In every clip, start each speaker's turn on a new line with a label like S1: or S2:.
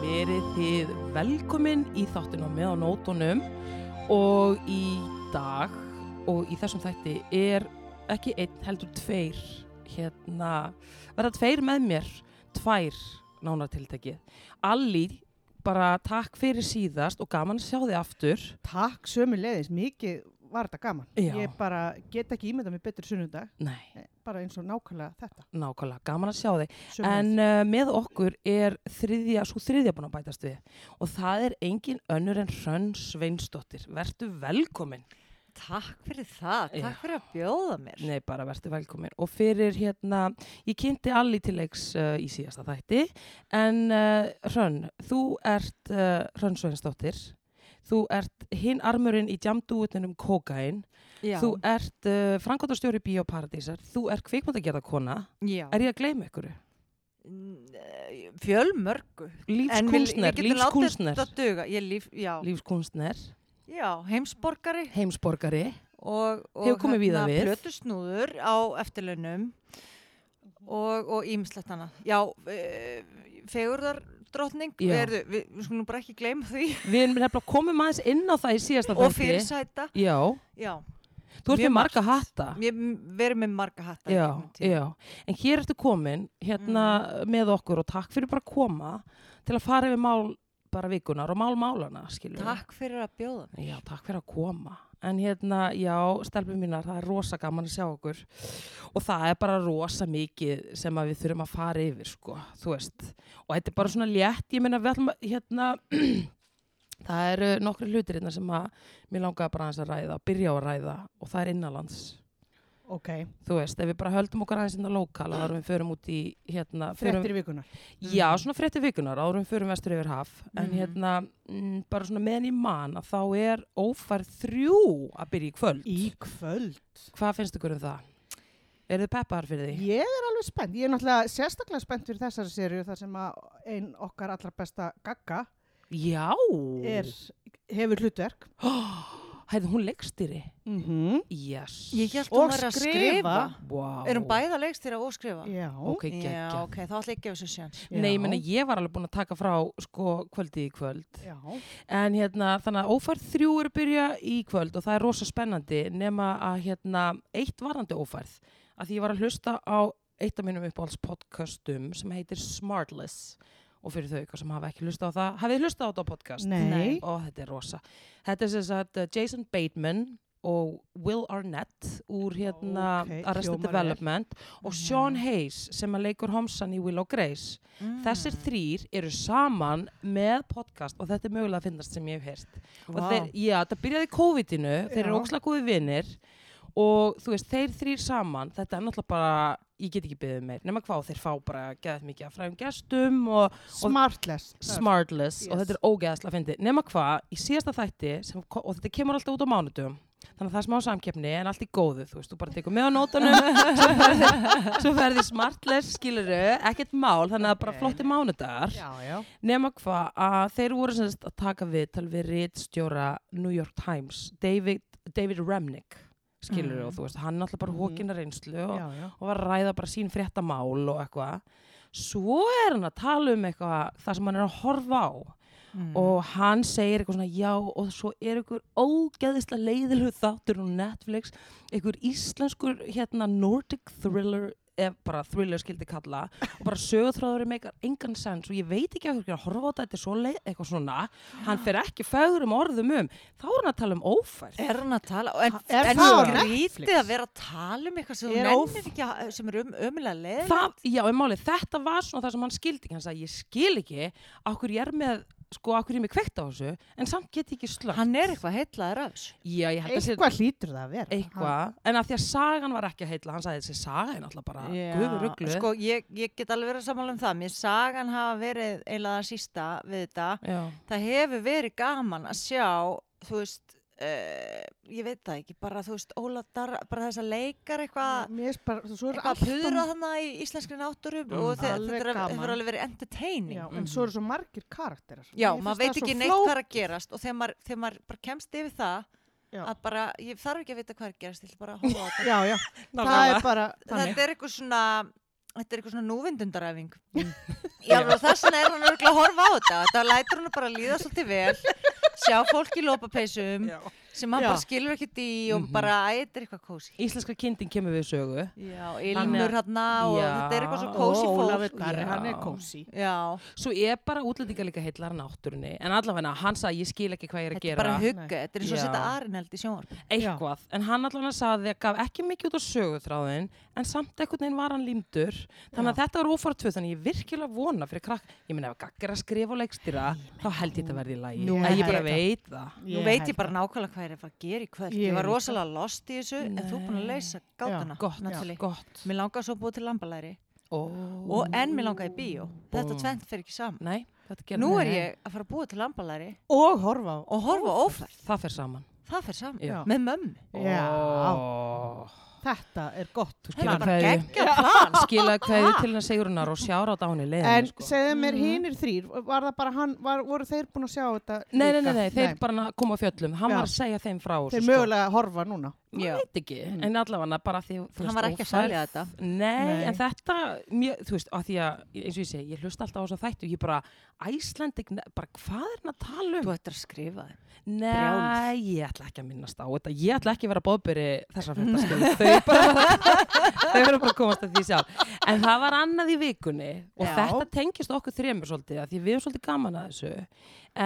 S1: verið þið velkomin í þáttina með á nótunum og í dag og í þessum þætti er ekki einn heldur tveir hérna, verða tveir með mér tvær nánartiltæki Allí, bara takk fyrir síðast og gaman að sjá þið aftur
S2: Takk sömu leiðis, mikið var þetta gaman.
S1: Já.
S2: Ég bara get ekki ímynda mér betur sunnundag,
S1: Nei,
S2: bara eins og nákvæmlega þetta.
S1: nákvæmlega, gaman að sjá þið
S2: Sömu
S1: En
S2: leiðis.
S1: uh, með okkur er þriðja, svo þriðja búin að bætast við og það er engin önnur en Hrönn Sveinsdóttir. Vertu velkomin.
S3: Takk fyrir það,
S1: Já.
S3: takk fyrir að bjóða mér.
S1: Nei, bara vertu velkomin. Og fyrir hérna, ég kynnti allir til leiks uh, í síðasta þætti en uh, Hrönn, þú ert uh, Hrönn Sveinsdóttir. Þú ert hinn armurinn í jamdúutinum Kokain.
S3: já,
S1: Þú ert uh, frangóttarstjóri Bíóparadísar. Þú ert kvikmyndagerðarkona.
S3: já.
S1: Er ég að gleyma ykkur?
S3: N- eh, fjölmörgu. En vil-
S1: Lífskúnsner,
S3: við getum látið
S1: lífskúnsner.
S3: Þetta duga, ég líf, já,
S1: Lífskúnsner,
S3: já, heimsborgari
S1: heimsborgari.
S3: og, og hérna,
S1: Hefur komið víða við.
S3: plötusnúður á eftirlaunum og, og ímislegt hana. Já, e, fegurðar drottning,
S1: Já.
S3: verðu, við, við skulum bara ekki gleyma því
S1: Við erum nefnilega komum aðeins inn á það í síðasta
S3: og fyrirsæta,
S1: Já,
S3: já,
S1: þú ert
S3: Mjög
S1: með marga hatta.
S3: ég verið með marga hatta. í
S1: Já,
S3: gegnum tíð.
S1: já. En hér ertu komin hérna
S3: Mm.
S1: með okkur og takk fyrir bara að koma til að fara yfir mál bara vikunar og mál málana, skilur.
S3: Takk fyrir að bjóða mér.
S1: Já, takk fyrir að koma. En hérna, já, stelpum mínar, það er rosa gaman að sjá okkur og það er bara rosa mikið sem að við þurfum að fara yfir, sko, þú veist. Og þetta er bara svona létt, ég meina, við ætlum að, hérna, það eru nokkri hlutir hérna sem að mér langaði bara aðeins að ræða, byrja á að ræða og það er innanlands.
S2: Ok,
S1: Þú veist, ef við bara höldum okkar aðeins hérna lokal, þá erum við förum út í, hérna, förum-
S2: frettir vikunar.
S1: Já, svona frétti vikunar, árum fyrir vestur yfir haf, en
S3: Mhm.
S1: hérna, mm, bara svona meðan ég man að þá er ófærð þrjú að byrja í kvöld.
S2: Í kvöld.
S1: Hvað finnst ykkur um það? Eru þið peppar fyrir því?
S2: Ég er alveg spennt. Ég er náttúrulega sérstaklega spennt fyrir þessari sériu þar sem að ein okkar allra besta gagga
S1: Já!
S2: er, hefur hlutverk.
S1: Hæði, hún leggstýri.
S2: Mm
S1: Yes.
S3: Ég held
S2: Og
S3: hún var að
S2: skrifa.
S3: skrifa.
S1: Wow.
S3: Er hún bæða leikstýra og skrifa?
S2: Já.
S1: Ok,
S3: Já,
S1: geggja.
S3: ok, þá ætla ég að gefa sér sjans.
S2: já.
S1: Nei, ég meina, ég var alveg búin að taka frá, sko, kvöldi í kvöld.
S2: Já,
S1: En hérna, þannig að ófærð þrjú er að byrja í kvöld og það er rosa spennandi nema að, hérna, eitt varandi ófærð. Að því ég var að hlusta á eitt af mínum uppáhalds podcastum sem heitir Smartless og fyrir þau ykkur sem hafa ekki hlusta á það, hafið þið hlusta á þetta podcast?
S2: nei.
S1: Ó, þetta er rosa. Þetta er sem sagt uh, Jason Bateman og Will Arnett úr hérna
S2: Ókei,
S1: Arrested
S2: hljómar vel. Mhm.
S1: Development og Sean Hayes sem að leikur homsan í Willow Grace. Þessir þrýr eru saman með podcast og þetta er mögulega að finnast sem ég hef heyrst.
S3: Vá.
S1: Og þeir, já, það byrjaði í COVID-inu, þeir eru
S2: Já.
S1: ókslega góði vinnir og þú veist, þeir þrýr saman, þetta er náttúrulega bara, ég get ekki byggðið meir, nema hvað þeir fá bara geðað mikið að fræðum gestum og
S2: Smartless.
S1: Smartless og
S2: Yes.
S1: þetta er ógeðslega að fyndi nema hvað, í síðasta þætti sem, ko- og þetta kemur alltaf út á mánudum þannig að það er smá samkeppni en allt í góðu þú veist, þú bara tekur með á nótunum svo ferði, svo ferði smartless skiluru, ekkert mál, þannig að bara
S2: Ok.
S1: flotti mánudagar
S2: Já, já.
S1: nema hvað að þeir voru semst að taka við tal við rittstjóra New York Times David, David Remnick skiluru
S3: Mhm.
S1: og þú veist, hann er alltaf bara
S2: Mhm.
S1: hókina reynslu og,
S2: Já, já.
S1: og var að ræða bara sín fréttamál og eitthvað svo er hann að tala um eitthvað það sem hann er að horfa á og hann segir eitthvað svona já og svo er einhver ógeðislega leiðilegu þáttur á Netflix einhver íslenskur hérna Nordic Thriller ef bara thriller skildi kalla og bara sögurþráður er meikar engan sens og ég veit ekki að hverju að horfa á þetta þetta er svo leið, eitthvað svona hann fer ekki fögrum orðum um þá er hann að tala um ófært
S3: Er hann að tala? En,
S2: Er
S3: en
S2: það á
S3: grítið
S2: Netflix?
S3: að vera að tala um eitthvað sem þú
S2: Er
S3: nennir ekki að, sem er um, ömulega leið.
S1: það, já, um máli, þetta var svona það sem hann skildi ekki, hann sagði, ég skil ekki okkur ég er með, sko, okkur ég er með kveikt á þessu, en samt get ég ekki slögt
S3: Hann er eitthvað heitlaður af þessu.
S1: já, ég held að sé
S2: Eitthvað hlýtur það að vera.
S1: eitthvað, en að því að sagan var ekki að heitla, hann sagði þessi saga er náttúrulega bara guðuruglu,
S3: Sko, ég, ég get alveg verið að samála um það. Mér sagan hafa verið eiginlega það sísta við þetta.
S1: já,
S3: Það hefur verið gaman að sjá, þú veist, uh, ég veit það ekki, bara þú veist, Óla Darra, bara þess að leikar eitthvað,
S2: Mér er bara, svo er
S3: eitthvað
S2: allt um
S3: að
S2: á
S3: puðra þarna í íslenskri náttúru
S1: Mm.
S3: og þe-
S2: Alveg
S3: þetta er-
S2: gaman.
S3: hefur alveg verið entertaining.
S2: Já,
S3: Já,
S1: Mm-hmm.
S2: en svo eru svo margir karakterar. Mér
S3: maður
S2: finnst
S3: veit
S2: það
S3: ekki
S2: svo
S3: neitt
S2: flókið.
S3: hvað er að gerast og þegar maður, þegar maður bara kemst yfir það
S2: Já.
S3: að bara, ég þarf ekki að vita hvað er að gerast, ég ætla bara að hóla á þetta.
S2: Já, já, það
S1: Nákvæmlega.
S2: er bara þannig. Mm.
S3: þetta er eitthvað svona, þetta er eitthvað svona núvindundaræfing. Já, og þess vegna er hann örgulega að horfa á þetta þetta lætur hann bara líða svolítið vel sjá fólk í lópapeysum
S2: Já.
S3: sem hann
S2: Já.
S3: bara skilur ekkert í og
S1: Mhm.
S3: bara æ, þetta er eitthvað kósi
S1: Íslenska kindin kemur við sögu.
S3: Já,
S1: Þannig að-
S3: ilmur hann og
S1: Já.
S3: þetta er eitthvað svo
S1: Og
S3: kósi fólk
S2: Ólafur Darri,
S1: já.
S2: hann er kósi.
S3: Já,
S1: Svo ég bara útlendinga líka heillar náttúrunni. En allavega hann sagði, ég skil ekki hvað ég er að
S3: þetta er
S1: gera.
S3: bara hugga þetta er eins og að
S1: Já.
S3: setja arinheld í sjónvarp
S1: eitthvað, en hann allan að sagði að gaf ekki mikið út á söguþráðin en samt einhvern veginn var hann límdur þannig að þetta var ófæra tvö, þannig ég virkilega vona fyrir krakk, ég meina ef gaggar að skrifa og leikstýra, þá held ég þetta verði í lagi
S2: Nú,
S1: að ég
S3: ég
S1: bara
S3: held það.
S1: veit það
S3: Nú veit ég bara nákvæmlega hvað ég er að fara að gera í kvöld. Ég,
S2: Ég
S3: var
S2: líka.
S3: rosalega lost í þessu, en þú er búin að
S1: Nei.
S3: leysa gátuna.
S1: gott,
S3: Natalie.
S1: gott
S3: Mér langaði svo að búa til lambalæri
S1: Ó.
S3: og enn mér langaði í bíó. Þetta tvent fer ekki saman.
S1: Nei, þetta gerði
S3: Nú er ég að fara að búa til lambalæri
S2: Og horfa á.
S3: og horfa á ófært.
S1: það fer saman
S3: Það fer saman.
S1: Já.
S3: Með mömmu.
S2: Já.
S1: Ó.
S2: Þetta er gott.
S1: þú
S3: Það
S1: skilaði
S3: er bara
S1: kveðju
S3: geggja plan.
S1: skilaði kveðju til hennar segurunar og sjára á dáni
S2: En
S1: leiðinu sko.
S2: segðu mér hinnir þrýr, var það bara hann, var, voru þeir búin að sjá þetta
S1: nei, nei,
S2: líka?
S1: nei, nei, þeir bara koma á fjöllum hann
S2: Já.
S1: var að segja þeim frá þessu,
S2: Þeir
S1: sko.
S2: mögulega horfa núna.
S3: Já.
S1: maður veit ekki, en allavega bara því þú
S3: Hann
S1: veist,
S3: var ekki að
S1: ófærð.
S3: selja þetta.
S1: Nei,
S2: Nei.
S1: en þetta, mjö, þú veist, að því að eins og ég segi, ég hlusta alltaf á þess að þættu ég bara, Æslandik, bara hvað er hann að tala um?
S3: Þú ættir að skrifa þið.
S1: Nei,
S3: brjáluð.
S1: ég ætla ekki að minnast á þetta ég ætla ekki að vera bóðbyrri þessar fréttaskil þau bara þau verður bara að komast að því sjálf en það var annað í vikunni og
S3: Já.
S1: þetta tengist okkur þremur svolítið af því við erum svolítið gaman að þessu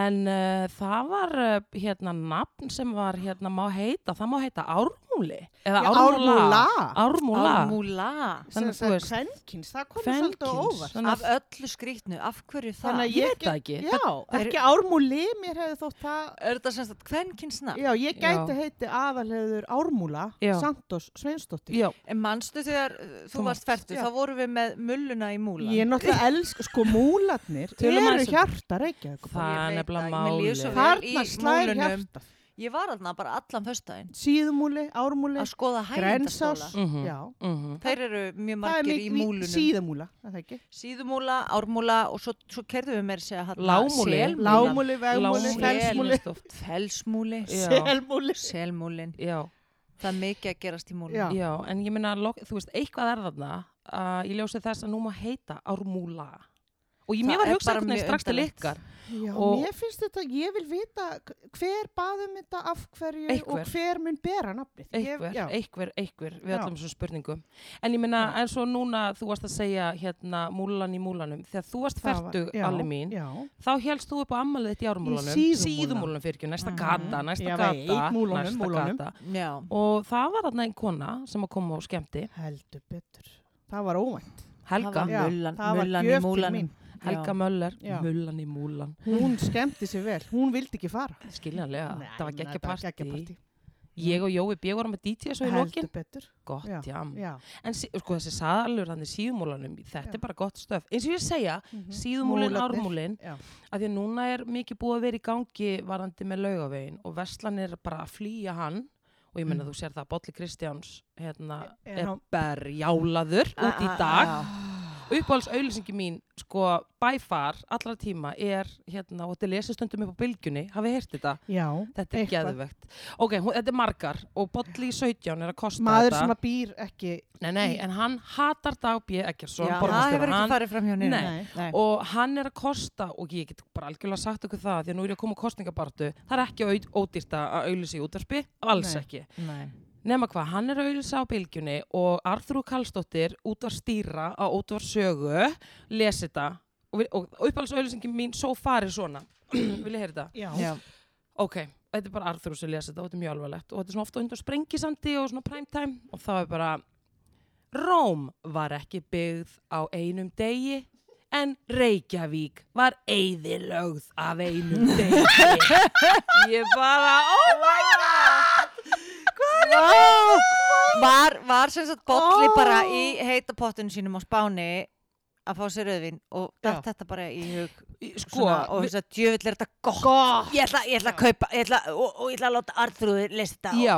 S1: en uh, það var uh, hérna nafn sem var hérna má heita það má heita Ármúli eða
S2: Já,
S1: Ármúla
S2: Ármúla.
S1: Ármúla
S3: Ármúla.
S1: Þannig að þú veist-
S2: Kvenkins, það kom
S1: Kvenkins.
S2: svolítið á óvart.
S1: Þannig
S3: Af
S1: að-
S3: öllu skrítnu, af hverju það?
S2: að
S1: Ég veit það ekki.
S2: Já,
S3: er-
S2: ekki ármúli, mér hefði þótt það.
S3: Er þetta semst að kvenkinsna?
S2: Já, ég gæti heiti aðalheður ármúla,
S1: Já.
S2: Santos Sveinsdóttir.
S1: Já,
S3: En manstu þegar uh, þú
S1: Þú
S3: varst færtu,
S2: Já.
S3: þá vorum við með mulluna í múlan.
S2: Ég er náttúrulega elsk, sko múlarnir
S1: Tölum
S2: eru
S1: aðeins um-
S2: hjarta Reykjavík.
S1: það
S3: Ég
S1: er
S3: veit
S1: nefnilega
S3: það, ég- mér líður svo
S1: máli
S3: vel. í
S2: Þarna slær
S3: múlunum.
S2: hjarta.
S3: Ég var alveg bara allan föstudaginn
S2: Síðumúli, ármúli,
S3: að skoða
S2: grensás.
S3: hægindaskóla.
S1: Mhm.
S2: Já.
S1: Mhm.
S3: Þeir eru mjög
S2: Það er
S3: margir í
S2: mikið-
S3: múlunum.
S2: Síðumúla, er það ekki?
S3: Síðumúla, ármúla og svo, svo kerðum við meira að segja hann
S1: Lágmúli.
S3: selmúla,
S2: Lámúli, vegmúli,
S1: Lágmúli,
S2: felsmúli,
S1: sel- oft.
S3: felsmúli,
S1: Já.
S2: selmúli.
S3: selmúlin.
S1: Já,
S3: Það er mikið að gerast í múlunum.
S2: Já.
S1: já, en ég meina, lok- þú veist, eitthvað er þarna uh, ég ljósi þess að nú má heita Ármúla og ég, mér
S3: Það
S1: var
S3: er
S1: hugsað
S3: bara
S1: einhvern veginn
S3: mjög
S1: strax til
S3: undarlegt.
S1: ykkar
S2: Já,
S1: Og-
S2: mér finnst þetta, ég vil vita hver baðum þetta af hverju
S1: Einhver.
S2: og hver mun bera nafnið.
S1: einhver,
S2: ég, já.
S1: einhver, einhver við
S2: Já.
S1: öllum þessum spurningum en ég meina, en svo núna þú varst að segja hérna múlan í múlanum þegar þú varst
S2: Það var-
S1: færtu,
S2: já,
S1: Alli mín
S2: Já,
S1: þá helst þú upp á ammalið þitt í
S2: Í
S1: ármúlanum
S2: síðumúla.
S1: síðumúlanum fyrir ekki, næsta
S3: Mhm.
S1: gata næsta
S2: Ég
S1: gata,
S2: veit, múlanum,
S1: næsta
S2: múlanum.
S1: gata
S3: Já.
S1: og það var hann einn kona sem að koma og skemmti
S2: heldur betur. Það var óvænt.
S1: Helga,
S3: Það
S2: Já,
S3: var mullan,
S2: það var
S3: mullan
S2: gjöf til
S3: í
S2: mín.
S3: múlanum.
S1: Helga Möller
S2: Já.
S1: mullan í múlan,
S2: Hún skemmti sér vel, hún vildi ekki fara.
S1: skiljanlega
S2: Nei,
S1: það var
S2: nei,
S1: geggja
S2: geggjapartí.
S1: partí ég og Jói B. vorum að DJ svo í
S2: Heldur
S1: lokin
S2: betur.
S1: Mm. gott,
S2: Já,
S1: jam
S2: já.
S1: en sí- sko þessi salur hann í síðumúlanum þetta
S2: Já.
S1: er bara gott stöf eins og ég segja,
S2: Mhm.
S1: síðumúlin,
S2: Múlarnir.
S1: ármúlin
S2: Já.
S1: að því að núna er mikið búið að vera í gangi varandi með laugavegin og verslan er bara að flýja hann og ég meina þú sér það að Bolli Kristjáns hérna,
S2: Er
S1: er
S2: hann-
S1: berjálaður út í
S3: Ah, ah,
S1: dag
S3: ah.
S1: uppáhalds auðlýsingi mín sko bæfar allra tíma er hérna og þetta lesið stundum upp á bylgjunni hafið heyrt þetta?
S2: Já,
S1: Þetta er
S2: eitthvað.
S1: geðvegt ok, hún, þetta er margar og Bolli í 17 er að kosta
S2: Maður
S1: þetta
S2: sem að býr ekki,
S1: Nei, nei, en hann hatar Dag B. Eggersson,
S3: Já, það
S1: borgarstjóra.
S3: hefur ekki
S1: Hann-
S3: farið fram hjá nýjum.
S1: Nei. og hann er að kosta og ég get bara algjörlega sagt okkur það því að nú er ég að koma kostningabartu það er ekki au- ódýrt að auðlýsa í útvarpi alls
S2: Nei.
S1: ekki
S3: Nei.
S1: nema hvað, hann er að auðlýsa á bylgjunni og Arþrú Karlsdóttir út að stýra á útvar sögu lesi þetta og, við- og uppáhalds auðlýsingin mín svo farið svona vil ég heyra þetta?
S2: já,
S3: Já.
S1: ok, þetta er bara Arthur sem lesa þetta og þetta er mjög alvarlegt og þetta er svona ofta undan sprengisandi og svona primetime og það er bara Róm var ekki byggð á einum degi en Reykjavík var eigðilögð af einum degi ég bara, oh my god
S3: Var, var sem sagt bolli
S2: Ó.
S3: bara í heitapottinu sínum á Spáni að fá sér auðvin og datt þetta bara í hug
S1: Í- sko,
S3: svona, og þess að djöfull er þetta gott,
S2: Gott.
S3: Ég, ætla, ég ætla að kaupa ég ætla, og, og ég ætla að láta Arþrúður lesa þetta
S1: já,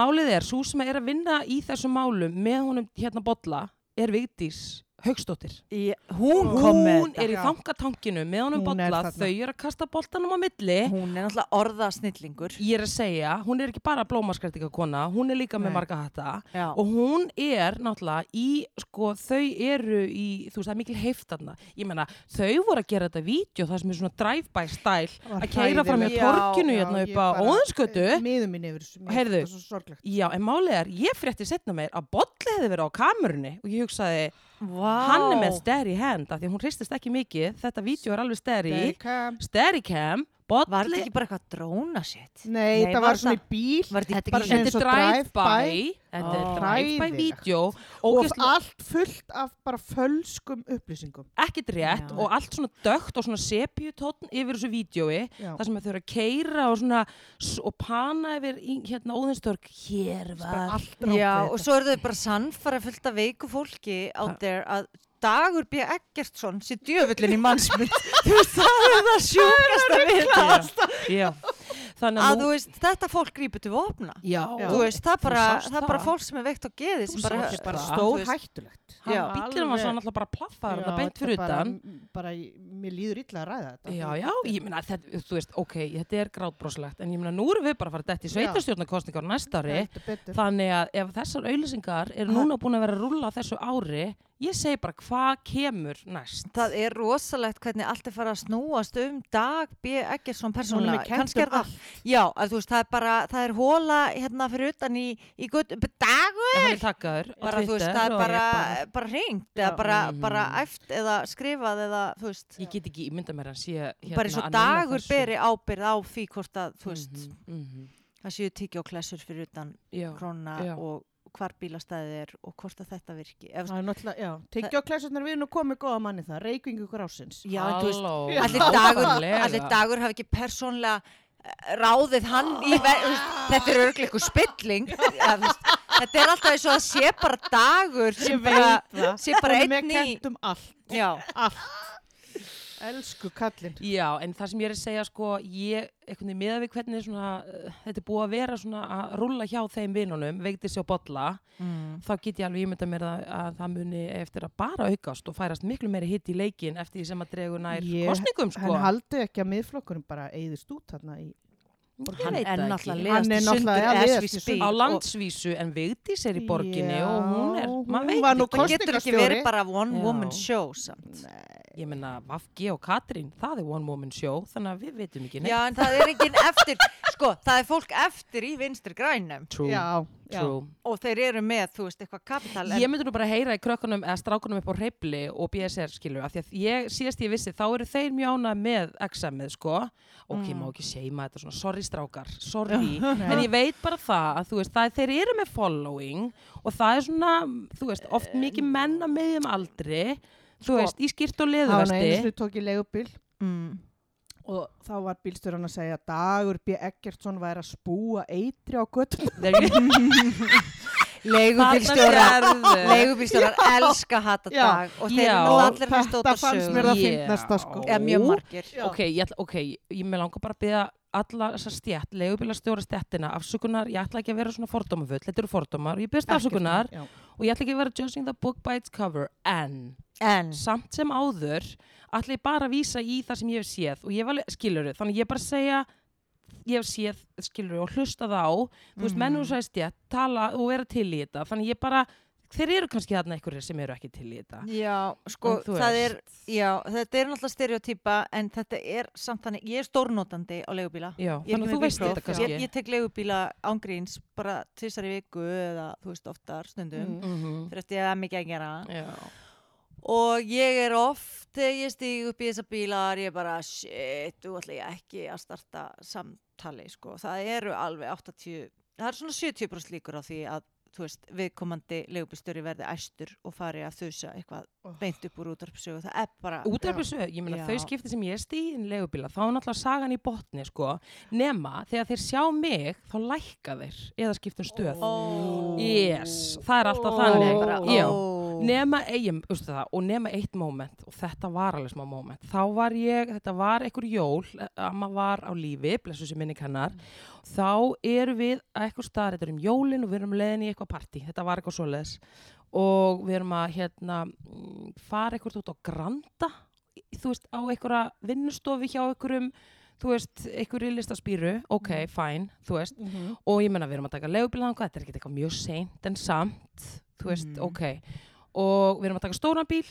S1: málið er, svo sem er að vinna í þessum málum með honum hérna bolla er Vigdís Hauksdóttir
S3: Í, hún kom með
S1: hún
S3: þetta.
S1: er í
S2: Já.
S1: þangatankinum með honum
S2: Hún er
S1: bolla,
S2: þarna.
S1: þau eru að kasta boltanum á milli
S3: Hún er náttúrulega orðasnillingur.
S1: ég er að segja, hún er ekki bara blómaskrættinga kona, hún er líka
S2: Nei.
S1: með marga hatta
S3: Já.
S1: og hún er náttúrulega í, sko, þau eru í þú veist, það er mikil heiftarna ég meina, þau voru að gera þetta vídeo það sem er svona drive-by stæl
S2: Var
S1: að keira fram í
S3: hræðilegt.
S1: torkinu
S2: Já,
S1: hérna
S2: ég
S1: upp á
S2: bara- eh,
S1: óðinskötu
S2: miður mín yfir þessu, mér finnst
S1: Heyrðu.
S2: þetta svo sorglegt
S1: já, en málið er, ég frétti setna meir að bolli hefði verið á kamerunni og ég hugsaði,
S3: Vá.
S1: hann er með steri hand af því að hún hristist ekki mikið, þetta vídeo er alveg steri
S2: Steadicam.
S1: steri cam,
S3: Var þetta
S1: bolli
S3: ekki bara eitthvað dróna shit?
S2: Nei,
S3: Nei,
S2: það
S3: var
S2: var svona í bíl
S3: Var þetta ekki
S2: bara
S3: í-
S2: svona eins
S1: þetta er
S2: og
S1: drive-by
S2: drive-by.
S1: þetta er
S3: Ó.
S1: drive-by
S2: Hræðilegt.
S1: vídeo
S2: og
S1: ógeðslega-
S2: allt fullt af bara fölskum upplýsingum
S1: ekkert rétt
S3: Já.
S1: og allt svona dögt og svona sepjutótn yfir þessu vídjói
S2: Já.
S1: þar sem þau eru að keira og svona s- og pana yfir í, hérna óðinstörk hér
S2: bara
S1: var
S2: allt rátt
S3: Já, og svo eru þau bara sannfara fullt af veiku fólki out there að Dagur B. Eggertsson sé djöfullin í mannsmynd. þú veist, það er það sjúkast að vita.
S1: Já. þannig
S3: Að
S1: að
S3: þú
S1: nú
S3: veist, þetta fólk grípur til vopna.
S1: já,
S2: Já.
S3: Þú veist, það er bara,
S1: sást
S3: það er bara
S1: það.
S3: fólk sem er veikt á geði sem bara,
S1: sást
S2: bara
S1: það.
S2: stór
S3: þú veist,
S2: hættulegt
S1: hann
S3: Já.
S1: bílinn var
S2: Alveg.
S1: svo náttúrulega bara plaffar það beint fyrir
S2: bara,
S1: utan
S2: bara, mér líður illa að ræða þetta
S1: Já, já, ég meina, þetta, þú veist, ok, þetta er grátbroslegt, en ég meina, nú erum við bara að fara dætt í
S2: Já.
S1: sveitarstjórnarkostningar á næsta ári,
S2: Heldur betur.
S1: þannig að ef þessar auðlýsingar eru
S2: Ha-
S1: núna búin að vera að rúlla á þessu ári, ég segi bara hvað kemur næst.
S3: Það er rosalegt hvernig allt er farið að snúast um Dag B. Eggertsson
S2: Honum
S3: persónulega.
S2: er kennt
S3: Kannski er
S2: um
S3: það, já, að þú veist, það er bara, það er hóla hérna fyrir utan í, í gutt, Dagur!
S1: En hann er takkaður á
S3: Bara, þú veist,
S1: Twitter
S3: það er
S1: og
S3: bara,
S1: bara-
S3: bara hringt,
S2: Já.
S3: eða bara,
S1: Mm.
S3: bara æft eða skrifað eða, þú veist,
S1: Ég get ekki ímynda mér að hann sé hérna
S3: bara eins og
S1: að nenna
S3: Dagur
S1: þessu.
S3: beri ábyrð á því hvort að, þú veist,
S1: Mhm, mhm.
S3: það séu tíkjóklessur fyrir utan
S1: Já,
S3: krónna
S1: já.
S3: og hvar bílastæðið er og hvort að þetta virki. Ef,
S2: Það er náttúrulega, já, tekja á klæsurnar við erum nú komið góða manni það, reykingu grásins.
S3: já, en þú veist,
S1: Halló,
S3: allir dagur,
S1: nákvæmlega.
S3: allir dagur hafi ekki persónlega eh, ráðið hann í ver- þú veist,
S2: Ah.
S3: þetta er örglega eitthvað spilling ja, þú veist, þetta er alltaf eins og að sé bara dagur sem bara, sé bara
S2: Hún er
S3: einn
S2: með
S3: í
S2: kentum allt,
S3: já,
S2: allt. Elsku kallinn.
S1: Já, en það sem ég er að segja sko, ég, einhvern veginn miða við hvernig svona, uh, þetta er búið að vera svona að rúlla hjá þeim vinunum, veikti sér á bolla,
S3: Mm.
S1: þá get ég alveg ímynda mér að, að það muni eftir að bara aukast og færast miklu meiri hitt í leikin eftir því sem að dregur nær
S2: Ég-
S1: kostningum sko.
S2: Hann haldi ekki að miðflokkurum bara eigðist út þarna í...
S1: Ég
S3: hann
S1: veit
S3: er
S1: það
S3: náttúrulega
S1: ekki.
S2: Hann er
S3: liðast í
S2: náttúrulega,
S3: sundur
S2: ja,
S3: as
S2: liðast
S3: we
S2: í
S3: speak
S2: sundur.
S1: á
S3: og
S1: landsvísu en veikti sér í borginni
S2: Já,
S1: og hún er,
S2: hún
S1: maður veit
S2: var nú
S1: ekki.
S3: það getur ekki
S2: kosningastjóri.
S3: verið bara one
S1: Já.
S3: woman show samt
S1: Ég meina, Vafgi og Katrín, það er One Woman Show, þannig að við veitum ekki neitt.
S3: já, en það er enginn eftir sko, það er fólk eftir í vinstri grænum
S1: True,
S2: Já, já.
S1: true.
S3: og þeir eru með, þú veist, eitthvað kapital en-
S1: Ég myndi nú bara heyra í krökkunum eða strákunum upp á reyfli og BSR skilur af því að ég, síðast ég vissi þá eru þeir mjána með XM-ið sko ok, má ekki seima þetta svona, sorry strákar sorry, en ég veit bara það að þú veist, það, er- þeir eru með following og það er svona, þú veist, oft mikið menn að miðjum aldri þú veist, í skýrt og
S2: Hann var einu
S1: leðuvesti
S2: sinni tók í leigubíl
S3: mm.
S2: og þá var bílstjóran að segja að Dagur B. Eggertsson væri að spúa eitri á göttum.
S3: leigubílstjóra leigubílstjórar elska hata
S2: Já.
S3: dag og þeir
S1: Já.
S3: eru nú allir með stóta
S2: Þetta fannst mér
S3: sögur
S2: það finnasta sko.
S1: Já.
S3: eða mjög margir
S2: Já.
S1: ok, ég, ætla, ok, ég, ég mig langar bara að byrja alla þessar stjætt, leigubílastjóra stjættina afsökunar, ég ætla ekki að vera svona fordómafull þetta eru fordómar og ég byrst afsökunar
S2: Já.
S1: og ég ætla ekki að vera judging the book by its cover en
S3: en
S1: samt sem áður ætla ég bara að vísa í það sem ég hef séð og ég var skiluru, þannig ég er bara að segja ég hef séð skiluru og hlusta þá þú veist,
S3: Mm.
S1: menn og sæst ég tala og vera til í þetta, þannig ég bara þeir eru kannski þarna einhverjir sem eru ekki til í þetta
S3: Já, sko,
S1: En þú
S3: það er,
S1: veist.
S3: já, þetta er náttúrulega stereotýpa en þetta er samt þannig, ég er stórnótandi á leigubíla.
S1: já,
S3: Ég er
S1: þannig
S3: ekki
S1: að þú
S3: með
S1: veist
S3: bílpróf.
S1: þetta kannski
S3: Ég, ég tek leigubíla ángríns bara tvisar í viku eða þú veist oftar stundum
S2: Mm.
S1: Mhm.
S3: fyrir eftir að það er mikið að gera.
S1: Já.
S3: Og ég er oft, þegar ég stíg upp í þessa bílar, ég er bara shit, þú ætla ég ekki að starta samtali, sko. Það eru alveg 80, það eru svona 70% líkur á því að þú veist, viðkomandi leigubílstöri verði æstur og fari að þusa eitthvað
S2: Oh.
S3: beint upp úr útarpsögu, það er bara
S1: útvarpi sög, ég meina
S3: Já.
S1: þau skipti sem ég er stíðin legubíla, þá er náttúrulega sagan í botni sko, nema þegar þeir sjá mig þá lækka þeir, eða skiptum stöð
S3: Ó.
S1: yes, það er alltaf
S2: Ó.
S1: þannig
S3: Bara,
S2: Ó.
S1: já,
S3: ó.
S1: nema e, eigin, veistu það, og nema eitt moment og þetta var alveg smá moment þá var ég, þetta var einhver jól eh, amma var á lífi, blessu sem minni kannar þá erum við að eitthvað staðar, þetta er um jólin og við erum leiðin í eitthvað partí, þetta var eitthvað svoleiðis og við erum að hérna, mm, fara eitthvað út á Granda í- þú veist, á einhverja vinnustofi hjá einhverjum þú veist, einhverju listaspýru ok, fine, þú veist
S2: Mhm.
S1: og ég menna við erum að taka legubilanga þetta er ekkert eitthvað mjög seint en samt þú veist,
S3: Mhm.
S1: ok og við erum að taka stóran bíl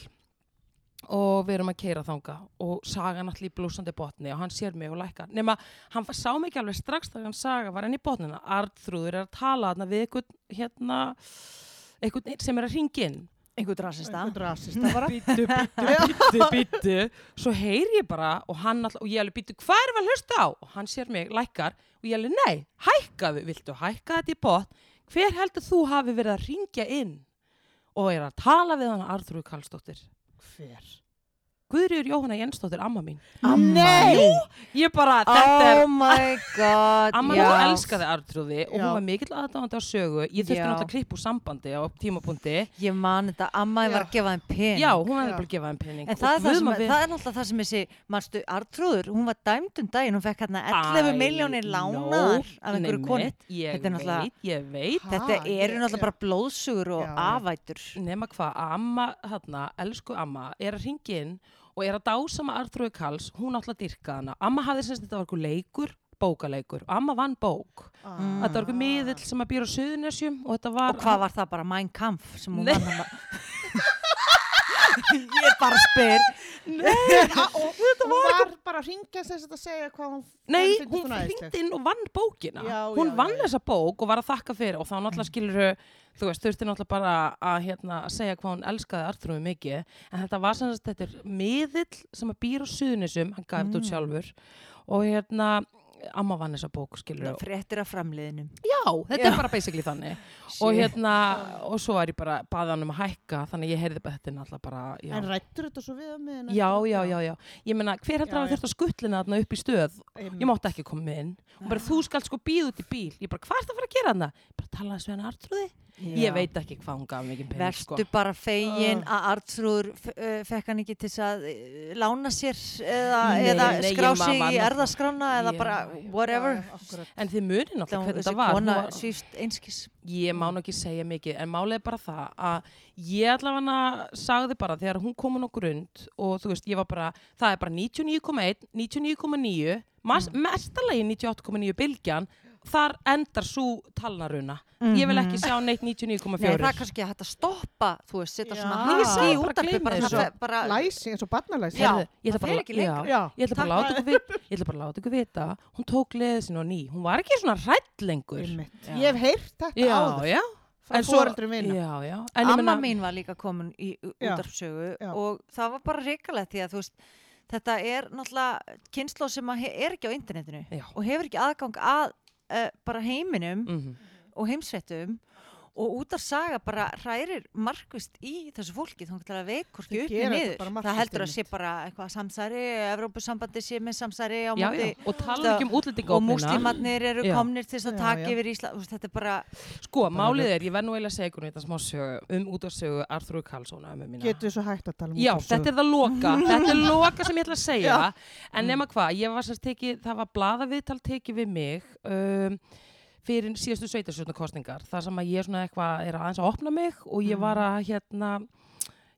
S1: og við erum að keira þanga og Saga náttúrulega í blúsandi botni og hann sér mig og lækkar nema hann fa- sá mig ekki alveg strax þegar hann Saga var enn í botnina Arnþrúður er að tala þarna við einhvern hérna einhvern einn sem er að ringin
S3: einhver drasista
S2: Einhvern rasista bara.
S1: býttu, býttu, býttu, býttu svo heyri ég bara og hann alltaf og ég alveg býttu, hvað erum við að hlusta á? og hann sér mig, lækkar og ég alveg, nei, hækkaðu viltu hækka þetta í bot hver heldur þú hafi verið að ringja inn og er að tala við hann Arþrúð Karlsdóttir
S2: Hver?
S1: Guðriður Jóhanna Jensdóttir, amma mín
S2: Nei!
S1: ég bara, þetta er
S3: oh my god
S1: Amma
S3: já.
S1: þú elskaði Artrúði og hún
S2: Já.
S1: var mikill aðdáðandi á sögu ég þurfti
S3: Já.
S1: náttúrulega að klippa úr sambandi á tímabundi
S3: ég man þetta, amma
S2: Já.
S3: var að gefa þeim pening
S1: já, hún var
S2: Já.
S1: bara að gefa henn pening
S3: en það er,
S1: Og
S3: það,
S1: guð
S3: sem,
S1: má við-
S3: það er náttúrulega það sem þessi marstu Artrúður, hún var dæmd um daginn hún fekk hérna 11
S1: Æ,
S3: miljónir
S1: nó,
S3: lánaðar af einhverju
S1: nei,
S3: konu
S1: mitt, ég
S3: Þetta er náttúrulega-
S1: veit, ég veit
S2: Ha,
S3: þetta
S2: ég-
S3: eru náttúrulega
S2: já.
S3: bara blóðsugur og
S2: Já, já.
S3: afætur
S1: nema hvað, amma, hérna, elsku amma er að ringi inn og er að dásama Artrúði Kals, hún alltaf dyrkaði hana amma hafði semst þetta var einhver leikur bókaleikur, amma vann bók
S2: Ah.
S1: þetta var einhver miðill sem að býra á Suðunesjum og þetta var
S3: og hvað var það bara Mein Kampf sem hún
S1: Nei.
S3: var hann ég bara spyr
S2: Ah, og hún var bara að ringja sem þetta að segja hvað hún
S1: Nei,
S2: fyndist
S1: hún
S2: æðisleg.
S1: hringdi inn og vann bókina.
S2: Já,
S1: hún
S2: já,
S1: vann
S2: já, Mm. já.
S1: þessa bók og var að þakka fyrir og þá náttúrulega skilur þú veist, þurfti náttúrulega bara að, hérna, að segja hvað hún elskaði Artrúmi mikið en þetta var sem sagt, þetta er miðill sem að býr á suðunisum, hann gaf
S2: Mm.
S1: þetta út sjálfur og hérna amma vann þessa bók skilur
S3: fréttir af framliðinu
S1: Já, þetta
S3: Já.
S1: er bara basically þannig og hérna, og svo var ég bara baði hann um að hækka, þannig að ég heyrði bara þetta er náttúrulega bara, já,
S2: En rættur þetta svo við að miðina?
S1: já, já, já, já ég meina, hver heldur
S2: Já,
S1: að hafa
S2: já.
S1: þurft að skuttlina þarna upp í stöð
S2: Einmitt.
S1: ég mátti ekki koma inn hún bara þú skalt sko býða út í bíl ég bara hvað er það að fara að gera hann bara tala þessu henni artrúði ég veit ekki hvað hún gaf mikið pening
S3: Verstu
S1: sko. Ah.
S3: bara fegin að Artrúður f- uh, fekk hann ekki til þess að uh, lána sér eða,
S1: Nei,
S3: eða
S1: nei, ég
S3: skrá
S1: man-
S3: sig
S1: man-
S3: í erðaskrána eða
S1: Já.
S3: bara whatever.
S1: en þið munið
S3: Þá
S1: náttúrulega hvernig
S3: þessi
S1: þetta var, Hún
S3: kona
S1: var
S3: svífst einskis.
S1: ég má nú ekki segja mikið en málið er bara það að ég allavega sagði bara þegar hún komin á grund og þú veist ég var bara það er bara 99,1, 99,9 mas-
S3: Mm.
S1: mestalagi 98,9 bylgjan þar endar svo talnaruna ég vil ekki sjá neitt
S3: Mhm. Nei, það er
S1: 99,4
S3: kannski að hægt að stoppa, þú veist, setja
S2: Já.
S3: svona
S2: Nei, ég
S3: hatt
S1: sagði
S3: í
S1: bara
S3: útarpi,
S1: gleymið
S3: bara
S1: þessu.
S3: það fer- bara...
S2: Læsi, eins og barnalæsi.
S3: Já.
S1: Heyrðu, ég ætla
S3: það
S1: bara
S3: fer
S1: að-
S3: ekki lengra.
S1: já.
S2: Já.
S1: ég ætla bara að
S3: Takk.
S1: láta ykkur vita, ég ætla bara að láta ykkur vita hún tók leðið sinna á ný, hún var ekki svona rætt lengur
S2: Einmitt.
S3: Já.
S2: Ég hef heyrt þetta
S1: já,
S2: áður
S1: já,
S2: frá
S1: en svo-
S2: fóreldrum minna.
S1: já, já En ég
S3: Amma
S1: meina-
S3: mín var líka komin í
S2: Já.
S3: útarpsögu
S2: Já.
S3: og það var bara reikalegt því að þú veist, þetta er náttúrulega kynnslóð sem að he- er ekki á internetinu
S1: Já.
S3: og hefur ekki aðgang að uh, bara heiminum
S1: Mhm.
S3: og heimsveitum og út af saga bara hrærir markvist í þessu fólki þá til að
S2: Þau
S3: veikur ekki upp
S2: gera
S3: og
S2: þetta bara
S3: niður
S2: markvisst,
S3: það heldur að sé
S2: einmitt.
S3: bara eitthvað samsari Evrópusambandi sé með samsari á
S1: já, já.
S3: móti
S1: og tala ekki um
S3: og
S1: útlendinga
S3: múslimarnir eru
S1: Já.
S3: komnir til þess að
S2: Já,
S3: taka
S2: já.
S3: yfir Ísland Þú veist, þetta er bara
S1: sko, málið er, ég verð nú eiginlega að segja ykkur þetta smá sögu um útarsögu Arþrúi Karlssona ömmu mína.
S2: Getur svo hægt að tala um
S1: Já,
S2: útvarpssögu?
S1: þetta er það loka, þetta er loka sem ég ætla að segja, en nema hvað, ég var sérst tekið, það var bladaviðtal tekið við mig um, fyrir síðustu sveitarsjóðnarkostningar, þar sem að ég svona eitthvað er aðeins að opna mig og ég var að hérna,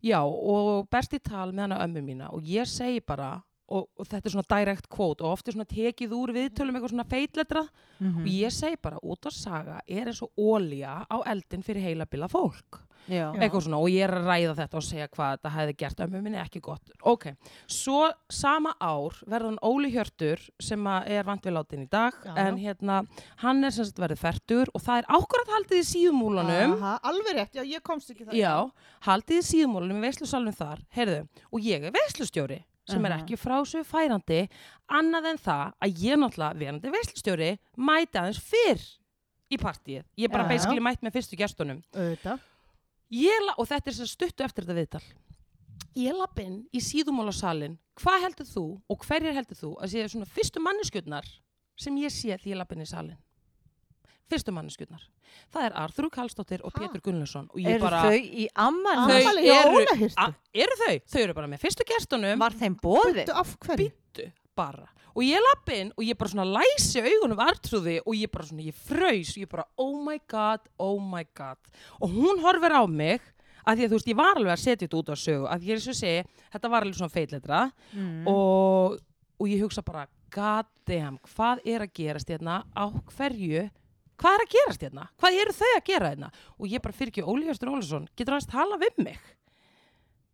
S1: já, og berst í tal með hana ömmu mína og ég segi bara, og, og þetta er svona direct quote og oft er svona tekið úr viðtölum eitthvað svona feitletra
S3: Mm.
S1: og ég segi bara, út á saga er eins og ólja á eldin fyrir heila bila fólk
S3: já.
S1: eitthvað svona og ég er að ræða þetta og segja hvað þetta hefði gert ömmu minni ekki gott ok, svo sama ár verður hann Óli Hjörtur sem að er vant við látin í dag
S2: Já.
S1: en hérna, hann er sem sagt verið færtur og það er ákvarðat haldið í síðumúlanum
S2: Aha, alveg rétt, já, ég komst ekki Ah, það.
S1: já, haldið í síðumúlanum í veislusalunum þar, heyrðu og ég er veislustjóri sem er
S3: Aha.
S1: ekki frá svo færandi annað en það að ég náttúrulega verandi veislustjóri mæti aðeins fyrr í partíið, ég er bara
S2: Já.
S1: basically mætt með fyrstu gestunum
S2: Auðvitað.
S1: Ég, la- og þetta er sem stuttu eftir þetta viðtal ég lapp inn í síðumólasalinn hvað heldur þú og hverjar heldur þú að séu svona fyrstu manneskjurnar sem ég sé því ég lapp inn í salinn fyrstu manneskjurnar það er Arþur Kallstóttir og
S2: Ha?
S1: Pétur Gunnlaugsson og ég
S3: eru
S1: bara
S3: þau í amman
S1: Þau
S2: Ammali hjá
S1: eru-
S2: Ólahirtu.
S1: A, eru þau, þau eru bara með fyrstu gestunum
S3: var þeim bóðið
S2: Veitu af hverju?
S1: bittu bara og ég lapp inn og ég bara svona læsi augunum Artrúði og ég bara svona, ég fraus og ég bara, oh my god, oh my god og hún horfir á mig Af því að þú veist, ég var alveg að setja þetta út á sögu. Af því að ég er svo að segja, þetta var alveg svona feitletra
S3: Mm.
S1: og, og ég hugsa bara, god damn, hvað er að gerast hérna? Á hverju? Hvað er að gerast hérna? Hvað eru þau að gera hérna? Og ég bara fyrir ekki Ólífjastur Ólífsson, getur aðeins tala við mig?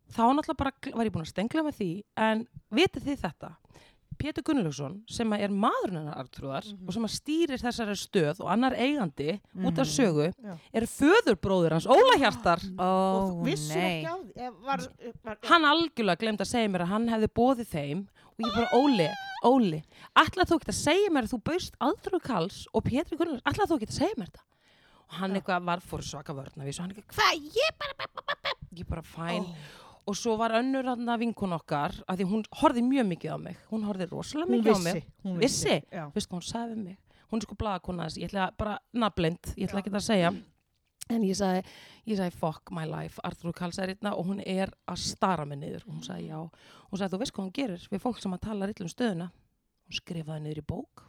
S1: Þá náttúrulega bara gl- var ég búin að stengla með því, en vitið þið þetta? Pétur Gunnlaugsson, sem að er maðurinn hennar Artrúðar og sem að stýrir þessari stöð og annar eigandi út af sögu,
S2: Já.
S1: er föðurbróður hans, Óla Hjartar.
S3: Ó,
S2: og þú vissir
S3: nei.
S2: ekki á því eh, var, var,
S1: hann algjörlega glemt að segja mér að hann hefði bóðið þeim og ég bara, Óli, Óli ætlaði þú ekki að segja mér að þú baust aðrúðu Karls og Pétri Gunnars, ætlaði þú ekki að segja mér þetta og hann eitthvað var fór svaka vörna við, svo hann eitthvað, hvað, ég bara ba, ba, ba, ba." ég bara, fæn og svo var önnur hann að vinkun okkar að því hún horfði mjög mikið á mig hún horfði rosalega
S2: hún
S1: mikið á
S2: vissi
S1: mig
S2: hún
S1: vissi,
S2: já.
S1: veist hvað hún sagði við mig hún er sko blaðakona þess, ég ætla bara nafnblind, ég ætla ekki að segja en ég sagði, ég sagði fuck my life Arthur Kalls er hérna og hún er að stara mig niður og hún sagði já, hún sagði þú veist hvað hún gerir við fólk sem að tala illa um stöðuna hún skrifaði niður í bók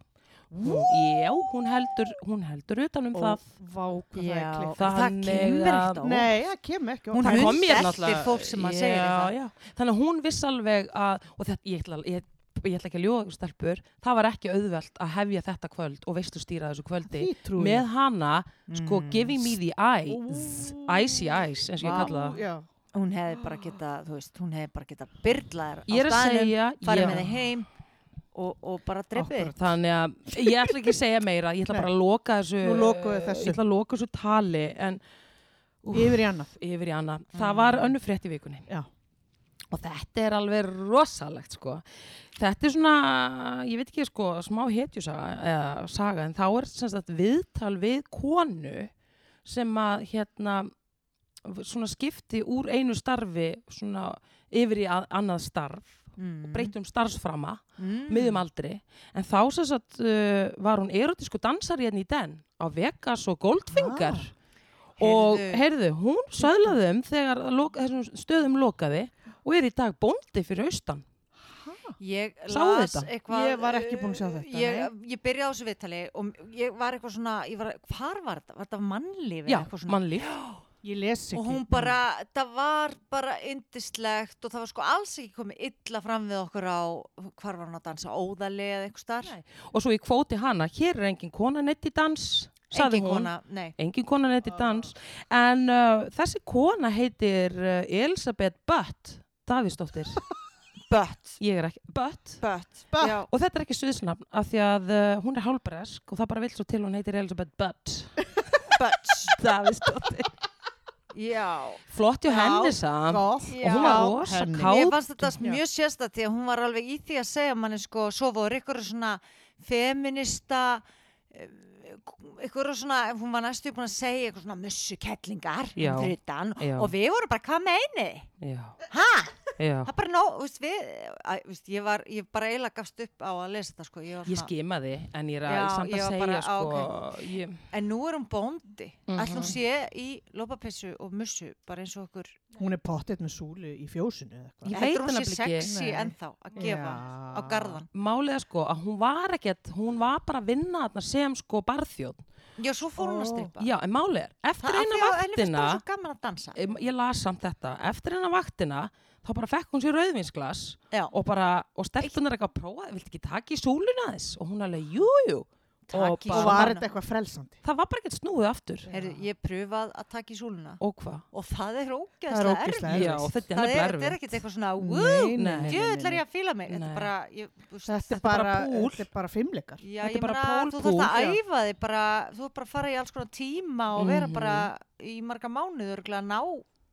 S1: hún, já, hún heldur, hún heldur utan um
S2: og
S1: það
S2: vá hvað það er
S3: Já,
S2: klift
S1: það
S3: það
S1: Þannig
S3: kemur
S1: að-
S3: ekkert á óvart.
S2: nei, það kem ekki á
S3: Hún
S2: óvart.
S1: það kom mér
S3: hundeltir
S1: náttúrulega
S3: fólk sem að
S1: já,
S3: segir eitthvað.
S1: já. þannig að hún viss alveg að, og þetta, ég ætla, ég, ég ætla ekki að ljóða stelpur, það var ekki auðvelt að hefja þetta kvöld og veistu stýra þessu kvöldi
S2: Því trúi ég.
S1: með hana, sko, giving me the eye icy eyes, eins og ég
S3: Mm. Vá.
S1: kalla það
S2: já,
S3: Hún hefði bara geta, þú veist, hún hefði bara geta byrlaðar á
S1: ég er að
S3: staðnum,
S1: segja
S3: farið
S1: ég-
S3: með þið heim og, og bara dreipið.
S2: Akkúrat.
S1: þannig að ég ætla ekki að segja meira ég ætla
S2: Nei.
S1: bara að loka þessu
S2: Nú lokum við þessu.
S1: ég ætla að loka þessu tali en úff,
S2: yfir í annað
S1: yfir í annað, það var önnu frétt í vikunni
S2: já,
S1: og þetta er alveg rosalegt sko. þetta er svona ég veit ekki sko, smá hetjusaga eða, saga, en þá er sem sagt viðtal við konu sem að hérna svona skipti úr einu starfi svona yfir í að, annað starf
S3: Mm.
S1: breytum starfsframa,
S3: mm.
S1: miðum aldri en þá sem sagt uh, var hún erotísku dansari hérna í den á Vegas og Goldfinger
S2: Ah.
S1: og
S3: Heyrðu.
S1: heyrðu, hún söðlaði um þegar að loka, þessum stöðum lokaði og er í dag bóndi fyrir austan
S3: Ég
S1: Sáu
S3: las
S1: þetta?
S3: eitthvað
S2: Ég var ekki búin að sjá
S3: uh,
S2: þetta,
S3: Ég, ég byrjaði á þessu viðtali og ég var eitthvað svona, ég var, hvar var þetta? Var þetta mannlífi?
S1: já,
S3: eitthvað svona?
S1: mannlíf
S2: ég les ekki
S3: Og hún bara, það var bara yndislegt og það var sko alls ekki komið illa fram við okkur á, hvar var hún að dansa, óðali eða eitthvað starf?
S1: Nei, og svo ég kvóti hana, hér er engin kona neitt í dans sagði hún,
S3: kona, nei.
S1: engin kona neitt í dans en uh, þessi kona heitir uh, Elisabeth Butt Davíðsdóttir,
S3: Bött.
S1: ég er ekki Butt
S3: Bött.
S2: Butt.
S3: Já,
S1: og þetta er ekki suðsnafn af því að uh, hún er hálbresk og það bara vil svo til hún heitir Elisabeth Butt
S3: bött.
S1: Davíðsdóttir
S3: Já.
S1: flott hjá
S2: Já,
S1: henni samt
S2: gott
S1: og hún var rosa
S2: henni.
S3: Mér
S1: kátt
S3: fannst þetta mjög sérstætt því að hún var alveg í því að segja manni sko, svo voru ykkur svona feminista ykkur svona, hún var næstu búin að segja ykkur svona mussukettlingar
S1: Já.
S3: frutan
S1: Já.
S3: og við vorum bara, hvað meini?
S1: já,
S3: Ha?
S1: já.
S3: Það er bara nóg, veist við, að, veist, ég var, ég bara eiginlega gafst upp á að lesa þetta sko, ég var
S1: Ég
S3: svona,
S1: skimaði, en ég er að
S3: Já,
S1: samt
S3: ég
S1: að
S3: var
S1: segja
S3: bara, á,
S1: sko, ég,
S3: en nú er hún bóndi,
S1: Mhm.
S3: ætlum sé í lopapessu og mussu, bara eins og okkur,
S2: hún er pottet með súlu í fjósinu eða eitthvað.
S1: Ég veit
S3: heldur
S1: það
S3: hún sé
S1: nefnilega ekki.
S3: sexy
S2: Nei.
S3: ennþá að gefa
S2: Já.
S3: á garðan.
S1: málið er sko að hún var ekkert, hún var bara að vinna þarna sem sko barþjóð.
S3: Já, svo fór hún að
S2: Ó.
S3: strippa.
S1: Já, en málið er, eftir eina
S3: Það af því að henni finnst
S1: vaktina,
S3: bara svo gaman að dansa.
S1: em, ég las samt þetta, eftir eina vaktina, þá bara fekk hún sér rauðvinsglas
S3: Já.
S1: og bara, og stelpunar eitthvað að prófa, viltu ekki taka í súluna þess? Og hún alveg, jú, jú.
S3: Taka í
S1: bara-
S2: og var þetta eitthvað frelsandi
S1: Það var bara ekkert snúið aftur.
S3: Heyrðu, ég pröfað að taka í súluna
S1: Og hvað?
S3: og það er
S2: Það er
S3: ógeðslega
S2: ógeðslega
S3: erfitt.
S1: Já,
S2: erfitt.
S1: þetta er
S3: Það er,
S1: nefnilega
S3: þetta er
S1: erfið.
S3: ekkert eitthvað svona,
S2: Nei,
S3: wow,
S2: nei,
S1: nei,
S3: djöðl
S2: nei,
S3: er ég að fíla mig. Þetta
S1: Nei.
S3: er bara, ég, þú veist,
S2: þetta er
S1: bara
S2: bara,
S1: púl.
S2: þetta er bara fimmleikar
S3: já,
S1: þetta er
S3: ég
S1: bara
S3: bara
S1: pól,
S3: þú þarfst að
S1: pól, já.
S3: æfa þig bara, þú þarf bara að fara í alls konar tíma og vera
S1: Mhm.
S3: bara í marga mánuður örugglega að ná,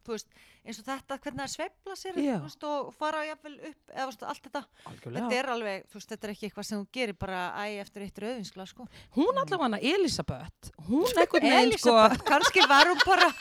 S3: þú veist, eins og þetta, hvernig það sveifla sér,
S1: Já.
S3: þú veist, og fara jafnvel upp, eða, þú veist, allt þetta. Þetta
S1: Algjörlega.
S3: er alveg, þú veist, þetta er ekki eitthvað sem þú gerir bara æ eftir eitt rauðinsla, sko.
S1: Hún allavega Elisabeth, hún einhvern veginn sko,
S3: Elisabeth, kannski var hún bara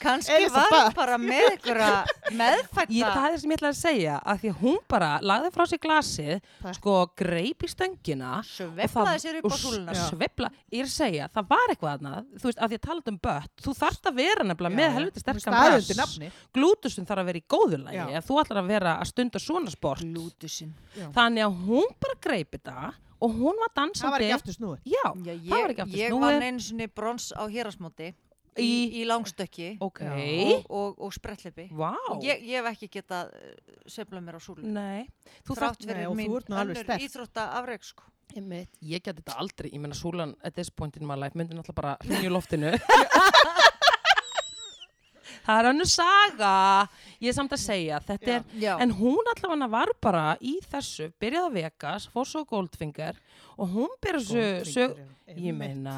S3: kannski var
S2: Elisabeth.
S3: hún bara með einhverja
S1: Ég, það
S3: meðfætta
S1: er það sem ég ætlaði að segja, að því að hún bara lagði frá sér glasið,
S2: Það-
S1: sko greip í stöngina
S3: sveflaði sér upp á súluna
S1: já. Svefla, ég er að segja, það var eitthvað annað, þú veist, að því að tala um bött, þú þarft að vera nefnilega með helviti sterkan
S2: staðundi nafni
S1: glútusum þarf að vera í góðulagi,
S2: Já.
S1: ef þú ætlar að vera að stunda svona sport.
S3: glútusinn
S1: Þannig að hún bara greip þetta og hún var dansandi.
S2: það var ekki aftur snúið
S1: Já,
S3: Já,
S1: það var
S3: ég,
S1: ekki aftur
S3: ég
S1: snúið.
S3: vann einu sinni brons á hérasmóti í,
S1: Í-
S3: í langstökki
S1: Ok.
S3: og, og, og sprettlipi.
S1: Vá.
S3: Ég, ég hef ekki getað eh, sveiflað mér á súlu.
S1: Nei. Þú þarft
S3: Þrátt fyrir
S2: Nei, og þú
S3: mín
S2: ert nú alveg
S3: önnur
S2: sterk.
S3: íþrótta afreg sko.
S1: Einmitt. Ég get þetta aldrei, ég menna súlan at this point in my life myndi náttúrulega bara hrjum í loftinu Það er hannu saga Ég er samt að segja, þetta
S2: Já.
S1: er En hún allavega var bara í þessu byrjaði að Vegas, fór svo á Goldfinger og hún byrjaði þessu sög- ég meina,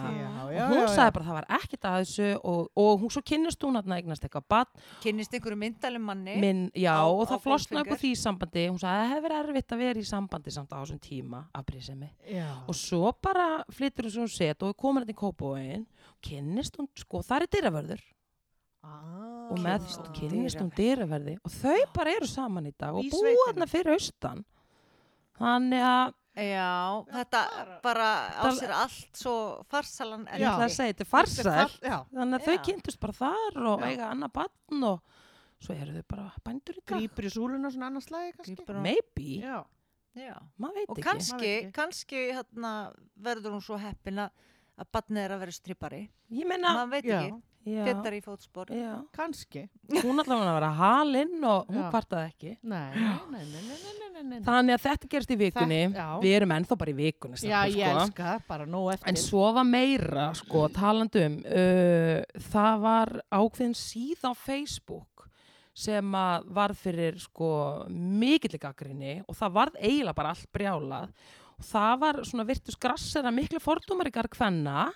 S1: og hún sagði bara það var ekkert að þessu og, og hún svo kynnist hún að eignast eitthvað barn,
S3: Kynnist einhverju myndalum manni.
S1: minn, já,
S3: Á-
S1: og
S3: á
S1: það flosnaði upp
S3: Goldfinger.
S1: á því sambandi, hún sagði að það hefur verið erfitt að vera í sambandi samt á þessum tíma af brísemi og svo bara flyttur hún svo um set og komur hérna í Kópavóin og kynnist hún, sko, það er dyravörður og
S2: Ah,
S1: með
S3: Kynnist
S1: og
S3: hún
S1: kynnist hún dyraverði og þau bara eru saman í dag og
S2: Í
S1: búa
S2: sveitinni.
S1: hérna fyrir austan þannig að
S3: Já, þetta bara, á
S1: Það-
S3: sér allt svo farsalan en
S1: ég
S2: Já.
S1: ætla að segja, þetta er farsæl þannig að
S3: Já.
S1: þau kynntust bara þar og
S2: Já.
S1: eiga annað batn og svo eru þau bara bændur í dag
S2: grýpur í súluna svona annars lagi kannski
S1: maybe,
S2: já,
S3: Já.
S1: maður veit
S3: Og
S1: ekki
S3: kannski,
S2: Maður veit ekki.
S3: kannski hérna, verður hún svo heppin að, að batnið er að vera strippari.
S1: ég meina
S3: Maður veit
S2: já,
S3: ekki,
S1: já,
S3: fettar í fótspor.
S1: já.
S2: kannski
S1: hún allavega var að halinn og hún
S2: Já.
S1: kvartaði ekki
S2: nei, nei, nei, nei, nei, nei, nei, nei.
S1: þannig að þetta gerist í vikunni
S2: Þetta- já.
S1: við erum ennþá bara í vikunni
S2: já,
S1: stelpur,
S2: ég elska það, bara nóg eftir
S1: En sofa meira, sko, talandi um, uh, það var ákveðin síða á Facebook sem að varð fyrir, sko, mikill gaggrinni og það varð eiginlega bara allt brjálað og það var svona virtus grassera miklu fordómarikar kvenna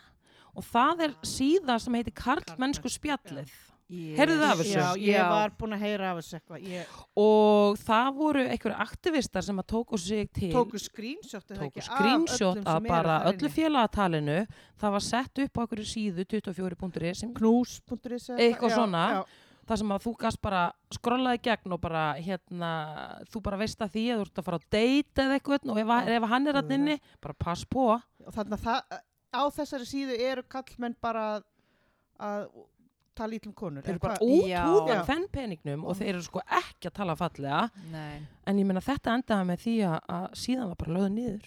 S1: og það er síða sem heitir Karlmennsku spjallið
S3: Yes.
S1: Heyrðu það af þessu?
S2: já, ég var búin að heyra af þessu eitthvað ég
S1: og það voru einhverju aktivistar sem að tóku sig til
S2: tóku screenshot eða
S1: tóku
S2: ekki, af
S1: screenshot
S2: öllum
S1: að
S2: sem eru
S1: bara
S2: þar
S1: öllu
S2: inni.
S1: félagatalinu það var sett upp á einhverju síðu 24.is sem
S2: knús.is eða
S1: Eitthvað
S2: já,
S1: svona.
S2: já,
S1: þar sem að þú gast bara skrollaði gegn og bara hérna, þú bara veist að því að þú ert að fara að deyta eða eitthvað og ef, að- ef hann er hann inni, bara pass på
S2: og þannig að það, á þessari síðu eru kallmenn bara að, að tala ítlum konur
S1: þeir eru
S2: eða
S1: bara
S2: hvað?
S3: Já.
S1: útúðan
S2: Já.
S1: fennpeningnum og þeir eru sko ekki að tala fallega
S3: Nei.
S1: en ég meina þetta endaði með því að, að síðan var bara löðu niður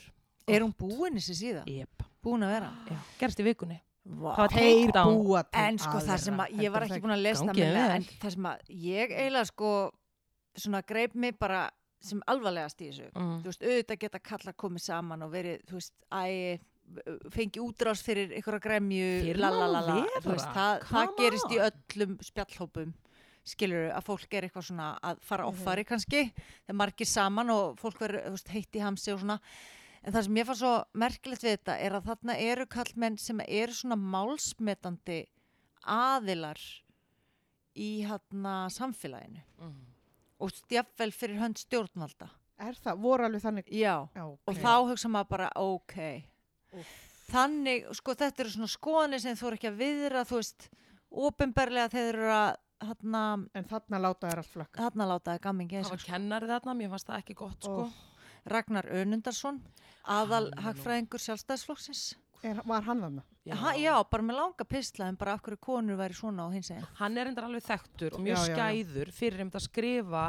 S3: Er hún búin þessi síða?
S1: Jep,
S3: Búin að vera?
S1: já, gerst í vikunni
S3: Vá.
S1: Það var
S2: þeir
S1: takedown.
S2: búa til
S3: En sko það sem að, ég var ekki búin að lesa það
S1: Gangi
S3: minna,
S1: vel.
S3: en það sem að ég eiginlega sko svona greip mig bara sem alvarlegast í þessu.
S1: mm.
S3: Þú veist, auðvitað geta kallar komið saman og verið, þú veist, æ, fengi útrás fyrir einhverja gremju,
S1: Fyrr má
S3: lalalala,
S1: vera,
S3: þú veist, það, það
S1: come
S3: gerist í
S1: on.
S3: öllum spjallhópum skilur að fólk er eitthvað svona að fara
S1: Mhm.
S3: offari kannski, þegar margir saman og fólk verður þú veist, heitt í hamsi og svona en það sem ég fann svo merkilegt við þetta er að þarna eru kallmenn sem eru svona málsmetandi aðilar í hérna samfélaginu
S1: Mm.
S3: og stjafnvel fyrir hönd stjórnvalda
S2: er það, voru alveg þannig
S3: já,
S2: já,
S3: og
S2: ok.
S3: þá hugsa maður bara ok
S2: Úff.
S3: þannig, sko þetta eru svona skoðanir sem þú eru ekki að viðra þú veist, ofinberlega þeir eru að þarna,
S2: en þarna láta þær allt flakka
S3: þarna látaði gammingi
S1: það var kennari þarna, mér fannst það ekki gott sko
S2: Ó.
S3: Ragnar Önundarsson aðal hagfræðingur sjálfstæðsflokksins
S2: er, var hann þarna?
S1: Já.
S3: ha, já, bara með langa pistla en bara af hverju konur væri svona og hins einn
S1: hann er endur alveg þekktur og mjög
S2: Já, já, já.
S1: skæður fyrir einmitt að skrifa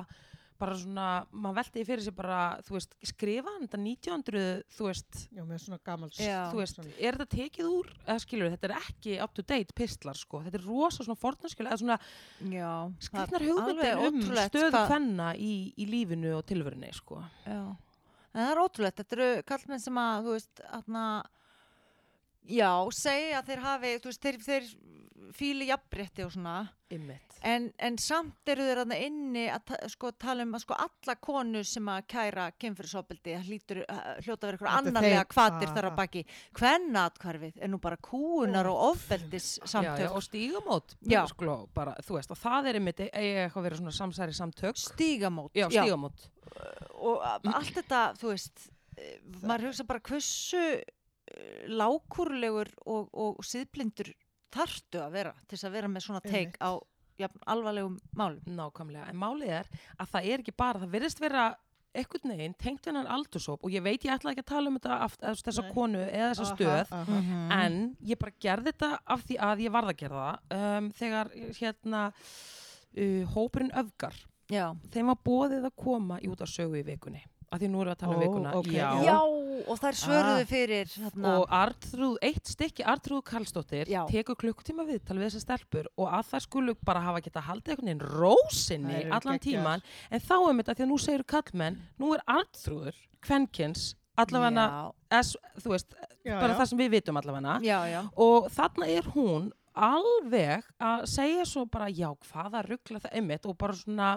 S1: bara svona, maður veltiði fyrir sér bara þú veist, skrifa hann þetta 1900 þú veist,
S2: já, með svona gammal
S3: Já.
S1: þú veist, er þetta tekið úr eða skilur, þetta er ekki up to date pistlar sko, þetta er rosa svona fornarskjölu eða svona
S3: já,
S1: skrifnar hugmyndir um stöðu
S3: hvað,
S1: hvenna í, í lífinu og tilvörinni sko
S3: já. en það er ótrúlegt, þetta eru kallmenn sem að þú veist, þarna já, segja að þeir hafi þú veist, þeir, þeir fíli jafnbretti og svona
S1: ymmit
S3: En, en samt eru þeir aðna inni að ta sko, tala um að sko alla konur sem að kæra kynfyrirsopildi hlýtur uh, hljóta verið eitthvað
S2: Þetta er
S3: annarlega
S2: þeir-
S3: kvatir
S2: Ah,
S3: þar
S2: ah.
S3: að baki. Kvennatkvarfið er nú bara kúunar og ofbeldis
S1: Já, já,
S3: samtök.
S1: og stígamót
S3: Já.
S1: sko, bara, þú veist, og það er einmitt eiga eitthvað að vera svona samsæri samtök
S3: Stígamót.
S1: já, stígamót
S3: og a- allt þetta, þú veist, eh, maður hugsa bara hversu eh, lágkúrulegur og, og síðblindur þarftu að vera til þess að vera með svona teik
S2: Einmitt.
S3: á jafn, alvarlegum málum.
S1: Nákvæmlega, en málið er að það er ekki bara, það virðist vera einhvern veginn tengt hennan aldursóp og ég veit ég ætla ekki að tala um þetta aft, eða þessa
S2: Nei. Mm.
S1: konu eða þessa stöð Mm.
S3: Mhm.
S1: en ég bara gerði þetta af því að ég varð að gera það um, þegar hérna uh, hópurinn öfgar,
S3: Já.
S1: þeim var bóðið að koma í út af sögu í vikunni, af því nú erum við að tala um
S2: Ó,
S1: vikuna
S2: ókei.
S1: já.
S2: Já.
S3: og þær svöruðu
S1: Ah.
S3: fyrir þarna,
S1: og Artrúð, eitt stykki Artrúð Karlsdóttir
S3: Já.
S1: tekur klukkutíma viðtal við þessar stelpur og að það skulu bara hafa geta haldið einhvern veginn rósinni
S2: Þær eru
S1: allan
S2: geggjaðar.
S1: tíman en þá er þetta því að nú segir kallmenn nú er Artrúður, kvenkins allavega, es, þú veist
S2: Já,
S1: bara
S2: já.
S1: það sem við vitum allavega
S3: já, já, já.
S1: og þarna er hún alveg að segja svo bara já, hvaða ruggla það einmitt og bara svona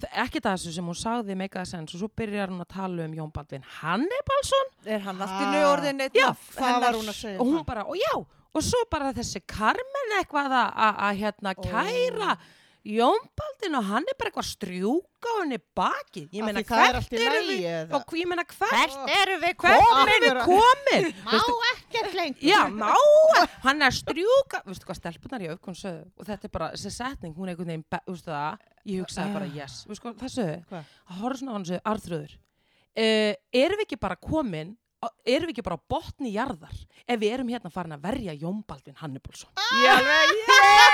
S1: það- ekkert að þessu sem hún sagði meikaða sens og svo byrjar hún að tala um Jón Baldvin Hannibalsson
S3: er hann allt í
S2: Ah.
S3: nögu orðin einn
S1: Já,
S3: af
S2: það var
S3: hennar-
S2: hún að segja
S1: og hún
S2: það.
S1: bara, og já, og svo bara þessi Carmen eitthvað að- að að, hérna kæra Jón Baldvin og hann er bara eitthvað að strjúka henni bakið, ég
S2: Af
S1: meina
S2: því það er
S1: hvert
S2: allt í
S1: eru
S2: lagi,
S1: við
S2: eða?
S1: og ég meina hvert,
S3: hvert eru við
S1: hvert
S3: komin
S1: erum við
S2: Alvöru-
S1: komin
S2: Má ekkert lengur.
S1: Já, má, hann er að strjúka Veistu hvað stelpunar í aukun sögðu Og þetta er bara, þessi setning, hún er einhvern veginn be- Veistu það, ég hugsaði bara, yes Veistu hvað, það sögðu,
S2: Hvað?
S1: að horfa svona á hann og sögðu Arþröður, uh, erum við ekki bara komin á- Erum við ekki bara á botni jarðar Ef við erum hérna farin að verja Jónbaldvin Hannibálsson
S3: Ég alveg,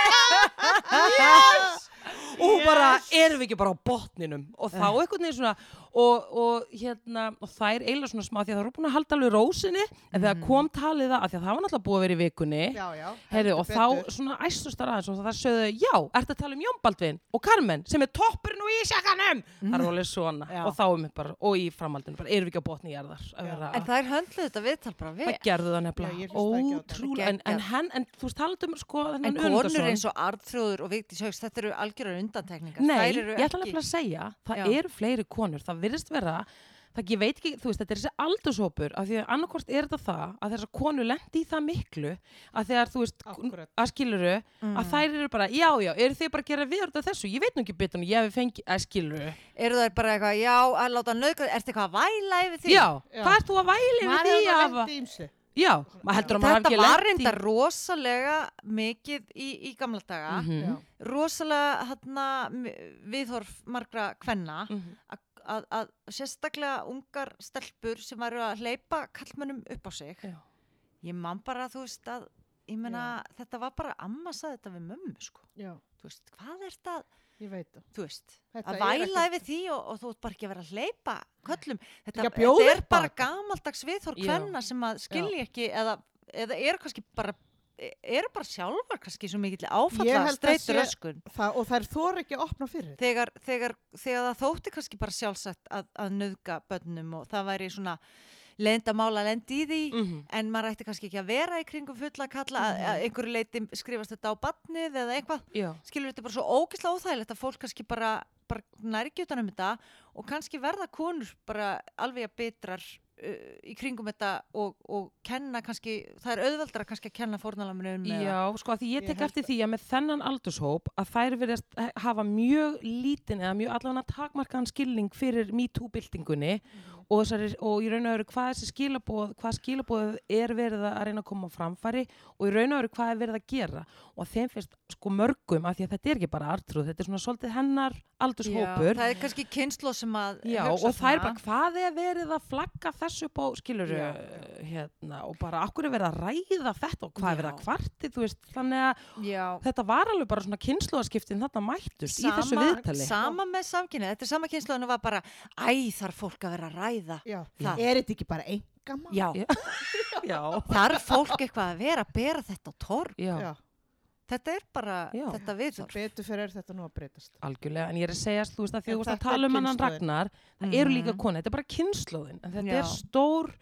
S1: og hún bara, erum við ekki bara á botninum og þá einhvern veginn svona og, og hérna, og þær eiginlega svona smá því að það eru búin að halda alveg rósinni en þegar kom talið að, af því að það var náttúrulega búið að vera í vikunni
S2: Mhm. Já, já.
S1: Heyrðu, og
S2: heldur
S1: þá
S2: betur.
S1: svona æstustar aðeins og það sögðu, já, ertu að tala um Jón Baldvin og Carmen sem er toppurinn og ísjakanum það
S2: Mhm.
S1: er alveg svona
S3: Já.
S1: og þá um bara, og í framhaldinu, bara erum við ekki á botni jarðar að
S2: Já.
S1: vera
S3: en það er höndluð þetta viðtal bara við
S1: það gerðu það
S2: Já, ég
S1: nefnilega,
S2: hlustaði ekki á þetta.
S1: ótrúlega en, en
S3: Geggjað.
S1: hann, en þú veist talandum sko
S3: En
S1: þennan
S3: konur
S1: Önundarson.
S3: eins og Arðþrjóður og Vigdís Haugs, þetta eru algjörar undantekningar.
S1: Nei,
S3: Þær
S1: ég
S3: eru
S1: ætla
S3: ekki-
S1: nefnilega að segja, það
S3: Já.
S1: eru fleiri konur, það virðist vera, það ég veit ekki, þú veist, þetta er þessi aldurshópur, af því að annarkvort er þetta það, að þessar konur lendi í það miklu, að þegar, þú veist, kun-
S2: Akkúrat. Mm.
S1: að skiluru, að þær eru bara, já, já, eru þið bara að gera viður þetta þessu, ég veit nú ekki betur en ég hefði fengið, að skiluru,
S3: Eru þær bara eitthvað, já, að láta nöðgöð, ertu eitthvað að væla yfir því?
S1: já,
S2: Já.
S1: það er þú að væli við
S2: Maður hefur
S1: því
S2: nú
S1: af,
S2: lent í ýmsu.
S1: já, maður heldur að maður
S3: Þetta
S1: hafi
S3: var
S1: ekki
S3: reynda rosalega mikið í, í gamla daga.
S2: Já.
S1: Mhm.
S3: Rosalega hana, viðhorf margra kvenna
S1: Mhm.
S3: að, að sérstaklega ungar stelpur sem eru að hleypa kallmönnum upp á sig.
S1: Já.
S3: Ég man bara, þú veist, að ég meina, þetta var bara amma saði þetta við mömmu, sko.
S2: Já,
S3: Þú veist, hvað er þetta
S2: ég veit það.
S3: þú veist,
S2: Þetta
S3: að
S2: er
S3: væla
S2: ekkert-
S3: yfir því og, og þú ert bara ekki að vera að hleypa köllum, þetta,
S2: Ekki að bjóða
S3: þetta er
S2: upp á
S3: bara
S2: þetta.
S3: gamaldags viðhór
S1: Já.
S3: hvenna sem að skilja ekki eða, eða eru kannski bara eru bara sjálfar kannski svo mikill
S2: Ég
S3: áfalla
S2: held að sé-
S3: streytur öskun
S2: það og þær þor ekki að opna fyrir þetta.
S3: þegar, þegar, þegar það þótti kannski bara sjálfsagt að, að nöðga bönnum og það væri svona leyndamála lendi í því
S2: Mm.
S1: Mhm.
S3: en maður ætti kannski ekki að vera í kringum fulla kalla að,
S2: Mm.
S3: að einhverju leiti skrifast þetta á barnið eða eitthvað
S1: Já,
S3: skilur þetta er bara svo ógeðslega óþægilegt að fólk kannski bara, bara nærgi utan um þetta og kannski verða konur bara alveg að bitrar uh, í kringum þetta og, og kenna kannski, það er auðveldra kannski að kenna fórnalamunum
S1: Já, sko að því ég
S2: Ég
S1: tek
S2: held
S1: eftir því að með þennan aldurshóp að þær verðast hafa mjög lítinn eða mjög allavega takmarkaðan skilning fyrir MeToo-byltingunni
S3: Mhm.
S1: og, þessari, og í raun og veru hvað þessi skilabóð, hvað skilabóð er verið að reyna að koma á framfæri og í raun og veru hvað er verið að gera og þeim finnst sko mörgum af því að þetta er ekki bara artrúð, þetta er svona svolítið hennar aldurshópur
S3: það er kannski kynslo sem að
S1: Já,
S3: hugsa
S1: og það er bara
S3: svona.
S1: hvað er verið að flagga þessu upp á skiluru
S3: Já,
S1: hérna og bara akkur er verið að ræða þetta og hvað er verið að
S3: Já.
S1: kvarti, þú veist, þannig að
S3: Já.
S1: þetta var alveg bara svona kynnslóðaskiptin þarna mættust í þessu viðtali.
S3: sama með samkynið, þetta er sama kynslu en það var bara, æ þarf fólk að vera að ræða
S2: Já.
S3: Það.
S2: Er þetta ekki bara enga maður?
S3: já,
S1: Ah. Já. já,
S3: þarf fólk eitthvað að vera að bera þetta á torg
S1: já,
S2: Já.
S3: þetta er bara,
S1: Já.
S3: þetta
S2: Sem
S3: viðhorf
S2: betur fyrir er þetta nú að breytast.
S1: algjörlega, en ég er að segja, þú veist, að því
S2: En
S1: þú veist að
S2: þetta
S1: tala
S2: er
S1: um hennan
S2: kynslóðin.
S1: Ragnar, það eru líka
S3: Mhm.
S1: konu, þetta er bara kynnslóðin, en þetta
S3: Já.
S1: er stór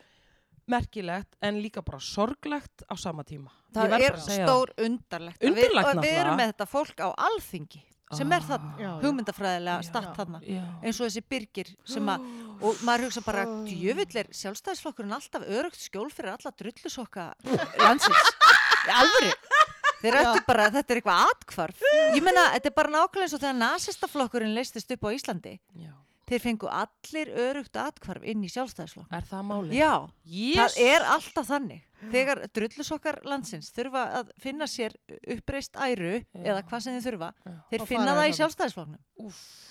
S1: merkilegt, en líka bara sorglegt á sama tíma. Ég
S3: Það
S1: verð
S3: er
S1: bara að segja
S3: stór undarlegt.
S1: Undarlegt
S3: Og við, og við
S1: náttúrulega.
S3: erum með þetta fólk á alþingi sem er þarna,
S2: Já, já.
S3: hugmyndafræðilega
S1: Já.
S3: statt þarna.
S1: Ah. Já,
S3: Eins og þessi byrgir sem að, og maður hugsa bara, djöfull er sjálfstæðisflokkurinn alltaf örugt skjól fyrir alla drullusokka landsins. Í alvöru. Þeir ættu bara, þetta er eitthvað atkvarf. Ég meina, þetta er bara nákvæmlega eins og þegar nasistaflokkurinn leistist upp á Íslandi.
S1: já.
S3: Þeir fengu allir örugt atkvarf inn í sjálfstæðisflokk.
S1: Er það málið?
S3: Já,
S1: Yes.
S3: Það er alltaf þannig. Þegar drullusokkar landsins þurfa að finna sér uppreist æru eða hvað sem þið þurfa,
S1: Já.
S3: þeir
S2: Og
S3: finna
S2: fara
S3: það í
S2: þarna.
S3: sjálfstæðisfloknum.
S1: Úff.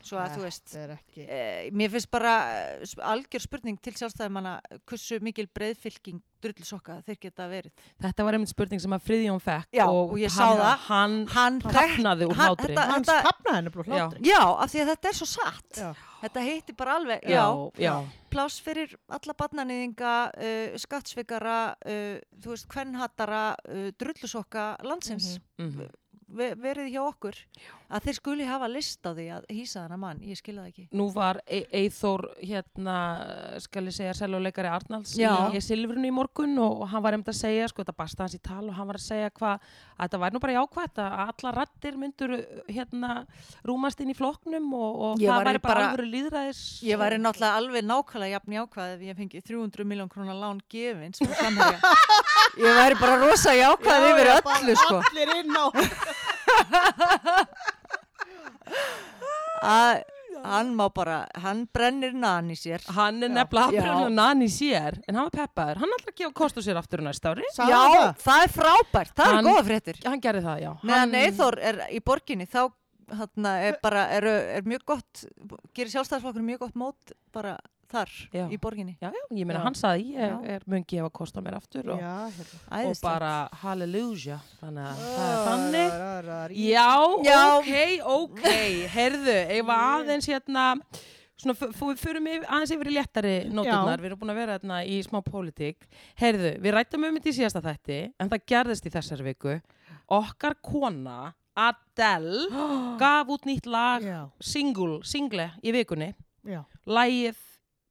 S3: svo að þú veist
S2: það er ekki
S3: e, mér finnst bara eh, sp- algjör spurning til sjálfstæðumanna hversu mikil breiðfylking drullisokka þeir geta verið
S1: Þetta var einmitt spurning sem að Friðjón fekk
S3: Já,
S1: og,
S3: og ég
S1: hann,
S3: sá það.
S1: hann
S3: hann
S1: hrafnaði úr
S3: hann-
S1: hlátri.
S3: þetta-
S2: hann
S3: þetta-
S2: skapnaði henni blóð hlátri
S3: Já, af því að þetta er svo satt.
S2: Já.
S3: Þetta heitti bara alveg, já,
S1: já,
S3: pláss fyrir alla barnanýðinga, uh, skattsveikara, uh, þú veist, kvennhattara, uh, drullusokka landsins,
S1: mhm.
S3: Ve verið hjá okkur. Að þeir skuli hafa list á því að hýsa þennan mann, ég skilja það ekki.
S1: Nú var E- Eyþór, hérna, skal ég segja, seljuleikari Arnalds í,
S3: Já.
S1: í Silfrinu í morgun og hann var einmitt að segja, sko, þetta basta hans í tal og hann var að segja hvað, að þetta væri nú bara jákvætt að alla rattir myndur, hérna, rúmast inn í flokknum og, og
S3: Ég
S1: það
S3: væri
S1: væri bara
S3: bara-
S1: alvöru líðræðis.
S3: Ég væri náttúrulega alveg nákvæmlega jafn jákvæð ef ég fengi 300 miljón krónar lán gefins frá samherja. Ég væri bara rosa jákvæð
S2: Já,
S3: yfir
S2: já, bara
S3: öllu, sko.
S2: allir inn á
S3: Að hann má bara, hann brennir nann í sér.
S1: Hann er nefnilega
S3: Já.
S1: aftur en hann í sér, en hann var peppaður. Hann ætlar að gefa kostu sér aftur næsta ári.
S2: Sagði
S3: Já,
S2: hann það?
S3: það er frábært, það
S1: Hann-
S3: er góða fréttir.
S1: Hann gerði það, já.
S3: Meðan Eithor er í borginni þá þarna, er, bara, er, er mjög gott, gerir sjálfstæðisflokkur mjög gott mót bara þar
S1: Já.
S3: í borginni.
S1: Já, já, ég meina
S3: Já.
S1: hann saði, ég
S3: Já.
S1: er mun gefa kosta mér aftur og,
S2: Já, hérna.
S1: og
S3: Æðislegt. Ah.
S1: bara hallelujah, þannig að það er þannig.
S2: Rar, rar, rar, í-
S1: Já,
S3: Já.
S1: ok, ok, heyrðu, ef að aðeins hérna, svona, f- f- við förum yfir, aðeins yfir í léttari nótunar,
S2: Já.
S1: við erum búin að vera hérna í smá pólitík, heyrðu, við rættum um þetta í síðasta þætti, en það gerðist í þessari viku, okkar kona, Adele, gaf út nýtt lag,
S2: Já,
S1: single, single í vikunni,
S2: já,
S1: lagið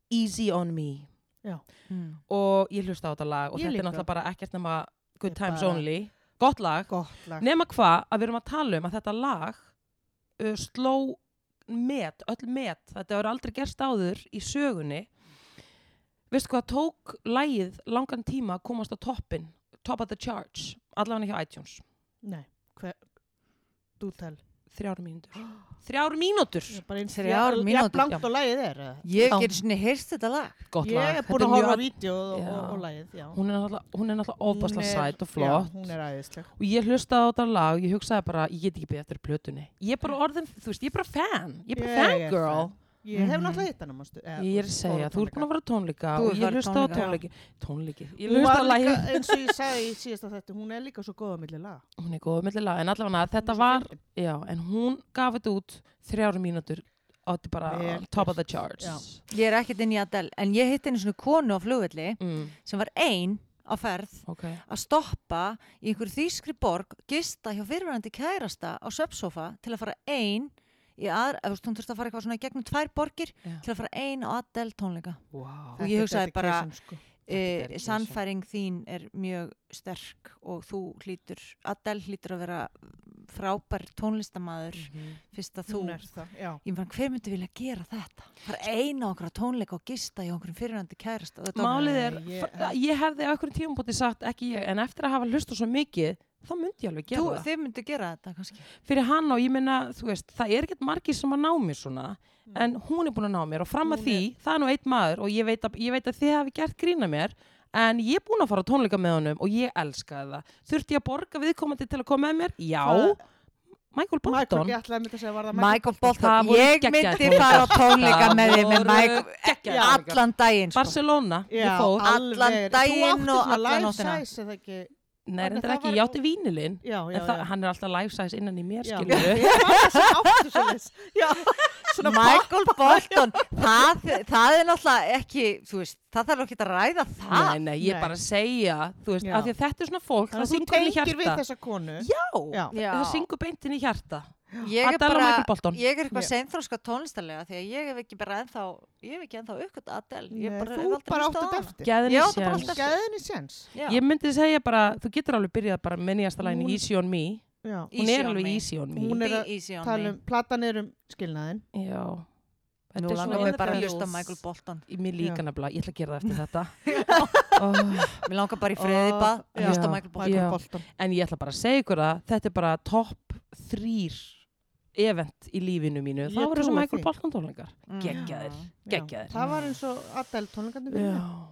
S1: Easy On Me
S2: já
S3: Mm.
S1: og ég hlusta á þetta lag og
S2: Ég
S1: þetta er
S2: líka.
S1: náttúrulega bara ekkert nema Good
S2: Þetta er
S1: Times
S2: bara-
S1: Only, gott lag
S2: Gott lag
S1: nema hvað að við erum að tala um að þetta lag uh, sló met, öll met, þetta voru aldrei gerst áður í sögunni veistu hvað, tók lagið langan tíma að komast á toppin top of the charts, allavega hjá iTunes
S2: Nei, hver Þú tel
S1: þrjár mínútur þrjár mínútur,
S2: Ég er bara eins-
S3: Þrjár
S2: ég er bara-
S3: mínútur,
S2: Ég er blankt
S1: já.
S2: og lagið er eða?
S3: Ég
S1: Já.
S3: get sinni heyrst þetta lag.
S1: gott
S2: Ég
S1: lag
S2: er búin
S1: Þetta
S2: að horfa
S1: mjög-
S2: á vídeo og,
S1: Já.
S2: og, og lagið já.
S1: hún er náttúrulega hún er náttúrulega ofbasla
S2: Hún er-
S1: sæt og flott
S2: Já, hún er æðisleg
S1: og ég hlustaði á þetta lag og ég hugsaði bara, ég get ekki beðið eftir plötunni ég er bara orðin, þú veist, ég er bara fan ég er bara
S2: Ég er
S1: fangirl
S2: fan. Ég hef
S3: Mhm.
S2: náttúrulega hitt hana manstu, eða,
S1: ég er að segja, þú ert búin að vera á tónleika
S3: Þú
S1: og
S3: ert
S1: ég
S3: bara á
S1: hlustaði á
S3: tónleika.
S1: tónleiki tónleiki, ég
S2: Hún var
S1: hlustaði á
S2: líka,
S1: lagið
S2: eins og ég sagði í síðasta þetta, hún er líka svo góða millir lag.
S1: hún er góð millir lag, en allavega þetta
S2: Hún er svo
S1: var
S2: fyndin.
S1: já, en hún gaf þetta út þrjára mínútur átti bara
S2: Vel
S1: top
S2: gert.
S1: of the charts
S3: Ég er ekkert inn í Adele, en ég hitt einu svona konu á flugvelli
S1: mm,
S3: sem var ein á ferð
S1: ok,
S3: að stoppa í einhver þýskri borg gista hjá fyrirverandi kærasta á svepsofa til að fara ein í aðra, þú veist, hún þurfti að fara eitthvað svona í gegnum tvær borgir
S1: Já.
S3: til að fara ein á Adele tónleika.
S1: wow
S3: Og
S2: Þetta
S3: ég
S2: er
S3: hugsaði bara-
S2: dedication, sko.
S1: Þetta er
S3: e,
S1: ekki
S3: sannfæring þín er mjög sterk og þú hlýtur, Adele hlýtur að vera frábær tónlistamaður
S1: Mm. Mhm.
S3: fyrst að þú,
S2: Hún er það, já.
S3: ég meðan hver myndi vilja gera þetta? Fara eina okkur á tónleika og gista í okkur fyrirhandi kærasta og þetta var-
S1: málið er,
S2: Nei, ég-
S1: ég, ég hefði á einhverjum tímabóti sagt ekki ég, en eftir að hafa hlustað svo mikið þá myndi ég alveg gera
S3: Þú,
S1: það
S3: þið myndu gera þetta kannski
S1: fyrir hann og ég minna, þú veist, það er ekkert margir sem að ná mér svona, en hún er búin að ná mér og fram að
S2: Mm. Hún
S1: því, það er nú einn maður og ég veit, að, ég veit að þið hafi gert grína mér en ég er búin að fara á tónleika með honum og ég elskaði það. Þurfti ég að borga viðkomandi til að koma með mér? Já.
S2: Það-
S1: Michael
S2: Michael,
S1: Bolton.
S2: ég ætlaði að mynda að segja, var það
S3: Michael
S1: Það
S3: Bolton,
S1: voru
S3: ég
S1: geggjaðir
S3: myndi
S1: tónleikar.
S3: fara á tónleika
S1: Það
S3: með þið með
S1: voru
S3: Michael
S1: geggjaðir tónleikar.
S3: allan daginn sko.
S1: Barcelona,
S2: Já,
S1: ég fór.
S2: alveg.
S3: allan daginn
S2: Þú
S3: og
S2: áttir svona
S3: alla
S2: life
S3: nóttina.
S2: size, eða ekki?
S1: Nei,
S2: en
S1: reyndar
S2: það
S1: ekki,
S2: var-
S1: ég átti vínilinn.
S2: Já, já,
S1: En það,
S2: já.
S1: hann er alltaf life size innan í mér,
S2: Já.
S1: skilur
S2: Ég var þessi áttu svo leys. Já, svona pakk.
S3: Michael Bolton það, það er náttúrulega ekki þú veist, það þarf ekki að ræða það
S1: Nei, nei, ég er
S2: Nei.
S1: bara að segja, þú veist,
S2: Já.
S1: af því að þetta er svona fólk, það
S2: Þannig að þú
S1: syngur inn í
S2: tengir við
S1: hjarta.
S2: þessa konu.
S1: Já,
S2: Já.
S3: Já.
S1: það syngur beint inn í hjarta.
S3: ég er
S1: Adele og Michael
S3: bara,
S1: Bolton.
S3: ég er eitthvað
S2: Já.
S3: seinþróska tónlistarlega því að ég hef ekki bara ennþá ég hef ekki ennþá aukvöld Adele ég
S2: Nei,
S3: bara, hef
S2: Þú
S3: aldrei
S2: bara
S3: hlustað
S2: áttu
S3: á
S2: þetta
S3: hana.
S2: eftir.
S1: Gæðin
S3: Ég
S1: í
S3: átti bara
S1: séns.
S3: alltaf-
S2: Gæðinni séns.
S3: Já.
S1: Ég myndi segja bara, þú getur alveg byrjað bara með nýjasta læginu
S2: Hún-
S1: Easy on Me. Hún
S2: Já.
S3: Easy
S1: er
S3: on
S1: alveg
S3: me.
S1: Easy on Me.
S2: Hún er
S3: Be
S2: að
S3: easy on
S2: tala
S3: me
S2: um, platan er um skilnaðin.
S1: Já.
S3: nú
S1: Þetta er
S3: langar við bara að
S1: þetta-
S3: hlusta á Michael Bolton
S1: Í Mér líka
S2: Já.
S1: nefnilega, ég ætla að gera það eftir þetta. oh,
S3: mér langar bara í freðibað að
S1: Já.
S3: hlusta á Michael
S1: Já.
S3: Bolton
S2: Michael Bolton.
S1: en ég ætla bara að segja ykkur það, þetta er bara topp þrýr event í lífinu mínu. Það
S2: Ég
S1: voru
S2: trúi
S1: þessum Michael
S2: því.
S1: Bolton tónleikar.
S3: Mm.
S1: Geggjaðir.
S2: Já.
S1: Geggjaðir.
S2: Það var eins og Adele tónleikandi
S1: Já.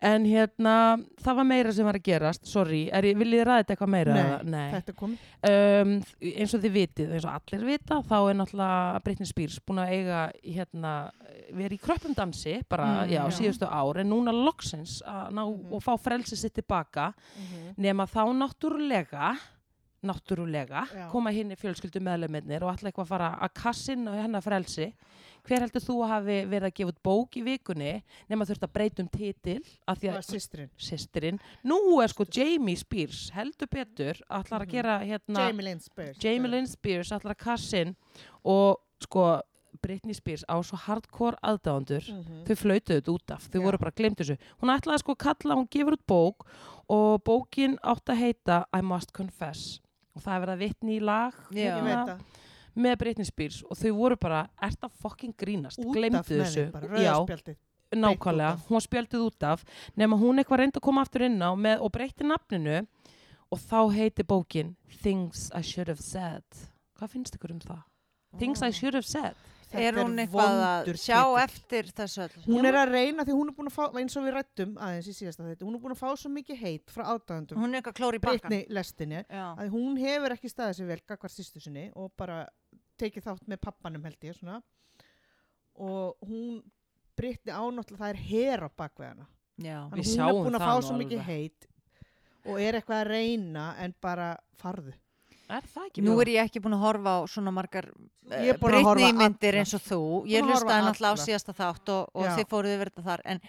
S1: En hérna, það var meira sem var að gerast, sorry, er, ég- viljið þið ræða þetta eitthvað meira?
S2: Nei,
S1: eða? Nei.
S2: þetta er komið
S1: Um, eins og þið vitið, eins og allir vita, þá er náttúrulega Britney Spears búin að eiga, hérna, verið í kröppum dansi, bara,
S2: Mm,
S1: já,
S2: já.
S1: síðustu ár, en núna loksins að ná
S2: Mhm.
S1: og fá frelsið sitt tilbaka, nema þá náttúrulega, náttúrulega,
S2: Já.
S1: koma hinn í fjölskyldu meðleminnir og alltaf eitthvað að fara að kassin og hennar frelsi. Hver heldur þú að hafi verið að gefa út bók í vikunni nema þurft að breyta um titil af því
S2: Það
S1: að
S2: var sýstrin,
S1: sýstirinn. Nú er sko Jamie Spears heldur betur ætlar að
S2: Mhm.
S1: gera hérna
S2: Jamie Lynn Spears
S1: Jamie Lynn Spears ætlar að kassin og sko Britney Spears á svo hardcore aðdáðandur
S2: Lynn
S1: þau flautuðu þetta út af, þau
S2: Mm. Já.
S1: voru bara glemt þessu hún ætlaði sko að kalla, hún gefur út bók og bókin átt að heita I Must Confess og það er verið að vitni í lag hérna
S3: Já.
S2: Ég veit það
S1: með Britney Spears og þau voru bara, ert að fucking grínast
S2: Út
S1: glemdu
S2: af með
S1: þessu,
S2: þeim bara,
S1: já,
S2: rauðarspjaldið
S1: nákvæmlega,
S2: út
S1: hún
S2: af.
S1: var spjöldið út af nema hún eitthvað reyndi að koma aftur inn á með, og breytti nafninu og þá heiti bókin Things I Should Have Said hvað finnst ykkur um það? Things I Should Have Said
S2: Þetta
S3: Mm. er hún eitthvað að
S2: vondur
S3: sjá
S2: titill.
S3: eftir þessu öll
S2: Hún er að reyna því hún er búin að fá, eins og við rættum aðeins í síðasta þetta, hún er búin að fá svo mikið heit frá aðdæðendum,
S3: hún er eitthvað klóri í bakkan
S2: Britni lestinni,
S3: Já.
S2: að hún hefur ekki staðið sér vel gagvar sýstu sinni og bara tekið þátt með pappanum held ég svona og hún Britni ánáttúrulega það er her á bakveð hana
S3: Já.
S1: Við
S2: Þannig að hún
S1: sjáum
S2: er búin að
S1: það
S2: fá
S1: nú
S2: svo mikið
S1: alveg.
S2: heit og er eitthvað að reyna en bara farðu
S1: er það ekki
S3: Nú
S1: bara-
S3: er ég ekki búin að horfa á svona margar eh,
S2: Ég er búin að horfa á
S3: Britney myndir
S2: allar.
S3: eins og þú Ég
S2: Búin að horfa á
S3: hlustaði náttúrulega á
S2: allar.
S3: síðasta þátt og, og
S2: Já.
S3: þið fóruðu yfir þetta þar en,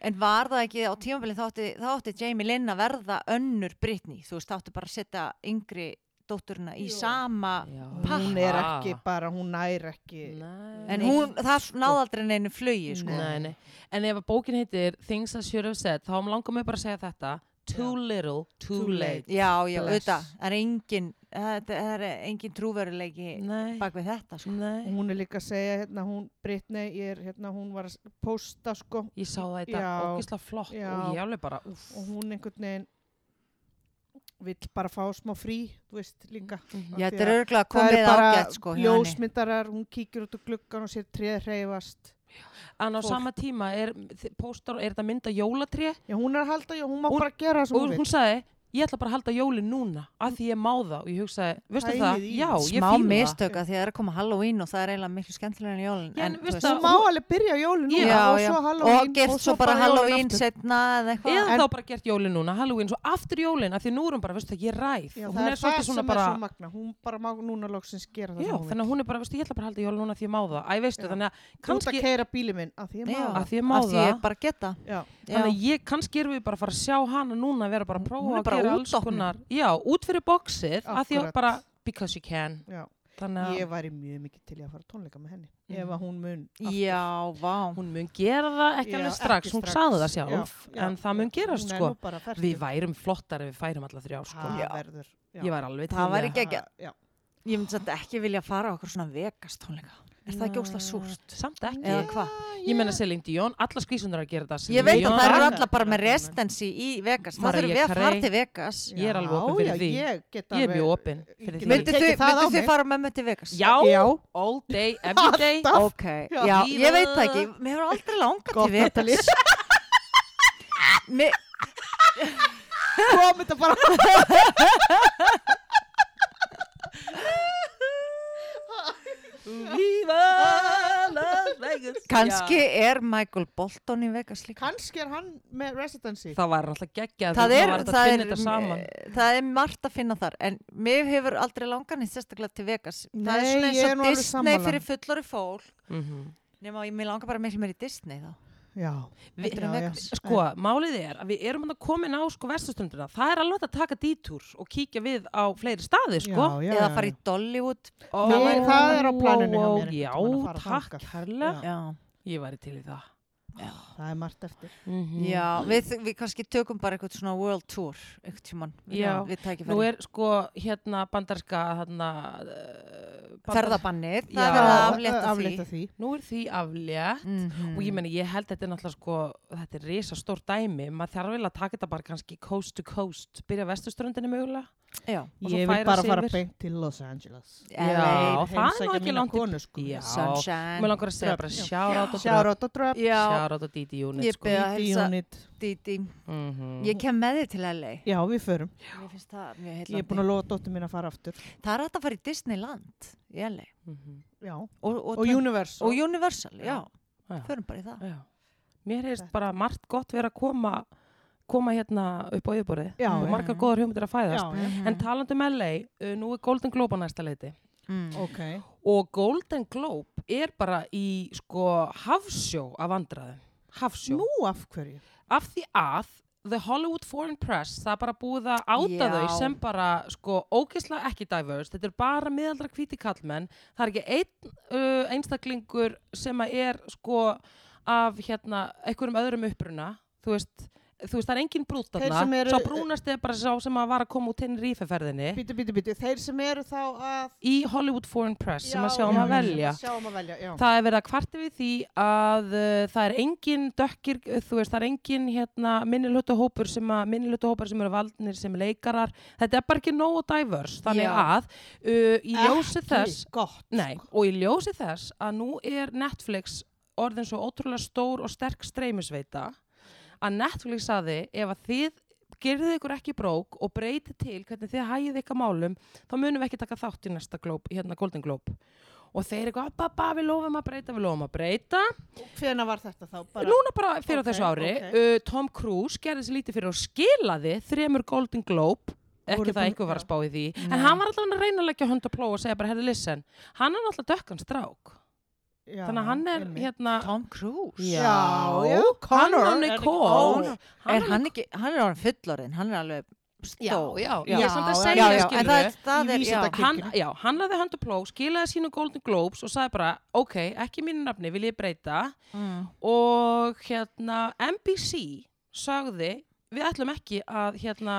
S3: en var það ekki á tímabili þátti, þátti Jamie Lynn að verða önnur Britney Þú veist þátti bara að setja yngri dótturina í
S2: Jú.
S3: sama
S1: Já.
S2: hún er ekki bara, hún nær ekki
S1: Nei.
S3: En hún, það náði aldrei neinu flugi sko.
S1: Nei, nei. En ef að bókin heitir Things I Should Have Said, þá langar mig bara að segja þetta Too little, too,
S2: Too
S1: late.
S2: late.
S3: Já, já,
S2: Bless.
S3: auðvitað Það er engin, það það er engin trúveruleiki
S1: Nei,
S3: bak við þetta sko.
S1: nei.
S2: hún er líka að segja hérna hún Britni, ég er, hérna, hún var að s- posta sko
S1: Ég sá það í dag,
S2: Já.
S1: ógislega flott
S2: Já.
S1: og ég alveg bara, úff.
S2: og hún einhvern veginn vill bara fá smá frí, þú veist líka
S1: Mhm.
S3: Já,
S2: Af því
S3: þetta er
S2: að það er
S3: örgulega Mm. komið
S2: bara
S3: ágætt sko, hjá henni.
S2: ljósmyndarar, hún kíkir út úr gluggan og sér treð hreyfast
S1: En á
S2: fólk.
S1: sama tíma er þi- póstar, er þetta mynd að jólatri
S2: já, hún er að halda, já, hún má
S1: Hún-
S2: bara gera það sem
S1: og
S2: hún
S1: hún
S2: vil
S1: sagði, ég ætla bara að halda jólin núna af því ég má það og ég hugsaði, veistu
S2: Pælið
S1: það,
S2: í því.
S1: já, ég
S3: smá
S1: fíla það.
S3: mistök að því að það er að koma Halloween og það er eiginlega miklu skemmtilega en jólin
S1: Já, en veistu
S2: hún má alveg byrja jólin núna
S3: já,
S2: og
S3: já,
S2: svo Halloween
S3: og gert svo bara
S2: jólin
S3: Halloween
S2: aftur.
S3: setna eða eitthvað
S1: Eða
S2: En-
S1: þá bara gert jólin núna, Halloween, svo aftur jólin af því nú er hún bara, veistu það, ég ræð
S2: Já,
S1: Og
S2: það
S1: hún er
S2: er, það
S1: svolítið svona
S2: sem
S1: bara
S2: er svo magna, hún bara má núna loksins gera það
S1: Já,
S2: sem hún
S1: þannig að hún er bara, veistu, ég ætla bara að halda jól núna því ég má það. Æ, veistu,
S2: Já.
S1: þannig að
S2: Kannski... Þú ert
S1: kannski,
S2: að keira bíli minn að því ég má
S3: Já.
S2: það.
S1: að því ég má
S3: af því
S1: það,
S3: ég bara geta
S2: Já.
S1: þannig að ég, kannski erum við bara að fara að sjá hana núna að vera bara að
S3: Hún
S1: prófa
S3: er
S1: að
S3: bara
S1: gera
S3: út
S1: alls
S3: opnuð.
S1: konar. Já, út fyrir bóksið, að því ég
S2: Akkurat.
S1: bara, because you can.
S2: Já.
S1: Þannig að
S2: Ég væri mjög mikið til í að fara á tónleika með henni ef að hún mun aftur.
S3: já, vá
S1: hún mun gera það ekki
S2: Já,
S1: alveg
S2: ekki
S1: strax, hún
S2: strax.
S1: sagði það
S2: Já,
S1: sjálf,
S2: já.
S1: en það mun gerast,
S2: Hún er
S1: sko.
S2: nú bara fersk.
S1: Við værum flottar ef við færum alla þrjá, sko.
S2: Það
S3: Já.
S2: verður. Já.
S1: Ég var alveg til í
S3: Það
S1: að-
S3: væri ekki- geggjað.
S2: Já.
S3: ég myndi samt ekki vilja fara á okkur svona Vegas tónleika er það ekki ósla súrt?
S1: Samt ekki.
S3: eða hvað?
S1: Ég meina Celine Dion, alla skvísunar að gera það.
S3: ég
S1: Celine
S3: veit að
S1: Dion,
S3: það eru
S2: Gaga.
S3: allar bara með residency í Vegas þá
S1: Mariah
S3: þurfum við að
S1: Carey.
S3: fara til Vegas
S1: Ég er alveg opin fyrir
S2: já,
S1: því.
S2: Ég, get
S1: Ég er
S2: alveg-
S1: mjög opin fyrir
S2: Ég
S1: því.
S2: get
S3: myndu
S2: tekið það á
S3: þið
S2: mig.
S3: fara með mig til Vegas?
S1: Já,
S2: Já.
S1: all day, every day.
S2: Alltaf.
S3: ok,
S2: Já.
S3: já, ég veit það ekki mér hefur aldrei langað til
S2: Gott að
S3: Vegas
S2: tala í-
S3: Mér-
S2: kom þetta bara
S1: Viva Las Vegas
S3: kannski er Michael Bolton í Vegas líka
S2: kannski er hann með residency
S1: Það var alltaf geggjað
S3: það er,
S1: var þetta að
S3: það,
S1: finna
S3: er,
S1: þetta saman
S3: eh, það er margt að finna þar en mér hefur aldrei langan í sérstaklega til Vegas það er
S2: Nei,
S3: svona
S2: ég er nú
S3: eins og
S2: alveg
S3: Disney
S2: sammála.
S3: fyrir fullori fólk
S1: mm -hmm.
S3: nema ég mér langar bara miklu meir í Disney þá
S2: Já.
S1: Vi-
S3: Heldur en
S2: Já, já.
S3: Vegas.
S1: Sko, málið er að við erum að komin á sko vestustöndina Það er alveg hægt að taka dítúr og kíkja við á fleiri staði sko
S2: Já, já,
S3: eða
S2: já,
S3: fara
S2: já.
S3: í Dollywood
S1: Ó,
S2: Það væri- það er á planinu hjá
S1: ó,
S2: mér einhvern
S1: Já,
S2: tímann að fara
S1: takk
S2: þangað.
S1: herrlega
S3: já,
S1: Ég væri til í það
S2: Það er margt eftir.
S1: mm
S3: já við, við kannski tökum bara eitthvað svona world tour eitthvað tíman
S1: Já.
S3: við
S1: Nú
S3: tækifæri
S1: er sko hérna bandarska hérna, uh, bandar-
S3: ferðabannið,
S1: Já.
S3: það er að
S1: Já,
S3: aflétta því
S2: Aflétta því.
S1: Nú er því aflétt
S3: Mhm.
S1: og ég meni ég held þetta er náttúrulega sko þetta er risa stór dæmi maður þarf vel að taka þetta bara kannski coast to coast byrja á vesturströndinni mögulega
S3: já,
S1: Og svo
S2: Ég vil
S1: færa
S2: bara
S1: sig
S2: fara
S1: yfir.
S2: beint til Los Angeles.
S1: Já,
S3: LA,
S1: það er nú
S2: Heimsækja
S1: ekki
S2: mína
S1: langt í-
S2: konu, sko.
S1: Já.
S3: Sunshine
S1: mér langar að segja bara
S2: Dröfn, já.
S1: sjárátt og dröfn
S2: Sjárót og dröfn.
S3: já,
S1: shout out á DD Unit
S3: Ég
S1: sko.
S3: beða að
S2: Dídí
S3: helsa
S2: unit.
S3: Dídí.
S1: Mhm.
S3: Ég kem með þig til LA.
S2: Já, við förum.
S3: Mér finnst það mjög
S2: Ég er búin
S3: heillandi.
S2: að lofa dóttur mín að fara aftur.
S3: Það er alltaf að fara í Disneyland í LA.
S1: Mhm.
S2: Já. Og,
S3: Og, og,
S2: Universal.
S3: og Universal, já.
S1: Já.
S3: Förum bara í það.
S1: Já. Mér hefist bara margt gott verið að koma, koma hérna upp á yfirborðið
S2: Já,
S1: og
S2: já.
S1: margar góðar hugmyndir að fæðast.
S2: já.
S3: Mhm.
S1: En talandi um LA, uh, nú er Golden Globe á næsta leiti
S3: mm.
S2: Ok.
S1: og Golden Globe er bara í sko hafsjó af vandraðum. Hafsjó.
S2: Nú af hverju?
S1: Af því að The Hollywood Foreign Press, það er bara búið að áta
S3: Já.
S1: þau sem bara sko ógeðslega ekki diverse, þetta er bara miðaldra hvíti kallmenn, það er ekki einn uh, einstaklingur sem að er sko af hérna einhverjum öðrum uppruna, þú veist, þú veist það er engin brút
S2: Þeir
S1: þarna,
S2: sem eru-
S1: sá brúnast er bara sá sem að var að koma út hinn rífeferðinni
S2: Bítu, bítu, bítu. Þeir sem eru þá að...
S1: í Hollywood Foreign Press sem að
S2: Já,
S1: sjáum
S2: já,
S1: að velja.
S2: sem Sjáum að velja, já.
S1: Það er verið að kvarta við því að uh, það er engin dökkir, uh, þú veist, það er engin hérna, minnilötuhópur sem, að- minnihlutahópar sem eru valdnir sem leikarar. Þetta er bara ekki nógu diverse, þannig
S3: Já.
S1: að uh, í ljósi
S2: Ekki
S1: þess,
S2: Gott.
S1: nei, og í ljósi þess að nú er Netflix orðin svo ótrúlega stór og sterk streymisveita að Netflix saði ef að þið gerðið ykkur ekki brók og breytið til hvernig þið hægið ykkar málum þá munum við ekki taka þátt í næsta glóp, hérna Golden Globe og þeir eitthvað, "Abba, abba, við lofum að breyta, við lofum að breyta
S2: Hvena var þetta þá? Bara...
S1: núna bara fyrir
S2: Ok,
S1: á þessu ári
S2: ok.
S1: uh, Tom Cruise gerði sér lítið fyrir og skilaði þremur Golden Globe ekki
S2: Voru
S1: það
S2: búin-
S1: eitthvað var að
S2: já.
S1: spá í því en hann var alltaf að reyna að leggja hönd á pló og segja bara, herri, listen, hann er alltaf dökkan strák
S2: Já,
S1: þannig að hann er
S2: einmitt.
S1: hérna
S3: Tom Cruise.
S2: Já, já,
S1: hann og
S2: Connor er ekki-
S1: Nicole
S3: Er hann ekki, hann er orðin fullorinn, hann er alveg
S1: Já,
S3: stór.
S1: já,
S2: Já,
S1: ég er samt að
S2: já,
S1: segja,
S2: já, já,
S3: en
S1: skilurðu.
S3: það,
S2: Í
S3: það er, já,
S2: vísindakirkjunni.
S1: hann, já, hann laði höndu pló, skilaði sínu Golden Globes og sagði bara, ok, ekki mínu nafni, vil ég breyta
S3: mm,
S1: og hérna NBC sagði við ætlum ekki að hérna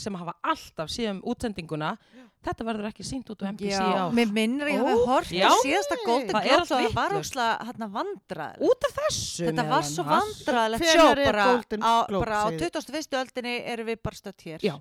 S1: sem hafa alltaf síðan útsendinguna þetta verður ekki sínt út á NBC
S3: já,
S1: á
S3: mér minnir að ég
S2: Ó,
S3: hafi hort
S1: já.
S3: síðasta Golden
S1: Það er
S3: Globe
S1: allt
S3: og það hérna var
S1: vitlaust.
S3: ósla hann að vandra
S1: út af þessu
S3: þetta
S1: meðal
S3: var svo
S1: annars.
S3: vandraðilegt
S2: Hvenær
S3: sjó
S2: er
S3: bara
S2: Golden
S3: á,
S2: Globe,
S3: bara á
S2: segið?
S3: 21. öldinni erum við bara stött hér
S1: Já.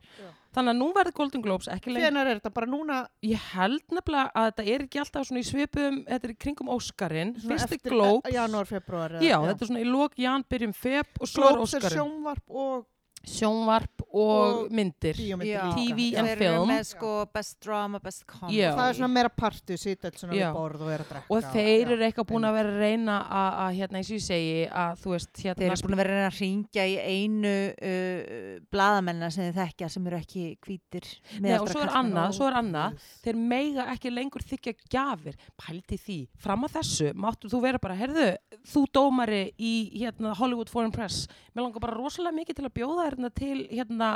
S1: þannig að nú verður Golden Globes ekki lengur
S2: Hvenær er þetta? Bara núna
S1: ég held nefnilega að þetta er ekki alltaf svona í svipum þetta er í kringum Óskarinn,
S2: svona
S1: fyrsti
S2: eftir-
S1: Globes
S2: eh, Janúar, februar.
S1: já, þetta er svona í lok Jan byrjum Feb og svo er
S2: Globes er
S1: Óskarinn
S2: sjónvarp og
S1: sjónvarp
S2: Og
S1: og myndir
S2: bíómyndir
S3: Já.
S1: TV
S2: líka.
S1: and
S2: Já.
S3: þeir eru
S1: film.
S3: með sko best drama, best comedy
S1: Já.
S2: Það er svona meira partu, sita alls svona
S1: Já.
S2: við borð og er að drekka.
S1: og þeir eru eitthvað búin
S2: einmitt.
S1: að vera að reyna að, að hérna eins og ég segi að þú veist
S3: þeir
S1: hérna
S3: eru búin að vera að reyna að ringja í einu uh, bladamennina sem þeir þekkja sem eru ekki hvítir
S1: Nei, og svo er
S3: meðaldra karlmenn.
S1: annað, svo er annað
S2: Guð.
S1: þeir mega ekki lengur þykja gjafir pælti því, fram að þessu máttu þú vera bara, herðu, þú dómari í hérna, Hollywood Foreign Press mér langar bara rosalega mikið til að bjóða þér hérna, til hérna,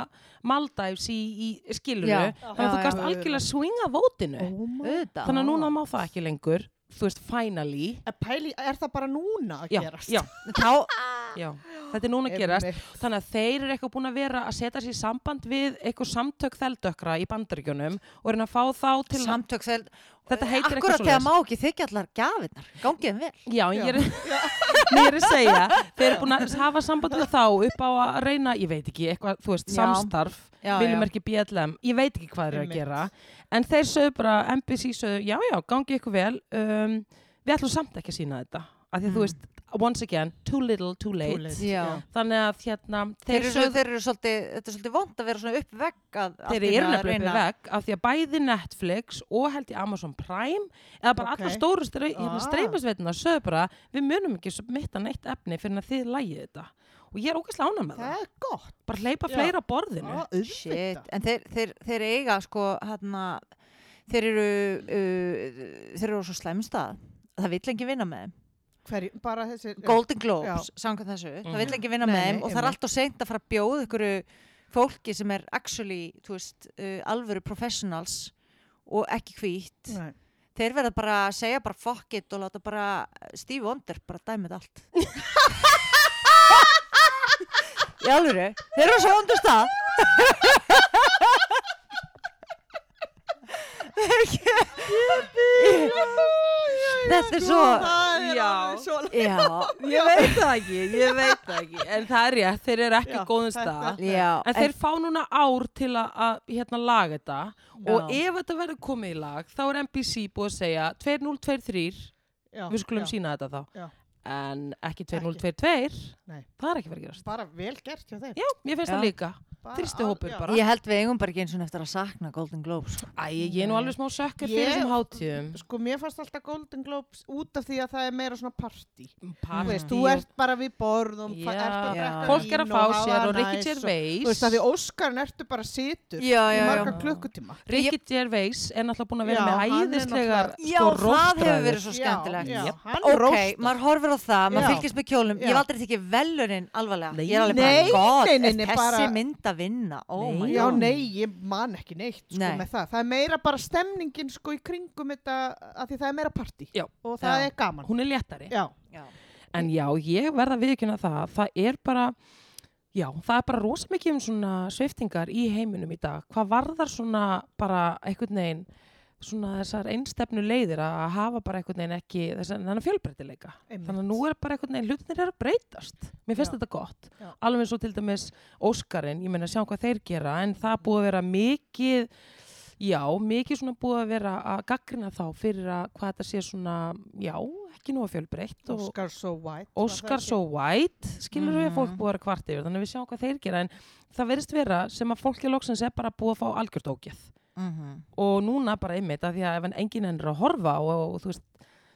S1: Maldives í, í skiluru,
S3: Já,
S1: þannig
S3: já,
S1: að þú gast
S3: já.
S1: algjörlega swinga vótinu,
S2: Oh my-
S3: Auðvitað.
S1: þannig að núna má það ekki lengur þú veist, finally
S2: En Eh, pæli, er það bara núna að
S1: já,
S2: gerast?
S1: já,
S3: þá,
S1: já, þetta er núna að gerast
S2: Einmitt.
S1: Þannig að þeir eru eitthvað búin að vera að setja sér í samband við eitthvað samtök þeldökra í bandaríkjunum og reyna að fá þá til að
S3: samtök þeir,
S1: þetta heitir
S3: akkurat
S1: eitthvað
S3: þegar
S1: svoleiðis.
S3: má ekki þykja allar gafinnar gangið þeim vel
S1: Já, en ég er, ég er að segja, þeir eru búin að hafa samband við þá upp á að reyna, ég veit ekki, eitthvað, þú veist,
S3: Já.
S1: samstarf,
S3: Já, já.
S1: viljum ekki BLM, ég veit ekki hvað þeir eru að
S2: Einmitt.
S1: gera, en þeir sögðu bara, MBC sögðu, já, já, gangi ykkur vel, um, við ætlum samt ekki að sína þetta, af því að
S3: Mm.
S1: þú veist, once again, too little, too late,
S2: Too late.
S3: Já.
S1: þannig að hérna,
S3: þeir eru,
S1: sögðu-
S3: þeir eru svolítið, þetta er svolítið vond að vera svona uppvegg að, að
S1: Þeir
S3: því
S1: eru
S3: að
S1: nefnilega
S3: reyna-
S1: vekk af því að bæði Netflix og held ég Amazon Prime eða bara
S2: Ok.
S1: okay. allar stóru strey, hérna,
S2: Ah.
S1: streymisveituna sögðu bara við munum ekki mitta neitt efni fyrir að þið lægið þetta og ég er ógæslega ánað með það,
S2: Það er gott.
S1: bara hleypa
S2: Já.
S1: fleira á borðinu
S2: Á, auðvitað.
S3: Shit, en þeir, þeir, þeir eiga sko hérna, þeir eru uh, þeir eru á svo slæmstað það vill enginn vinna með þeim
S2: Hverju, bara þessi...
S3: Golden Globes, samkvæmt þessu, það vill
S1: Mhm.
S3: enginn vinna
S2: Nei,
S3: með
S2: nei,
S3: þeim og það er
S2: einmitt.
S3: allt og seint að fara að bjóða ykkur fólki sem er actually, þú veist, uh, alvöru professionals og ekki hvít
S2: Nei.
S3: þeir verða bara að segja bara fuck it og láta bara Steve Wonder bara dæmið allt í alvöru þeir eru svo vondur stað þetta er svo
S2: Það er
S1: Já.
S2: alveg svo...
S3: já,
S1: Ég veit það ekki, ég veit það ekki en það er rétt, þeir eru ekki
S2: Já,
S1: í góðum
S2: þetta-
S1: stað
S3: já
S1: en þeir fá núna ár til að, að hérna, laga þetta og
S3: Já.
S1: ef þetta verður komið í lag þá er NBC búið að segja 2023
S2: Já,
S1: við skulum
S2: já.
S1: sína þetta þá
S2: Já.
S1: en ekki 2022
S2: Nei.
S1: það er ekki verið að gerast
S2: bara vel gert hjá þeim
S1: já, mér finnst
S3: Já.
S1: það líka
S2: Bara
S1: þrýsti
S2: al-
S1: hópur
S2: já.
S1: bara.
S3: Ég held við eigum bara ekki eins og eftir að sakna Golden Globes. sko.
S1: Æ, ég er nú alveg smá sökkar fyrir
S2: Ég-
S1: þessum hátíðum
S2: sko mér fannst alltaf Golden Globes út af því að það er meira svona partí þú
S1: Partí
S2: veist, þú
S1: og-
S2: ert bara við borðum
S1: Já.
S2: ert að
S3: Já.
S2: drekka
S1: fólk er að fá
S2: vín hafa
S1: sér og
S2: það
S1: Ricky
S2: næs þú
S1: Gervais
S2: veist að því Óskarn ertu bara situr í
S3: Já, já, já.
S2: marga klukkutíma
S1: Ricky Gervais er náttúrulega búin að vera
S2: Já,
S1: með
S2: hann er
S1: hæðislegar
S2: náttúrulega-
S3: Já,
S1: sko,
S3: það hefur
S1: róstræður.
S3: verið svo
S2: Já,
S3: skemmtilegt.
S2: já,
S1: Jep.
S2: hann
S3: Ok,
S2: róstar.
S3: maður horfir á það, maður
S2: Já.
S3: fylgist með kjólum. Ég
S2: Já.
S3: hef aldrei tekið velunin alvarlega.
S1: Nei.
S3: Ég er alveg
S2: Nei,
S3: bara, god,
S2: nei, nei, nei,
S3: er þessi
S2: bara-
S3: mynd að vinna? Oh
S1: Nei.
S3: my
S2: Já,
S3: god.
S2: nei, ég man ekki neitt sko,
S3: Nei.
S2: með það. Það er meira bara stemningin sko í kringum þetta að því það er meira partí
S1: Já.
S2: og það
S3: Já.
S2: er gaman.
S1: hún er léttari
S2: Já,
S3: Já.
S1: en já, ég verða viðkynna það það er bara já, það er bara rosa mikið um svona sveiftingar í heiminum í dag hvað varðar svona bara einhvern veginn svona þessar einstefnu leiðir að hafa bara einhvern veginn ekki þessan þennan fjölbreytileika
S2: Einmitt.
S1: þannig að nú er bara einhvern veginn hlutinir er að breytast mér finnst
S2: Já.
S1: þetta gott,
S2: Já.
S1: alveg svo til dæmis Óskarinn, ég meina sjáum hvað þeir gera en það búið að vera mikið já, mikið svona búið að vera að gaggrina þá fyrir að hvað þetta sé svona, já, ekki nú að fjölbreytt og,
S2: Oscar So White. var
S1: Oscar
S2: það Mm.
S1: so white, skilur við
S3: Mhm.
S1: að fólk búið að vera kvart yfir, þannig að við sjáum hvað þeir gera en það verðist vera sem að fólki loksins er bara búið að fá algjört ógeð
S3: Mhm.
S1: og núna bara einmitt af því að ef enginn ennur að horfa og, og þú veist,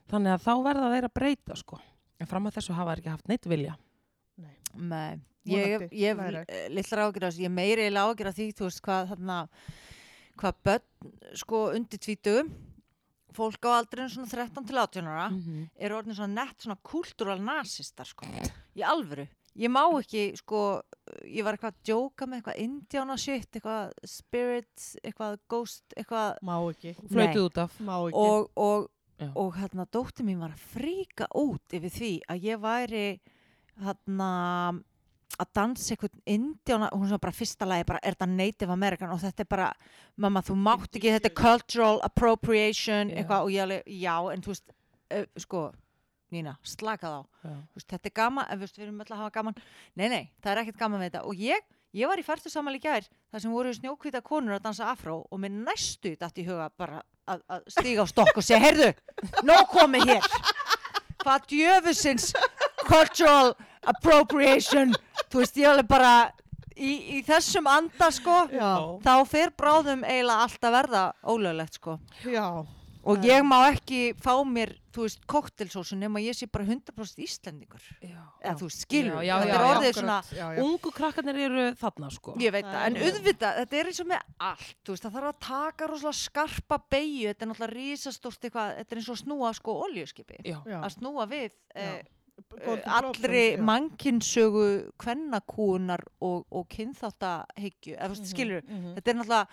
S1: þannig að þá verða þeir að breyta sko, en fram að þessu hafa þeir ekki haft neitt vilja.
S2: ekki? Nei.
S3: Nei, ég,
S2: Vonandi
S3: ég hef
S2: læra.
S3: eh, litlar ágjur á þessu, ég hef meiri eiginlega ágjur á því, þú veist, hvað þarna, hvað börn, sko, undir tvítugum, fólk á aldrinum svona 13 til 18
S2: Ah.
S3: ára,
S2: Mhm.
S3: eru orðin svona nett svona kultúral nasistar, sko, í alvöru. Ég má ekki, sko, ég var eitthvað að djóka með eitthvað indiána shit, eitthvað spirit, eitthvað ghost, eitthvað
S2: Má ekki.
S1: Flöytið út af.
S2: Má ekki.
S3: og, og,
S1: Já.
S3: og hérna dóttir mín var að fríka út yfir því að ég væri hérna að dansa einhvern indjána hún sem bara fyrsta lagi bara er þetta native american og þetta er bara, mamma þú mátt ekki þetta er cultural appropriation
S1: Já.
S3: eitthvað og ég alveg, já en þú veist uh, sko, Nína, slaka þá
S1: Já.
S3: Þú veist, þetta er gaman, en, þú veist, við erum öll að hafa gaman nei, nei, það er ekkert gaman við þetta og ég, ég var í færtu saman í gær þar sem voru snjókvita konur að dansa afró og mér næstu datt í huga bara að, að stíga á stokk og segja, heyrðu nóg komið hér hvað djöfusins cultural appropriation þú veist, ég alveg bara í, í þessum anda, sko
S2: Já,
S3: þá fer bráðum eiginlega allt að verða ólöglegt, sko
S2: já.
S3: og
S2: Já.
S3: ég má ekki fá mér, þú veist, koktelsósu nema ég sé bara 100% Íslendingur
S1: Já.
S3: eða þú skilur,
S1: Já, já,
S3: þetta
S1: já,
S3: er
S1: já,
S3: orðið
S2: akkurat,
S3: svona
S2: Já, já.
S1: Ungu krakkarnir eru þarna sko.
S3: ég veit það, en
S2: Já.
S3: auðvitað, þetta er eins og með allt, þú veist, það þarf að taka rosalega skarpa beigju, þetta er náttúrulega risastórt eitthvað, þetta er eins og að snúa sko oljuskipi,
S1: Já.
S2: Já.
S3: að snúa við e,
S2: Golden Globes,
S3: allri
S2: já.
S3: mannkinsögu kvennakúnar og, og kynþáttahyggju, eða þú veist,
S2: Mhm,
S3: skilur
S2: mhm.
S3: þetta er náttúrulega,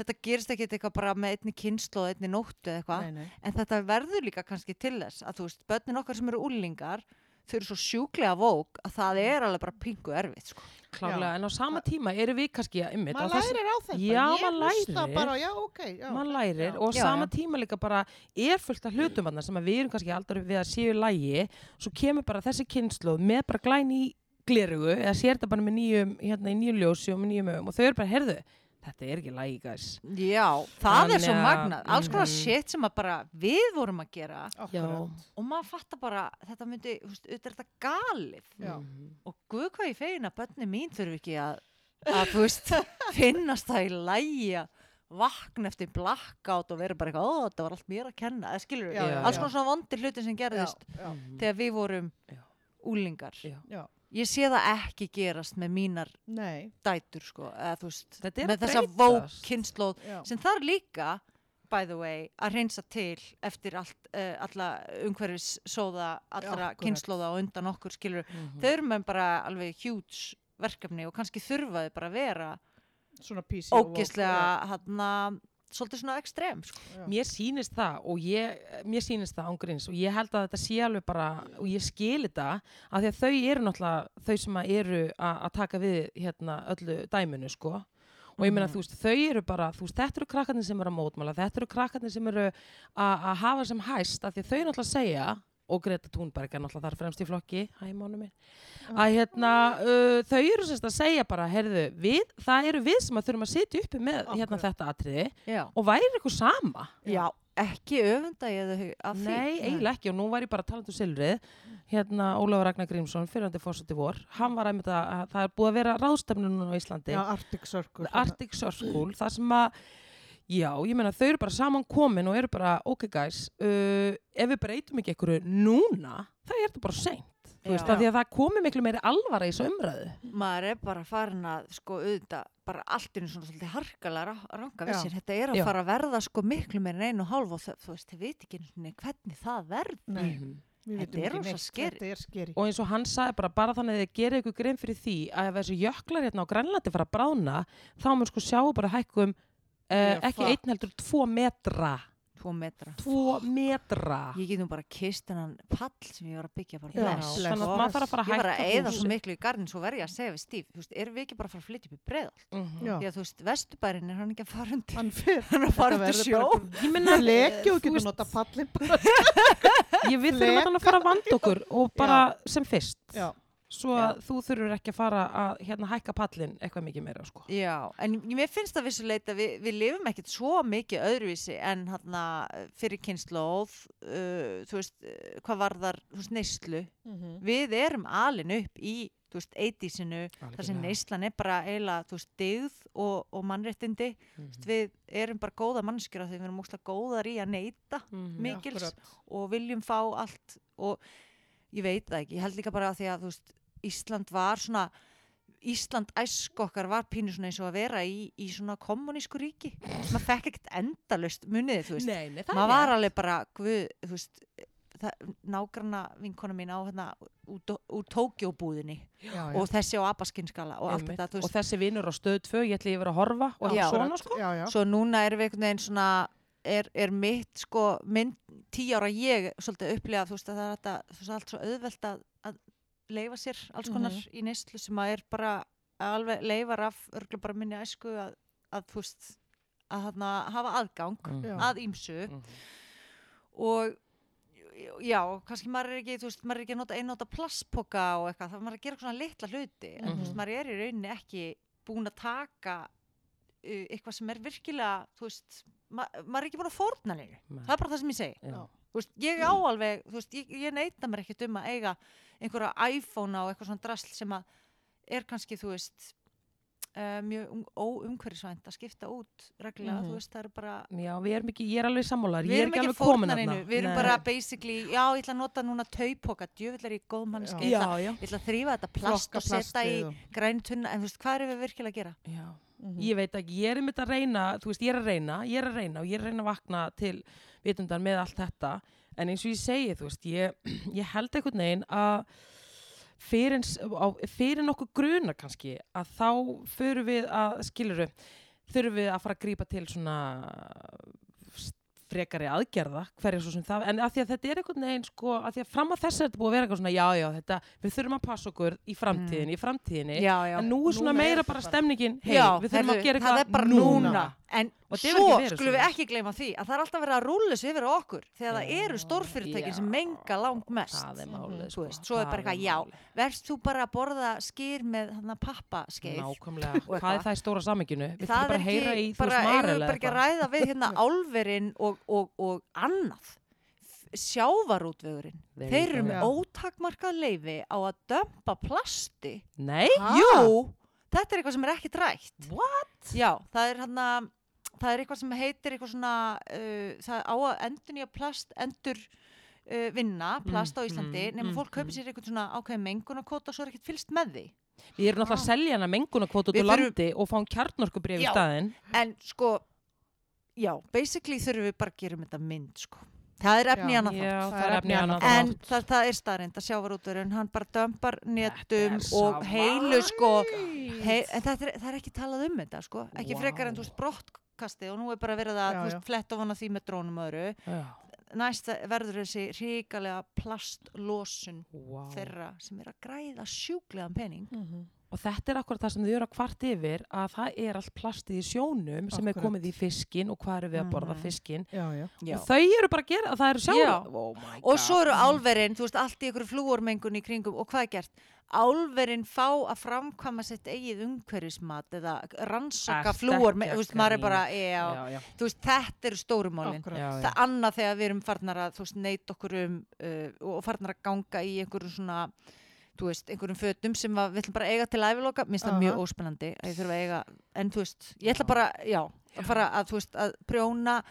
S3: þetta gerist ekki eitthvað bara með einni kynsloð, einni nóttu eða eitthvað
S2: Nei, nei.
S3: en þetta verður líka kannski til þess að þú veist, börnin okkar sem eru úlingar þau eru svo sjúklega vók að það
S2: Mhm.
S3: er alveg bara pingu erfið sko.
S1: Klálega,
S2: Já.
S1: en á sama tíma eru við kannski að ymmit.
S2: Maður lærir á þetta.
S1: Já,
S2: ég
S1: maður
S2: hlusta
S1: lærir.
S2: Bara, já, ok. Já.
S1: maður lærir
S2: Já.
S1: og
S3: Já,
S1: sama
S3: já.
S1: tíma líka bara er fullt af hlutum hana sem að við erum kannski aldrei við að séu í lægi svo kemur bara þessi kynnslóð með bara glæn í glerugu eða sér þetta bara með nýjum hérna í nýjum ljósi og með nýjum öfum og þau eru bara, herðu, þetta er ekki lægi, guys
S3: já, það er
S1: Þannig
S3: svo
S1: að-
S3: magnað alls konar
S1: Mhm.
S3: shit sem að bara við vorum að gera
S2: Akkurat.
S3: og maður fattar bara, þetta myndi þú veist, auðvitað er þetta galið Mm.
S2: Já.
S1: Mhm.
S3: og guð hvað ég fegin að börnin mín þurfi ekki að, að þú veist, finnast það í lægi að vakna eftir blackout og vera bara eitthvað, ó, þetta var allt mér að kenna eða skilur
S2: Já,
S1: já,
S3: alls
S1: já.
S3: konar svona vondir hluti sem
S2: Já,
S3: gerðist
S2: já,
S3: þegar við vorum
S1: Já.
S3: úlingar
S1: Já.
S2: já.
S3: ég sé það ekki gerast með mínar
S2: Nei,
S3: dætur sko, eða þú veist
S1: Þetta er
S3: með
S1: að
S3: þessa
S1: breytast.
S3: vókinslóð
S2: já.
S3: sem þar líka, by the way að reynsa til eftir allt, uh, alla umhverfis sóða allra
S2: Akkúrat.
S3: kynslóða og undan okkur skilur
S1: Mhm.
S3: þau eru með bara alveg huge verkefni og kannski þurfa þau bara að vera
S2: Svona PC og-
S3: ógislega hann svolítið svona ekstrem sko.
S2: Já, já.
S1: Mér sýnist það og ég, mér sýnist það ángríns og ég held að þetta sé alveg bara og ég skil þetta af því að þau eru náttúrulega þau sem að eru a- að taka við hérna öllu dæminu sko og ég meina
S3: Mhm.
S1: þú veist þau eru bara þú veist þetta eru krakkarnir sem eru að mótmála þetta eru krakkarnir sem eru a- að hafa sem hæst af því að þau náttúrulega segja og Greta Thunberg er náttúrulega þar fremst í flokki hæ mánu minn að hérna uh, þau eru semst að segja bara herðu við það eru við sem að þurfum að sitja uppi með hérna
S2: Akkúrat.
S1: þetta atriði
S3: já,
S1: og væri ykkur sama
S3: já, ekki öfunda ég þau af því
S1: Nei, eiginlega ekki og nú var ég bara talandi um silfrið hérna Ólafur Ragnar Grímsson, fyrrandi fórseti vor hann var einmitt að, að það er búið að vera ráðstefnun núna á Íslandi,
S2: Já, Arctic Circle.
S1: The Arctic Circle það sem að, já, ég meina þau eru bara saman komin og eru bara ok guys, uh, ef við breytum ekki einhverju núna, það er þetta bara seint, þú veist,
S3: Já.
S1: af því að það komi miklu meiri alvara í þessu umræðu
S3: maður er bara farin að sko auðvitað bara allt einu svona svolítið harkalega ranga við
S2: Já.
S3: sér, þetta er að
S1: Já.
S3: fara að verða sko miklu meira en einu og hálf og það, þú veist, þið veit ekki einu sinni hvernig það verður
S2: Nei, við
S3: Þetta
S2: vitum
S3: er
S2: ekki
S3: rosa
S2: neitt.
S3: scary.
S2: Þetta er skeri.
S1: og eins og hann sagði bara, bara þannig að þið gerir ykkur grein fyrir því að ef þessu jöklar hérna á Grænlandi fara að brána þá mun sko sjá bara hækkum uh,
S3: Já,
S1: ekki
S3: fuck.
S1: einn heldur, tvo metra
S3: tvo metra
S1: tvo metra
S3: ég get nú bara kist hennan pall sem ég var að byggja bara
S2: Já,
S3: bless,
S2: bless.
S1: þannig að maður þarf að fara að
S3: ég var
S1: hækka
S3: að eða
S1: húsið.
S3: svo miklu í garnin svo verði ég að segja við Stíf, þú veist, erum við ekki bara að fara að flytja upp í breðal,
S1: Mhm.
S2: Já.
S3: því að þú veist, vesturbærin er hann ekki að fara undir,
S2: Hann fyrir.
S3: hann er að fara
S2: Þetta
S3: undir
S2: verður
S3: sjó
S2: bara
S1: ég minna,
S2: Leki og
S1: þú
S2: getur
S1: veist,
S2: nota pallin bara.
S1: ég við þurfum
S2: leka.
S1: að þannig að fara að vanda okkur og bara sem fyrst
S2: Já,
S1: svo að þú þurfur ekki að fara að hérna hækka pallin eitthvað mikið meira sko.
S3: já, en ég- mér finnst það vissuleit að við, við lifum ekkert svo mikið öðruvísi en hann fyrir kynnslóð uh, þú veist, uh, hvað varðar þú veist, neyslu,
S2: Mhm.
S3: við erum alin upp í, þú veist, 80-sinu þar sem neyslan er bara eiginlega, þú veist, dyggð og, og mannréttindi
S1: neist
S3: við erum bara góða mannskjur af því við erum óslega góðar í að neyta mikils
S2: akkurat.
S3: og viljum fá allt og ég veit það ekki, ég held líka bara að því að þú veist, Ísland var svona Ísland æsk okkar var pínu svona eins og að vera í, í svona kommunísku ríki maður fekk ekkert endalust muniði þú veist,
S1: nei, nei, það
S3: maður var
S1: er
S3: alveg bara guð, þú veist það, nágranna vinkona mín á hérna úr, úr Tókjóbúðinni
S2: já, já.
S3: og þessi á abaskinskala og allt þetta,
S1: Einmitt.
S3: þú
S1: og
S3: veist
S1: þessi vinnur á stöð 2 ég ætla ég verið að horfa og
S3: Já.
S1: eitthvað svona sko
S2: Já, já.
S3: svo núna erum við einhvern veginn svona er, er mitt sko minn, tíu ára ég svolítið upplega þú veist að það er þetta, þú veist allt svo auðvelt að, að leifa sér
S2: Mhm.
S3: alls konar í neyslu sem að er bara alveg leifar af örgulega bara minni æsku að, að þú veist að þarna hafa aðgang
S1: Mhm.
S2: Já.
S3: að ýmsu
S1: Mhm.
S3: og já, kannski maður er ekki þú veist, maður er ekki að nota einnóta plastpoka og eitthvað, það maður er að gera svona litla hluti en þú veist,
S1: Mhm.
S3: maður er í rauninni ekki búin að taka uh, eitthvað sem er virkilega, þú veist ma maður er ekki búin að fórna neinu
S1: Nei. Mm.
S3: það er bara það sem ég segi,
S1: Mhm. Já.
S3: þú veist, ég á alveg þú veist, ég, ég neita mér ekkert um að eiga einhverja iPhone á eitthvað svona drasl sem að er kannski, þú veist uh, mjög um, óumhverfisvænt að skipta út reglulega,
S2: Mhm.
S3: þú veist, það eru bara
S1: Já, við erum ekki, ég er alveg sammálar,
S3: Við
S1: ég er
S3: erum
S1: ekki
S3: ekki
S1: alveg komin
S3: fórnar
S1: að
S3: einu, við erum bara basically, já, ég ætla að nota núna taupoka, djöfullar í góð mannski,
S2: Já.
S3: ég ætla,
S1: já.
S3: ég ætla að þrýfa þetta plast
S2: Flokka
S3: og setja í
S2: plastið og-
S3: græntunna, en þú veist, hvað erum við virkilega að gera?
S1: já.
S2: Mhm.
S1: Ég veit ekki, ég er einmitt að reyna, þú veist, ég er að reyna, ég er að reyna og ég er að reyna að vakna til vitundar með allt þetta. En eins og ég segi, þú veist, ég, ég held einhvern veginn að fyrir, eins- á- fyrir nokkuð grunar kannski, að þá förum við að, skiluru, þurfum við að fara að grípa til svona s- frekari aðgerða, hverja svo sem það, en að því að þetta er einhvern veginn sko, að því að fram að þess er þetta búið að vera eitthvað svona, já, já, þetta, við þurfum að passa okkur í framtíðinni, í framtíðinni,
S3: Já, já.
S1: en nú er svona
S2: Núna er
S1: meira
S2: þetta
S1: bara
S2: bara-
S1: stemningin, hei, við þurfum að
S3: heyrðu,
S1: gera
S3: það er bara
S1: eitthvað
S3: núna.
S1: núna.
S3: En
S1: Og þetta hefur
S3: svo
S1: ekki verið
S3: skulum við
S1: svona.
S3: ekki gleyma því að það er alltaf verið að rúla þessu yfir á okkur þegar það
S1: Já,
S3: eru stórfyrirtækin sem
S1: já.
S3: menga langmest.
S1: Það er málið,
S3: Þú
S1: sko.
S3: veist, svo er
S1: það
S3: bara eitthvað, já.
S1: málið.
S3: Verst þú bara að borða skýr með hann að pappa
S1: Nákvæmlega,
S3: Og
S1: hvað
S3: eitthvað.
S1: er það í stóra sammynginu? Við þurfum
S3: það
S1: bara
S3: er
S1: að
S3: ekki,
S1: heyra í þú
S3: bara,
S1: veist
S3: eigum
S1: maril
S3: við bara ekki að ræða við hérna álverin og, og, og annað F- sjávarútvegurinn
S1: There you
S3: þeir eru
S1: go.
S3: með
S2: Já.
S3: ótakmarkað leifi á að dömpa plasti
S1: Nei?
S2: Ha?
S3: jú, þetta er eitthvað sem er ekki drægt
S1: What?
S3: já, það er hann að það er eitthvað sem heitir eitthvað svona uh, það á að endur nýja plast endur uh, vinna plast á
S1: Mm,
S3: Íslandi
S1: mm,
S3: nema
S1: mm,
S3: fólk
S1: mm.
S3: kaupir sér eitthvað svona ákveðin mengunarkóta og svo er ekkert fylst með því
S1: Við erum náttúrulega að selja hana mengunarkvót út
S3: Við
S1: úr
S3: þurfum-
S1: landi og fáum kjarnorkubrif í
S3: Já.
S1: staðinn.
S3: En sko, já, basically þurfum við bara að gera um þetta mynd, sko. Það er efni
S2: Já.
S3: annað
S1: Já,
S3: þátt.
S1: það er efni í annað
S3: En
S1: þátt.
S3: það, það er staðrind að sjávarúturinn, hann bara dömpar netum
S1: Þetta er
S3: og
S1: svo
S3: heilu, sko.
S2: Æ.
S3: Hei, en það er, það er ekki talað um þetta, sko. Ekki
S1: Vá.
S3: frekar en þú veist brottkasti og nú er bara verið að
S2: Já,
S3: þú
S2: já.
S3: veist, fletta ofan af því með drónum og öðru.
S1: Já.
S3: Næst verður þessi ríkalega plastlósun
S1: Vá.
S3: þeirra sem er að græða sjúklegan pening
S2: Mhm.
S1: og þetta er akkurat það sem þau eru að kvart yfir að það er allt plastið í sjónum sem er
S2: Akkurat.
S1: komið í fiskin og hvað eru við að borða
S3: Mhm.
S1: fiskin
S2: já, já.
S3: Já.
S1: og þau eru bara að gera, það eru sjálf
S3: Já.
S1: oh my
S3: Og svo
S1: God.
S3: eru álverin, þú veist, allt í ykkur flúormengun í kringum og hvað er gert? Álverin fá að framkvæma sitt eigið umhverfismat eða rannsaka
S1: Ertu
S3: flúormengun,
S1: ekki
S3: þú veist,
S1: að
S3: maður er bara,
S1: grínast?
S3: já,
S1: já, já,
S3: þú veist, þetta eru stórumálin.
S2: Akkurat.
S1: já, já.
S3: Það annað þegar við erum farnar að, þú veist, neyta okkur um uh, og farnar að ganga í einhverjum svona, þú veist, einhverjum fötum sem að við ætlum bara að eiga til æfiloka, minnst það
S2: Aha.
S3: mjög óspennandi að ég þurfa að eiga, en þú veist, ég ætla
S1: Já.
S3: bara, já, að fara að, þú veist, að prjóna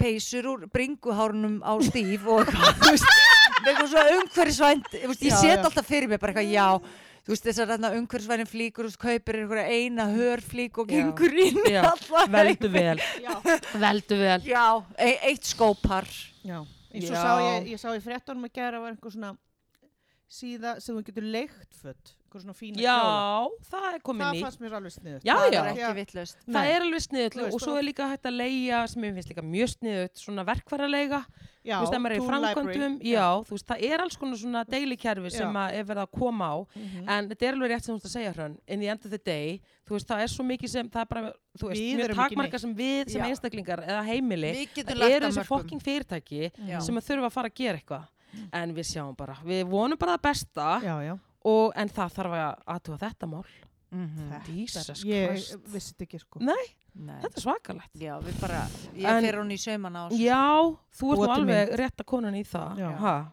S3: peysur úr bringuhárnum á stíf og eitthvað, þú veist, með eitthvað svo umhverfisvænt, þú veist, ég
S2: Já,
S3: set
S2: já.
S3: alltaf fyrir mér bara eitthvað, já, þú veist, þessar þarna umhverfisvænin flíkur, þú veist, kaupir einhverja eina hörflík
S1: Já.
S3: og gengur inn í
S1: Já,
S3: allar
S1: veldu vel,
S2: Já.
S1: veldu vel
S3: Já, e eitt skópar
S2: Já. Eins
S1: Já.
S2: og sá ég, ég sá í fréttunum að gera var einhver svona síða sem þú getur leikt fött, einhver svona fína
S1: já,
S2: kjóla.
S1: það er komið
S2: Það
S1: nýtt
S2: fannst mér alveg sniðut.
S1: Já,
S3: það
S1: já.
S3: er ekki vittlust
S1: Það
S2: Nei.
S1: er alveg sniðut
S2: Þú veist,
S1: og svo
S2: og-
S1: er líka hægt að leia sem ég finnst líka mjög sniðut svona verkvaralega,
S2: já,
S1: þú veist, ef maður er í
S2: Toon Library.
S1: framkvæmdum já, þú veist, það er alls konar svona deilikerfi
S2: Já.
S1: sem að er verið að koma á
S2: Mhm.
S1: en þetta er alveg rétt sem þú veist að segja hrönn in the end of the day, þú veist, það er svo mikið sem það er bara, þú veist,
S2: Við
S1: mjög
S2: erum ekki
S1: takmarka sem við sem
S3: Já.
S1: einstaklingar eða heimili
S3: Við getum
S1: það
S3: lagt
S1: eru
S3: að
S1: þessi
S3: mörgum
S1: fokking fyrirtæki
S3: Já.
S1: sem að þurfa að fara að gera eitthvað
S2: Mm.
S1: en við sjáum bara, við vonum bara það besta
S2: Já, já.
S1: og, en það þarf að aðtúa þetta mál
S3: Mhm.
S1: Jesus
S2: Ég
S1: Christ. Mm.
S2: vissi þetta ekki sko.
S1: Nei.
S3: Nei.
S1: þetta er svakalegt
S3: Já, við bara, ég
S1: En-
S3: fer hún í saumana á þessu.
S1: Já, þú ert nú
S2: Brotin
S1: alveg rétt að konan í það
S2: Já.
S1: ha.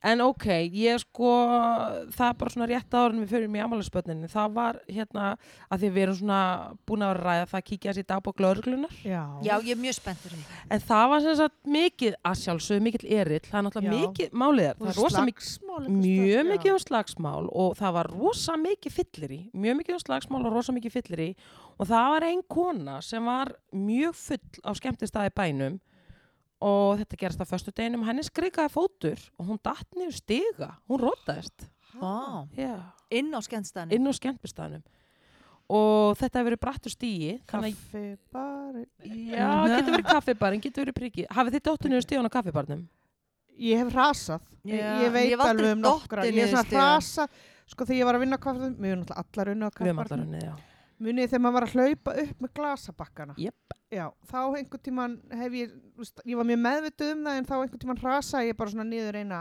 S1: En ok, ég sko það er bara svona rétt ára en við förum í amálasbötninni, það var hérna að því við erum svona búin að vera að ræða það að kíkja þessi í dagbók lögreglunar
S2: Já.
S3: Já, ég er mjög spenntur fyrir því.
S1: en það var sem sagt mikið að sjálfsögðu mikill erill, það er náttúrulega
S2: Já.
S1: mikið málið er, það er rosa mikið
S2: Slagsmál einhvers
S1: mjög
S2: staðar,
S1: mikið
S2: já.
S1: um slagsmál og það var rosa mikið fyllir í mjög mikið um slagsmál og rosa mikið fyllir í og það var ein kona sem var mjög full á skemmtistaði bænum og þetta gerast á föstu deginum henni skrikaði fótur og hún datt niður stiga, hún rótaðist
S3: Vá.
S1: Já.
S3: Inn á skemmstæðinu.
S1: inn á skemmtistaðnum og þetta hefur verið brattur stíi þannig að
S2: Kaffi bara.
S1: já, getur verið kaffibarinn, getur verið prikki hafið þið dóttu niður stíðan á kaffibarnum?
S2: Ég hef rasað. Ég,
S3: Já,
S2: ég veit
S3: ég hef aldrei
S2: alveg um nokkra.
S3: dottið
S2: Ég hef
S3: niður
S2: svona
S3: stigann.
S2: rasað. Sko þegar ég var að vinna á kaffarnum, mjög náttúrulega allar unna á
S1: við erum allar
S2: kaffarnum.
S1: henni, já
S2: Munið þegar maður var að hlaupa upp með glasabakkana.
S1: Jep.
S2: Já, þá einhvern tíman hef ég, þú veist, ég var mjög meðvituð um það en þá einhvern tíman rasaði ég bara svona niður eina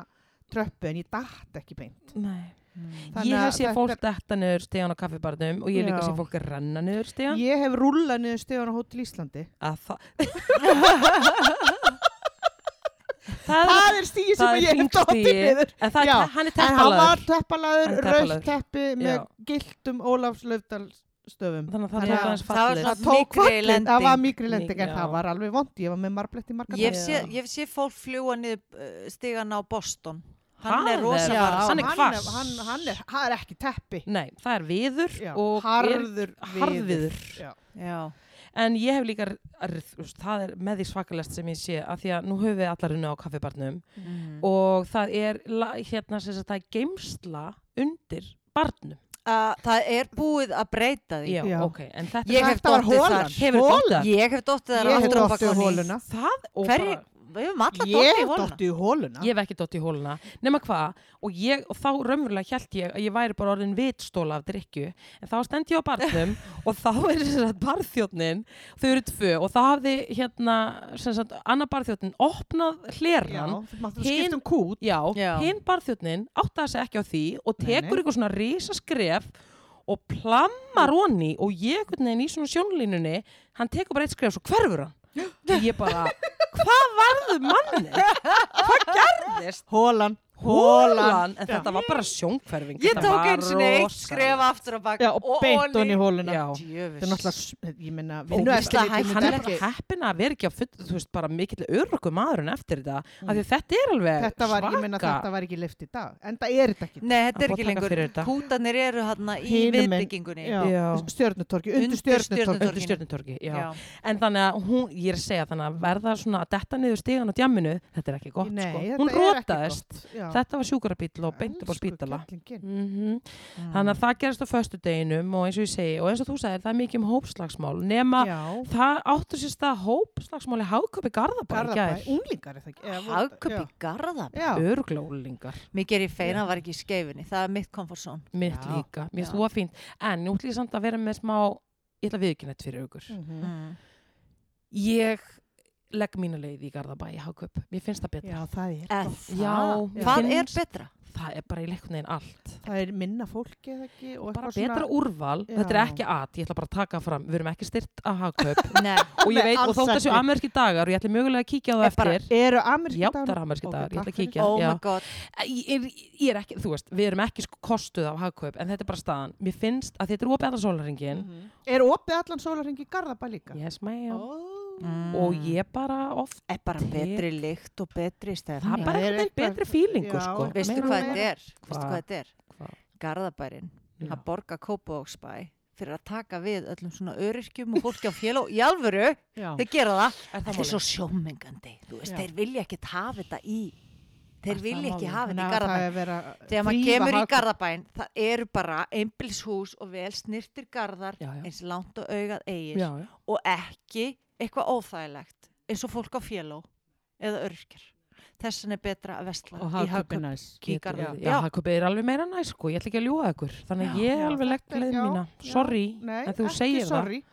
S2: tröppu en ég datt ekki beint.
S1: Nei.
S3: Mm.
S2: Þannig
S1: ég hef
S2: að
S1: séð
S2: þetta
S1: fólk
S2: er-
S1: detta niður stíðan á kaffibarnum og ég hef líka
S2: Já.
S1: séð fólk renna niður stíðan
S2: Ég hef rúllað niður stöðan á Hótel Íslandi.
S1: að það það er,
S2: Það er stígi sem
S1: það er
S2: ég hef dottið
S1: hringstigi.
S2: niður.
S1: en það er,
S2: Já,
S1: te- hann er
S2: En hann var
S1: teppalaður Hann
S2: teppalaður,
S1: er
S2: raukt
S1: teppalaður.
S2: teppi með
S1: Já.
S2: giltum Ólafs Löfdalstöfum.
S1: þannig að það
S2: Já.
S1: er aðeins
S3: Það var
S1: fallið
S3: svona-
S2: Það tók
S3: Mýkri
S2: fallið, það var
S3: lending.
S2: mikri lending en
S1: Já.
S2: það var alveg vond, ég var með marbletti margar
S3: Ég hef
S1: Já.
S3: séð ég hef séð fólk fljúa niður uh, stigana á Boston.
S1: Það
S3: Hann
S1: er-
S3: er rosa
S1: Já.
S3: var.
S1: hann er hvass.
S2: Hann, hann, er, hann er ekki teppi.
S1: nei, það er viður
S2: Já,
S1: og er,
S2: harður
S1: harðviður.
S2: Já.
S3: Já.
S1: en ég hef líka r- þú veist, það er með því svakalest sem ég sé af því að nú höfum við allar unna á kaffibarnum
S3: Mm.
S1: og það er la- hérna sem sagt það er geimsla undir barnum
S3: Uh, það er búið að breyta því.
S1: já,
S2: Já.
S1: ok, en þetta
S3: Ég hef
S2: Þetta var
S3: dottið
S2: holan.
S3: þar.
S1: hefur
S2: Hola.
S1: þetta
S3: Ég hef dottið þar
S2: Ég hef
S3: aftur á
S2: dottið í
S3: bakkann í-
S2: hóluna.
S1: það og
S3: Hverju?
S1: bara
S3: Við hefum alla
S2: Ég
S3: dottið í
S2: hef
S3: hóluna.
S2: dottið í hóluna.
S1: ég hef ekki dótt í hóluna nema hvað og, ég, og þá raunverulega held ég að ég væri bara orðin vitstóla af drikju en þá stend ég á barnum og þá er sem sagt barþjótnin þau eru tvö og þá hafði hérna sem sagt annar barþjótnin opnað hleran
S2: Já, maður
S1: Hin-
S2: skipt um kút.
S1: já,
S3: Já.
S1: hinn barþjótnin áttaði sig ekki á því og
S2: Nei,
S1: tekur
S2: nei.
S1: eitthvað svona risaskref og plammar honni og ég einhvern veginn í svona sjónlínunni hann tekur bara eitt skref og svo hverfur hann og ég bara, hvað varðu manni? Hvað gerðist?
S2: Hólan.
S1: Hólan, en
S2: Já.
S1: þetta var bara sjónkverfing
S3: Ég
S1: Þetta
S3: tók
S1: var
S3: eins og eitt
S1: rosalegt.
S3: skref aftur á bakk.
S2: Já, og beint honni í hóluna.
S1: Já.
S2: Þetta er náttúrulega, s- ég minna,
S3: Ógeðslega hættulegt.
S1: Hann er bara heppin að vera ekki á full, þú veist, bara mikill örugum maðurinn eftir þetta af því að þetta er alveg
S2: Mm. Þetta var,
S1: svaka
S2: ég minna, þetta var ekki leift í dag. En það er þetta ekki.
S3: Nei, þetta er
S1: Að
S3: ekki
S1: taka
S3: lengur.
S1: fyrir þetta.
S3: Kútanir eru hann í
S2: Hinum megin.
S3: viðbyggingunni.
S2: Já.
S1: Já.
S2: Stjörnutorki,
S3: Undir
S2: undir stjörnutorki.
S1: undir stjörnutorki, já.
S3: Já.
S1: En þannig að hún, ég er að segja þannig að verða svona að detta niður stígan á djamminu, þetta er ekki gott
S2: Nei,
S1: sko.
S2: þetta
S1: Hún
S2: er ekki
S1: rótaðist
S2: gott. Já. já.
S1: þetta var sjúkrabíl og beint upp á
S2: Elsku
S1: spítala
S2: kerlingin.
S1: mm
S2: Mm.
S1: þannig að það gerist á föstudeginum og eins og ég segi og eins og þú sagðir það er mikið um hópslagsmál nema
S2: Já,
S1: það áttu sér stað hópslagsmál í háköpi Garðabæ í
S2: Garðabæ,
S1: gær
S2: unglingar er það ekki? Eða voru-
S3: Hagköp í Garðabæ.
S2: Já, já.
S1: örglólingar,
S3: Mér gerir feina að var ekki í skeifinni, það er mitt komfortzón.
S1: mitt
S2: Já,
S1: líka mér
S3: já.
S1: þú að fínt, en nú ætlum ég samt að vera með smá ég ætla viðkynnet fyrir aukur
S2: Mhm.
S3: Mm.
S1: ég legg mína leið í Garðabæ í háköp, mér finnst það betra
S2: já, það er
S3: Eð,
S2: gott.
S1: Já, mér
S3: Hvað er
S1: finnst-
S3: betra?
S1: það er bara í leiknum neginn allt
S2: Það er minna fólki eða ekki og
S1: bara
S2: eitthvað
S1: betra
S2: svona-
S1: úrval,
S2: Já.
S1: þetta er ekki að ég ætla bara að taka fram, við erum ekki styrt að hagkaup
S3: Nei,
S1: og ég
S2: Nei,
S1: veit, og
S2: alls
S1: þótt þessu
S2: ekki.
S1: amerski dagar og ég ætla mögulega að kíkja á það
S3: Er bara-
S1: eftir
S2: Eru
S1: já,
S2: ameríski
S1: það er amerski
S2: Ok,
S1: dagar, ég ætla að
S2: takk
S1: kíkja
S3: oh
S1: já.
S3: my god.
S1: ég, er, ég er ekki, þú veist, við erum ekki sko- kostuð af hagkaup, en þetta er bara staðan mér finnst að þetta er opið allan sólaringin
S2: Oh
S3: Mm.
S2: Er opið allan sólarhengi í Garðabæ líka?
S1: yes
S2: Oh.
S1: ma'am,
S2: Ó.
S3: Mm.
S1: og ég bara oft,
S3: Er bara
S1: Tek-
S3: betri lykt og betri stefni.
S1: það er bara
S2: er
S1: eitthvað
S2: eitthvað-
S1: betri fílingur,
S2: Já,
S1: sko
S3: Mm. Veistu
S2: Meira
S3: hvað
S2: og
S3: þetta
S2: meira.
S3: er? Veistu
S1: Hvað?
S3: hvað þetta er?
S1: Hvað?
S3: Garðabærin,
S1: Já.
S3: að borga Kópavóksbæ fyrir að taka við öllum svona öryrkjum og fólki á félag. Í alvöru,
S2: Já.
S3: þeir gera það.
S1: er það
S3: Þetta er svo
S1: málið?
S3: sjómengandi. Þú veist,
S2: Já.
S3: þeir vilja ekki hafa þetta í,
S1: Er
S3: þeir
S1: það
S3: vilja ekki
S1: málið?
S3: hafa
S2: Þannig
S3: þetta í
S2: að það
S3: Garðabæn.
S2: er verið að
S3: Þegar maður
S2: þrífa
S3: kemur í
S2: hagkaup.
S3: Garðabæn, það eru bara einbilshús og vel snirtir garðar
S1: Já, já.
S3: eins langt og augað eigir
S1: já, já.
S3: og ekki eitthvað óþægilegt eins og fólk á féló eða örkjar. Þessan er betra að vestla
S2: Og
S3: í
S2: hagkaup er
S3: hagkaup.
S2: næs.
S3: Í
S1: Getur-
S3: Garðabæ.
S1: já, hagkaup er alveg meira næ, sko ég ætla ekki að ljúga ykkur, þannig að
S3: Já,
S1: ég
S2: já,
S1: alveg legg
S2: þetta er-
S1: leið
S2: já,
S1: mína,
S2: já.
S1: sorry
S2: Nei,
S1: en þú
S2: ekki
S1: segir það,
S2: sorry.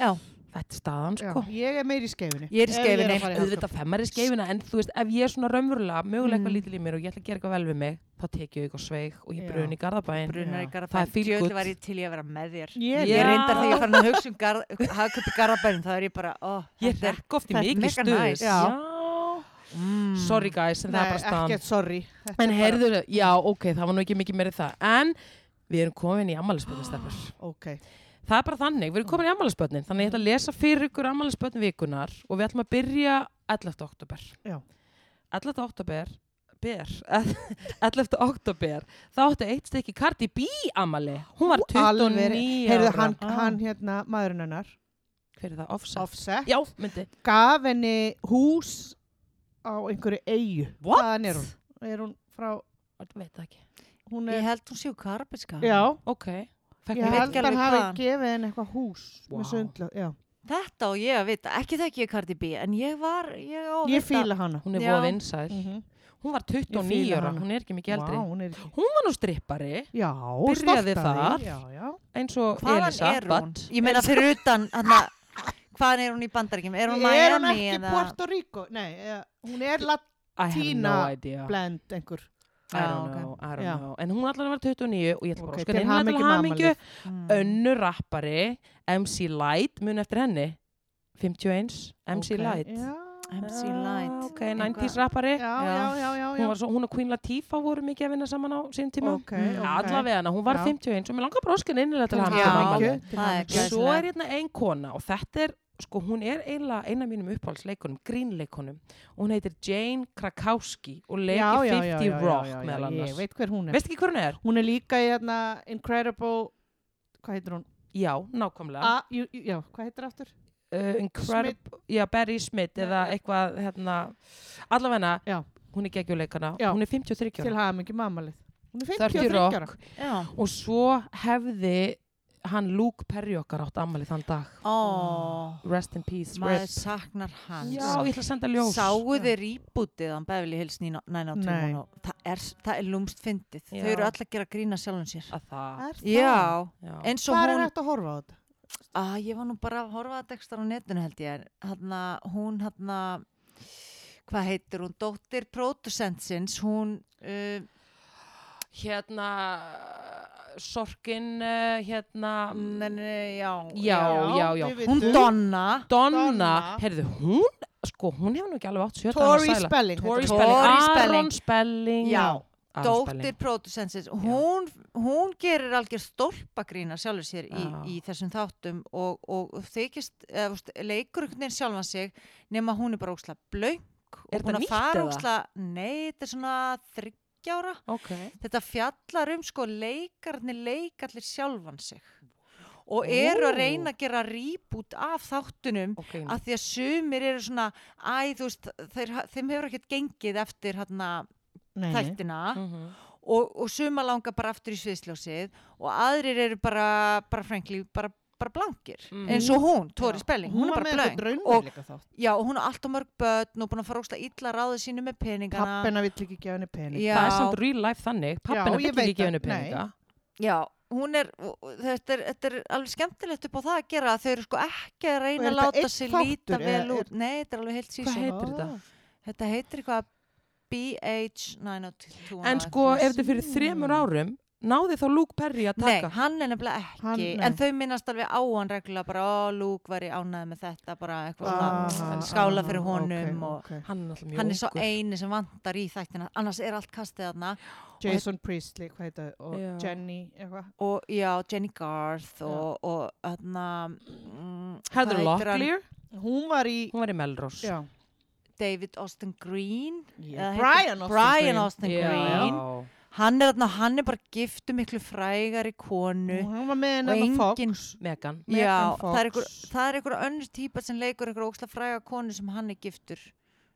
S3: Já,
S1: þetta er staðan,
S2: Já,
S1: sko
S2: Ég er meiri í skeifinni.
S3: Ég er í
S2: Ef
S3: skeifunni.
S2: að fara í hagkaup.
S1: auðvitað femmar í skeifina en þú veist, ef ég er svona raunverulega mögulega eitthvað
S3: Mm.
S1: lítil í mér og ég ætla að gera eitthvað vel við mig þá tekið ég eitthvað sveig og ég
S2: Já.
S1: brun í Garðabæin
S3: brunar í
S2: Já.
S1: Það
S3: Garðabæn,
S1: er feel good.
S3: djöðli var ég til ég að vera með þér.
S2: Ég
S3: Ég
S1: Já.
S3: reyndar þegar ég fann að hugsa um garð, hagkaup í Garðabæn, þá er ég bara, ó,
S1: ég
S3: þetta er,
S1: rekk oft í
S3: þetta er
S1: mikið
S3: mega
S1: stuð
S3: nice.
S1: já.
S2: Já.
S3: mm,
S1: sorry guys, en það er
S2: Nei,
S1: bara staðan
S2: ekkert sorry. Þetta
S1: en
S2: er bara-
S1: heyrðu, já ok, það var nú ekki mikið meiri það en við erum komin í ammælisbönnistefnur
S2: Ok.
S1: það er bara þannig, við erum komin í ammælisbönnin þannig ég ætla að lesa fyrir ykkur ammælisbönn vikunar og við ætlum að byrja 11. oktober
S2: Já.
S1: 11. oktober ber, 11. oktober þá átti eitt stykki Cardi B ammali, hún var 29
S2: Heyrðu,
S1: ára.
S2: hann,
S1: Ah.
S2: hann hérna, maðurinn hennar,
S1: hver er það, offset?
S2: Offset,
S1: já, myndi,
S2: gaf henni hús á einhverju eigu.
S1: What?
S2: Hvaðan er hún? Er hún frá,
S1: Ég veit það ekki
S2: hún
S3: ég
S2: er,
S3: held hún séu karpiska.
S2: já,
S1: ok, fekk
S2: ég
S1: mér
S3: veit
S2: held
S1: ekki
S3: ekki
S2: að hann
S3: alveg hvaðan.
S2: hafi gefið henni eitthvað hús
S1: Vá.
S2: með sundlöf, já.
S3: Þetta og ég að vita, ekki þekki ég Cardi B, en ég var, ég á að
S2: Ég
S3: vita.
S2: fíla hana.
S1: hún er
S3: Já.
S1: voða vinsæl,
S2: Mhm.
S1: hún var
S2: Ég
S1: 29
S2: fíla
S1: ára
S2: hana.
S1: hún er ekki mikið eldri,
S2: Vá, hún er ekki.
S1: hún var nú strippari
S2: Já,
S1: Byrjaði
S2: stolt af
S1: þar.
S2: því, Já, já.
S1: eins og
S3: Hvaðan
S1: Elisa
S3: er hún?
S1: but-
S3: Ég meina fyrir utan, hann hvaðan er hún í bandaríkjum? Er hún
S2: er hún
S3: Miami
S2: ekki
S3: eða?
S2: Puerto Rico? Nei, eh, hún er
S1: I have no
S2: Tina
S1: idea
S2: latblend einhver.
S1: I don't
S3: Já,
S1: know, I don't
S2: Já.
S1: know en hún allan var 29 og ég ætla bara
S2: Ok,
S1: að sko
S2: til
S1: henni
S2: hamingju
S1: til
S2: með
S1: hamingju
S3: Mm.
S1: önnu rappari, MC Light mun eftir henni 51, MC
S2: Ok,
S1: Light
S2: Já,
S3: MC
S1: Ah,
S3: Light.
S1: ok, 90s rappari
S2: já, já, já,
S1: hún,
S2: já, já.
S1: var svo, hún og Queen Latifah voru mikið að vinna saman á sín tíma
S2: Ok,
S3: Mm,
S2: ok.
S1: allavega hana, hún var
S2: Já.
S1: 51 og mér langar bróskin innilega til
S2: Til
S1: hann
S3: hamingju.
S2: hamingju,
S1: já,
S2: til
S3: Það
S2: hamingju.
S3: er glæsilegt.
S1: svo er hérna ein kona og þetta er, sko hún er eiginlega eina af mínum uppáhaldsleikunum, grínleikunum og hún heitir Jane Krakowski og leiki
S2: Já, já,
S1: 50
S2: já, já,
S1: Rock
S2: já, já,
S1: meðal
S2: Ég
S1: annars
S2: veit hver hún er.
S1: veist ekki hver hún er?
S2: Hún er líka í hérna Incredible, hvað heitir hún?
S1: Já, nákvæmlega
S2: A, jú, jú, já, hvað heitir aftur?
S1: uh, Incredible, já, Barry Smith
S2: Nei,
S1: eða
S2: já.
S1: eitthvað, hérna allavega
S2: Já.
S1: hún er geggjuleikana,
S2: Já.
S1: hún er 53
S2: Til
S1: ára
S2: hafa mikið mammalið. Hún er
S1: 30
S2: 53 ára.
S1: Rock
S3: Já.
S1: og svo hefði hann Luke Perry okkar átt ammali þann dag
S3: Ó,
S1: Rest in peace,
S3: maður
S1: rip
S3: saknar hans.
S1: Já, ég ætla að senda ljós
S3: Sáu þeir íbútið hann Beverly Hills oh- 902
S2: Nei.
S3: og það er, það er lúmst fyndið.
S1: Já.
S3: Þau eru öll að gera grína sjálfum sér.
S1: að það
S2: Er það?
S3: Já,
S1: já.
S3: eins og
S2: Hvað er
S3: hún,
S2: hægt að horfa á þetta?
S3: að Ah, ég var nú bara að horfa að dekstar á netinu held ég, hann hún hann hvað heitir hún, dóttir pródusentsins, hún, uh,
S1: hérna sorkin uh, hérna
S3: mm, en, eh, já,
S1: Já, já, já.
S2: við
S3: hún
S2: vitum.
S3: Donna,
S1: Donna,
S2: Donna.
S1: heyrðu hún sko hún hefur nú ekki alveg átt sjötta
S2: Tori
S1: annað sæla.
S2: Spelling.
S1: Tori
S2: heitir hún.
S1: Spelling,
S3: Tori
S1: Aron
S3: Spelling.
S1: Spelling
S3: Já,
S1: Aron
S3: dóttir
S1: Spelling.
S3: pródusentsins, hún, hún gerir algjör stólpagrína sjálfur sér í,
S1: Já.
S3: í þessum þáttum og, og þykist, eða, veist, leikur einhvern veginn sjálfan sig, nema hún er bara óksla blöng
S1: Er
S3: og
S1: þetta
S3: búin að
S1: nýtt
S3: fara
S1: eða?
S3: óksla, nei, þetta er svona þryggjára.
S1: ok
S3: þetta fjallar um sko leikarnir leikallir sjálfan sig og eru
S1: Ó.
S3: að reyna að gera rýbút af þáttunum
S1: ok
S3: að því að sumir eru svona æ, þú veist, þeir, ha- þeim hefur ekkert gengið eftir hérna
S2: Nei, Mm. nei.
S3: þættina
S1: Mhm.
S3: og, og suma langar bara aftur í sviðsljósið og aðrir eru bara, bara frankly, bara, bara blankir
S1: Mhm.
S3: eins og hún, Tóri
S2: Mm. Já.
S3: Spelling,
S2: Hún
S3: hún,
S2: var
S3: er
S2: með
S3: bara
S2: eitthvað
S3: blank og,
S2: draunveruleika þátt.
S3: já, og hún er allt á mörg börn og búin að fara ósla illa ráðu sínu með peningana
S2: Pappina vill ekki gefa henni pening.
S3: Já.
S1: það er samt real life þannig
S2: Já,
S1: pappina
S2: ég
S1: vill
S2: veit
S1: ekki gefa henni
S2: það, nei.
S1: peninga
S3: Já, hún er, og- og þetta er, þetta er alveg skemmtilegt upp á það að gera að þau eru sko ekki að
S2: Og
S3: reyna
S2: er
S3: að
S2: þetta
S3: láta
S2: einn
S3: sig
S2: þáttur
S3: líta
S2: eða
S3: vel
S2: er-
S3: út. Nei, þetta er alveg heilt
S1: hvað
S3: sísón.
S1: heitir þetta?
S3: Þetta heitir eitthvað BH902.
S1: en sko ef þetta er fyrir þremur árum náði þá Luke Perry að
S3: Nei,
S1: taka
S3: hann er nefnilega ekki,
S2: Hann- nei.
S3: en þau minnast alveg á hann reglulega bara, ó, Luke var í ánæði með þetta, bara eitthvað
S2: Aha,
S3: svona, skála fyrir
S2: ok,
S3: honum og
S2: ok.
S1: hann er náttúrulega mjög
S3: hann er svo
S1: ungur.
S3: eini sem vantar í þættina, annars er allt kastið þarna
S2: Jason Priestley, hvað heita, og
S1: Já.
S2: Jenny, eitthvað.
S3: og já, Jenny Garth og, og hérna mm,
S1: Heather
S3: hvað heitir hann?
S1: Locklear,
S2: Hún var í,
S1: hún var í Melrose
S2: já,
S3: David Austin Green eða
S2: yeah.
S3: heitir-
S2: Brian Austin
S3: Brian
S2: Green.
S3: Austin
S1: Já.
S3: Green. Hann, er, þarna- hann er bara giftu miklu frægari konu
S2: Hún var með
S3: og
S2: henni að
S3: engin
S1: Megan
S2: Megan
S3: Já,
S2: Fox.
S3: það er einhver, það er einhver önnur típa sem leikur einhver óksla fræga konu sem hann er giftur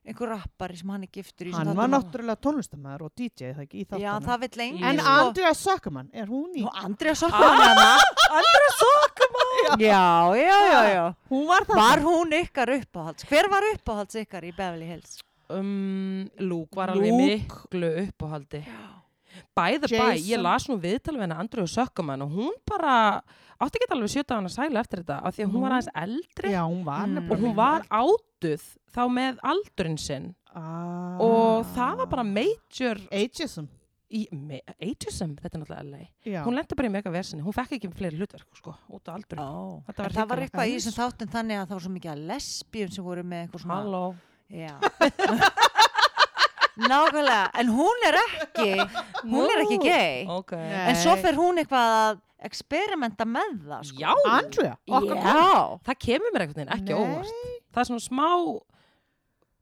S3: einhver rappari sem hann er giftur í
S2: Hann
S3: sem þarna-
S2: var náttúrulega tónlistamæður og DJ, það ekki, í
S3: Já,
S2: þáttunum.
S3: það vill lengi
S2: En
S1: Jú.
S2: Andrea Sökkumann, er hún í?
S3: Og Andrea Sorkman hana
S1: Andra
S3: Já, já, já, já
S2: Hún var það.
S3: Var hún ykkar uppáhalds? Hver var uppáhalds ykkar í Beverly Hills?
S1: um, Luke var alveg
S2: Luke.
S1: miklu uppáhaldi by the by, ég
S2: Jason.
S1: las nú viðtal við henni Andrið og Sökkumann og hún bara átti ekki alveg sjöta hana sæla eftir þetta af því að hún
S3: Mhm.
S1: var aðeins eldri
S2: Já, hún var
S3: Mm.
S1: og
S2: nefnilega.
S1: hún var átuð þá með aldurinn sinn
S2: Ah.
S1: og það var bara major
S2: Ageism.
S1: í, me, ageism, þetta er náttúrulega LA
S2: Já.
S1: hún lendi bara í mega vesinni, hún fekk ekki fleiri hlutverk sko, út á aldurinn
S3: Oh.
S1: Þetta var
S3: Var það var
S1: hrikalegt.
S3: eitthvað í þessum þáttum þannig að það var svo mikið að lesbíum sem voru með eitthvað svona
S1: Halló,
S3: Já Nákvæmlega, en hún er ekki hún er ekki
S1: Nú.
S3: gay
S1: ok
S3: en svo fer hún eitthvað að experimenta með það sko.
S1: Já,
S2: Andrea, okkar kona.
S3: Já,
S1: það kemur mér einhvern veginn, ekki
S2: Nei.
S1: óvart það er svona smá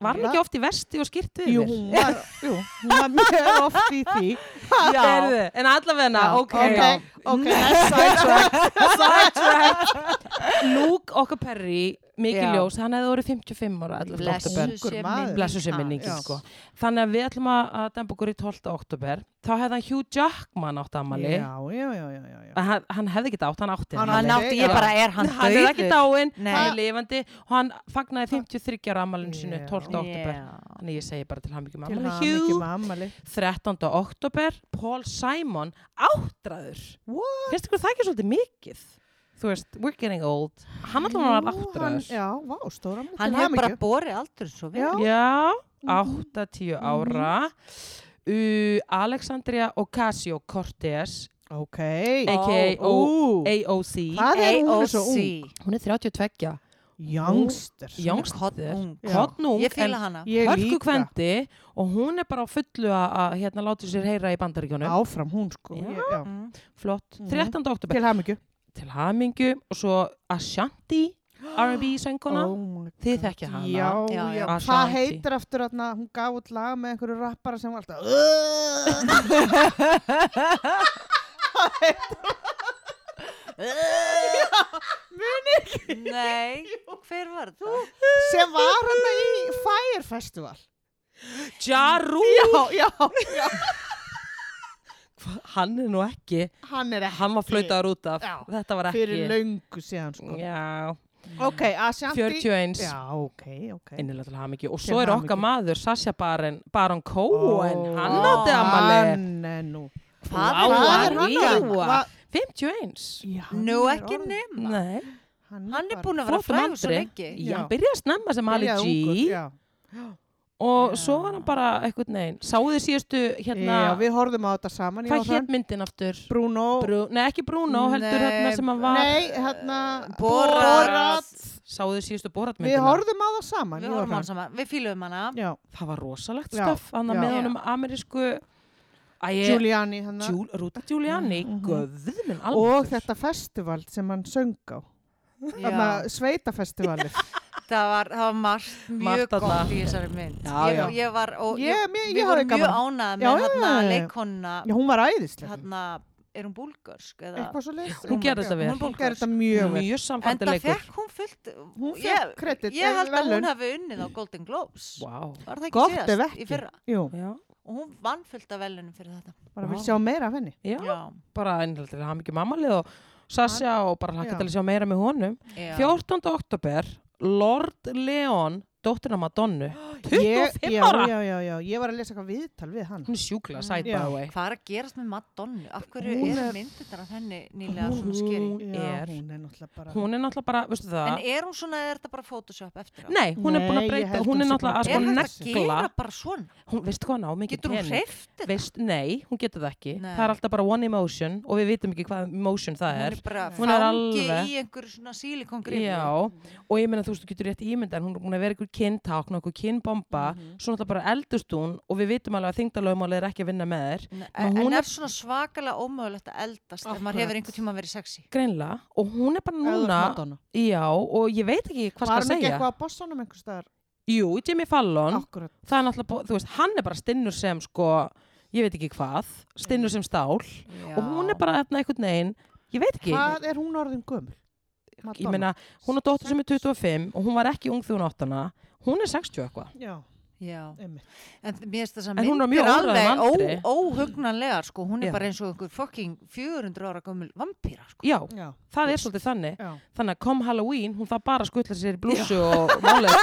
S1: var hann
S2: Va-
S1: ekki oft í vesti og skýrt við
S2: Jú, hún var, jú, hún var mjög oft í því.
S1: Heyrðu, en allavegna, ok, okay.
S2: Ok, ok, sidetrack.
S1: Luke okkar Perry, mikið
S3: Já.
S1: ljós hann hefði orðið 55 ára 11.
S3: blessu
S1: oktober
S2: Ungur
S3: sé
S2: maður.
S3: minning
S1: blessu sem
S3: hans.
S1: minningin
S2: Já.
S1: sko þannig að við ætlum að að dempa okkur í 12. oktober þá hefði hann Hugh Jackman átt amali
S2: Já, já, já, já, já, já.
S1: En hann, hann hefði ekki átt, hann átti
S2: Hann
S1: hann,
S3: Hann átti ég
S2: Já.
S3: bara, er hann
S1: hann er ekki dáinn,
S3: Nei.
S1: hann er lifandi og hann fagnaði 53 ára amalinu sinu
S2: Já.
S1: 12. oktober
S3: Yeah.
S1: þannig ég segi bara til hann mikið
S2: Til
S1: mamma
S2: hann ekki
S1: Hugh,
S2: með ammali.
S1: 13. oktober Paul Simon, áttræður
S2: What?
S1: finnst ykkur það ekki svolítið mikið þú veist, we're getting old hann alltaf var
S2: Jú,
S1: áttræður
S2: hann- Já, vá, stóra mikið.
S3: Hann hefur bara borið aldur svo vel
S2: Já. Mhm.
S1: Já, 80 ára uh, Alexandria Ocasio-Cortez
S2: Ok.
S1: aka
S2: Ó.
S1: AOC
S2: Hvað er hún er svo
S3: AOC
S2: ung?
S1: Hún er 32
S2: Youngster.
S1: Youngster
S3: Koddung.
S2: Já.
S1: Kottnung
S3: Ég fíla hana
S2: Ég
S1: Hörku
S2: líka.
S1: kvendi og hún er bara á fullu að- að hérna láti sér heyra í bandaríkjónum
S2: Áfram hún, sko.
S1: Já.
S2: Ég- já.
S3: Mm.
S1: Flott,
S2: Mhm.
S1: 13. oktober
S2: Til hamingju.
S1: Til hamingju og svo Ashanti R&B sönguna
S2: Oh my
S1: Þið
S2: God.
S1: þekkja hana.
S2: Já, já,
S3: Já, já.
S2: Hvað
S1: Ashanti.
S2: heitir aftur þarna, hún gaf út lag með einhverju rappara sem var alltaf Hvað heitir Muni
S3: Nei, hver var það?
S2: sem var hann í Fire Festival
S1: Jaru,
S2: Já, já, já
S1: hann er nú ekki
S2: Hann er ekki
S1: Hann var flautaður út af
S2: Já.
S1: Þetta var
S2: Fyrir
S1: ekki
S2: löngu síðan sko
S1: Já,
S2: Ok, Ashanti
S1: 41
S2: Já, ok, ok
S1: innilega til hamingju og
S2: Til
S1: svo er
S2: hamingju.
S1: okkar maður Sasha Baron, Baron Cohen
S2: Ó,
S1: hann átti amali
S2: Hann er nú
S1: Hvað
S2: Hvað
S1: Vá,
S2: er hann
S1: já.
S2: að- Hvað-
S1: 51
S2: Já,
S3: Nú
S2: hann er
S3: ekki
S2: orðinn-
S3: nefna
S1: Nei,
S3: Hann er
S2: bara-
S3: búin að vera
S1: flottum
S3: frægur svo
S1: aldri
S3: lengi
S1: Já,
S2: Já.
S1: hann byrjaði að snemma sem Ali
S2: byrjaði ungur,
S1: G
S2: já.
S1: og
S3: Já.
S1: svo var hann bara eitthvað neginn sáu þið síðustu hérna
S2: Já, við horfðum á þetta saman ég
S1: hvað
S2: og hann.
S1: hétt myndin aftur?
S2: Bruno
S1: Brú, nei, ekki Bruno, heldur
S3: Nei,
S1: hérna sem hann var
S2: Nei, hérna
S3: Borat.
S1: sáu þið síðustu
S2: Við
S1: boratmyndina
S2: horfðum á það saman
S3: Við
S2: ég og
S3: horfum
S2: hann.
S3: á hann saman, við fýlum hana
S2: Já,
S1: það var rosalegt
S2: Já,
S1: stöf hann
S2: já.
S1: með
S3: Já.
S1: honum amerísku Æ,
S2: Giuliani hann
S1: Júl, Rúta Giuliani
S2: Mhm.
S1: göfðu minn alveg
S2: Og þetta festival sem hann söng á Þarna
S3: Já.
S2: sveitafestivalið
S3: Það var, það var margt mjög
S1: Margt þarna.
S3: gott í þessari mynd.
S1: Já,
S3: ég,
S1: já.
S3: ég var, og
S2: Ég, mér,
S3: við
S2: ég hafði
S3: vorum mjög
S2: gaman
S3: ánað
S2: Já,
S3: með
S2: já,
S3: hérna
S2: já, já.
S3: leikonna,
S2: Já, Hún var æðislega
S3: hérna, er hún búlgörsk eða?
S2: Eitthvað svo leys
S1: Hún gerði þetta vel.
S2: Hún gerði þetta mjög vel
S1: mjög
S3: En það
S1: samfændilegur
S3: fekk hún fullt,
S2: Hún
S3: ég,
S2: fekk kredit
S3: ég held að
S2: velun.
S3: hún hafi unnið á Golden Globes.
S1: wow.
S3: Var það ekki
S2: Gott ef
S3: síðast
S2: ekki
S3: í fyrra?
S2: Jú,
S1: Já.
S3: og hún vann fullt af velunum fyrir þetta
S2: bara
S1: Vá.
S2: vil sjá meira af henni
S1: Já, bara ennilega hann ekki mammalið og Sasja og bara hann
S2: Já.
S1: getur að sjá meira með honum.
S3: Já.
S1: 14. oktober, Lord Leon, dóttirna Madonnu, 25
S2: ég, já,
S1: ára.
S2: já, já, já, ég var að lesa eitthvað viðtal við hann
S1: Hún er sjúkla, sæt by
S2: Já.
S1: the way.
S3: Hvað er að gerast með Madonnu? Af hverju
S2: Hún
S3: eru
S2: er-
S3: myndirnar af henni nýlega svona skeri?
S1: Hún
S2: já,
S1: er,
S2: hún er náttúrulega bara
S1: hún er náttúrulega bara, veistu það,
S3: En er hún svona, er þetta bara Photoshop eftir á?
S1: Nei, hún er búin að
S2: Nei, ég
S1: breyta,
S2: held
S1: hún er
S2: hún sé
S1: náttúrulega
S2: bara
S1: að
S3: Er
S1: sko
S2: búin
S3: hægt að
S1: negla,
S3: gera bara svona?
S1: hún, veistu hvað hún á mikið
S3: Getur hún
S1: pening?
S3: hreift þetta?
S1: Veist, nei, hún getur það ekki,
S3: Nei.
S1: það er alltaf bara one emotion og við vitum ekki hvað emotion það
S3: Hún
S1: er.
S3: er bara
S1: Hún er alveg-
S3: fangi í einhverju svona sílikongrifu.
S1: Já, og ég meina þú veist, þú getur rétt ímynda en hún er búin að vera ykkur kinntákn og ykkur kinnbomba,
S2: Mm. Mhm.
S1: svo náttúrulega bara eldust hún og við vitum alveg að þingdalögumáli er ekki að vinna með þér,
S3: En,
S1: En hún
S3: en
S1: er-
S3: er svona svakalega ómögulegt að eldast ef maður
S2: Akkurat.
S3: hefur einhvern tíma verið sexy.
S1: greinlega, og hún er bara
S2: Eða
S1: núna,
S2: Madonna.
S1: já, og ég veit ekki hvað
S2: var
S1: skal
S2: hann ekki
S1: segja.
S2: eitthvað á bossonum einhvers staðar
S1: Jú, Jimmy Fallon,
S2: akkurat
S1: það er náttúrulega, bú- þú veist, hann er bara stinnur sem sko, ég veit ekki hvað, stinnur
S2: Mm.
S1: sem stál
S3: Já.
S1: og hún er bara þarna einhvern veginn, ég veit ekki,
S2: hvað er hún orðin gömul
S1: ég meina, hún er dóttur sem er 25 og hún var ekki ung þegar hún átt hana, hún er 60 eitthvað.
S2: já,
S3: Já.
S2: einmitt
S3: En mér finnst þess að
S1: En hún er á
S3: myndir
S1: mjög óræðum aldri.
S3: alveg ó, óhugnanlegar, sko. Hún er
S1: Já.
S3: bara eins og einhver fucking 400 ára gömul vampýra, sko.
S1: Já,
S2: já,
S1: það er svolítið þannig.
S2: já,
S1: Þannig að kom Halloween, hún þarf bara að skutla sér í blússu og málið.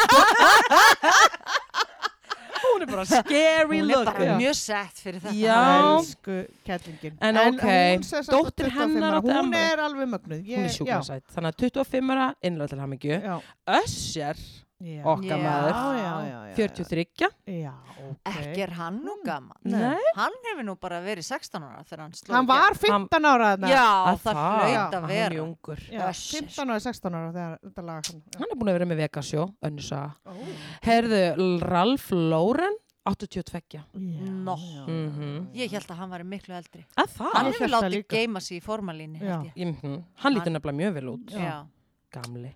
S1: hún er bara scary
S3: Hún er
S1: look.
S3: bara
S2: Já.
S3: mjög sett fyrir þetta.
S1: Já.
S2: elsku kettlingin
S1: En ok,
S2: hún sem sagt
S1: dóttir
S2: 25
S1: hennar
S2: ára,
S1: átti
S2: hún
S1: afmæli.
S2: er alveg mögnuð ég,
S1: Hún er
S2: já,
S1: sjúkvæmsætt. Þannig að 25 ára innlega til hamingju.
S2: já,
S1: Össjar,
S2: já.
S1: okkar
S3: Já.
S1: maður,
S2: já, já, já, já,
S1: 43.
S2: já, ok
S3: Ekki er hann nú gaman.
S2: Nei.
S3: Hann hefur nú bara verið 16 ára þegar hann sló
S2: hann
S3: í gegn.
S2: var 15 ára þarna
S3: Já,
S1: Að
S3: það
S1: það-
S3: hlaut
S2: Já,
S3: að
S1: Hann er
S3: vera.
S1: jungur.
S2: Já,
S3: Öss.
S2: 15 ára, 16 ára þegar þetta lag kom. Já.
S1: Hann er búin að vera með Vegasjó, önnusa.
S2: Ó.
S1: Herðu, Ralf Lauren, 82.
S3: Nó.
S2: Já, Mm-hmm.
S1: Mhm.
S3: Ég held að hann var miklu eldri.
S1: Að
S3: Hann
S1: það?
S2: Ah. Ég
S3: hefur
S2: hélt það
S3: látið
S2: líka.
S3: geima sig í formalínu, held ég.
S1: Mm Hann lítur nefnilega mjög vel út.
S3: Já.
S1: Gamli.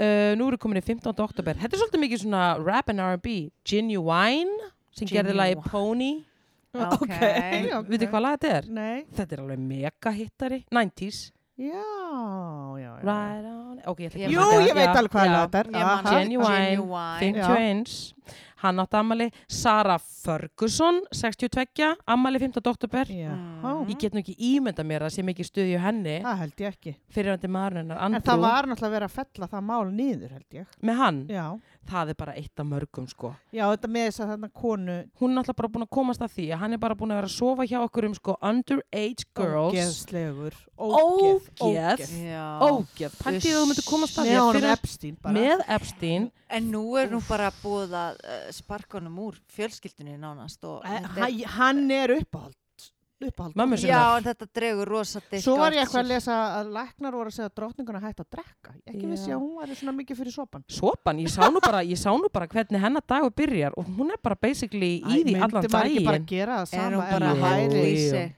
S1: Uh, nú eru komin í 15. oktober. Þetta er svolítið mikið svona rap and R&B. Genuine, sem gerði lagi
S3: Genuine.
S1: Pony.
S3: Ok.
S2: Já,
S1: Okay. Vitið hvað lag þetta er?
S2: Nei,
S1: Þetta er alveg mega hittari. 90s.
S2: já, já, já.
S1: Right on. Ok, ég ætla ekki
S3: Ég
S2: Jú,
S1: að
S2: ég veit alveg hvað
S1: Já.
S2: lag þetta er.
S3: Ég man
S2: Aha.
S3: Genuine.
S1: Genuine,
S3: Genuine.
S1: 51 hann átt ammali, Sara Ferguson 62, ammali 15. oktober
S2: Já,
S3: Mhm.
S1: ég get nú ekki ímynda mér að sé mikið stuði á henni
S2: það held ég ekki.
S1: fyrir hundi maðurinnar
S2: En það
S1: Andrew
S2: var náttúrulega verið að fella það mál niður, held ég.
S1: með hann,
S2: Já,
S1: það er bara eitt af mörgum sko.
S2: já þetta með þess að þarna konu
S1: hún er alltaf bara búin að komast að því að hann er bara búin að vera að sofa hjá okkur um sko, underage girls
S2: ógeðslegur.
S1: Ógeð.
S3: Já.
S2: Oh.
S1: ógeð, pæntið að þú myndir komast að því
S2: Með
S1: að
S2: honum
S1: fyrir,
S2: Epstein bara.
S1: með Epstein
S3: En nú er nú bara búið að uh, sparka honum úr fjölskyldunni nánast og
S2: Eh,
S3: þetta er-
S2: hæ- Hann er uppáhald. Uppáhald.
S1: Mömmu sinnar.
S3: Já, en þetta dregur rosa dilk
S2: Svo var
S3: á
S2: ég eitthvað að
S3: sér.
S2: lesa að læknar voru að segja að drottninguna hætti að drekka. Ég ekki
S1: Já.
S2: vissi að hún var svona mikið fyrir sopan.
S1: Svopan, ég sá, nú bara, ég sá nú bara hvernig hennar dagur byrjar og hún er bara basically í því allan
S2: Myndi maður ekki bara
S1: daginn.
S2: gera það
S3: Er
S2: sama
S3: hún
S2: ef
S3: bara
S1: Jú,
S2: maður
S3: hæri í
S1: jú.
S3: sig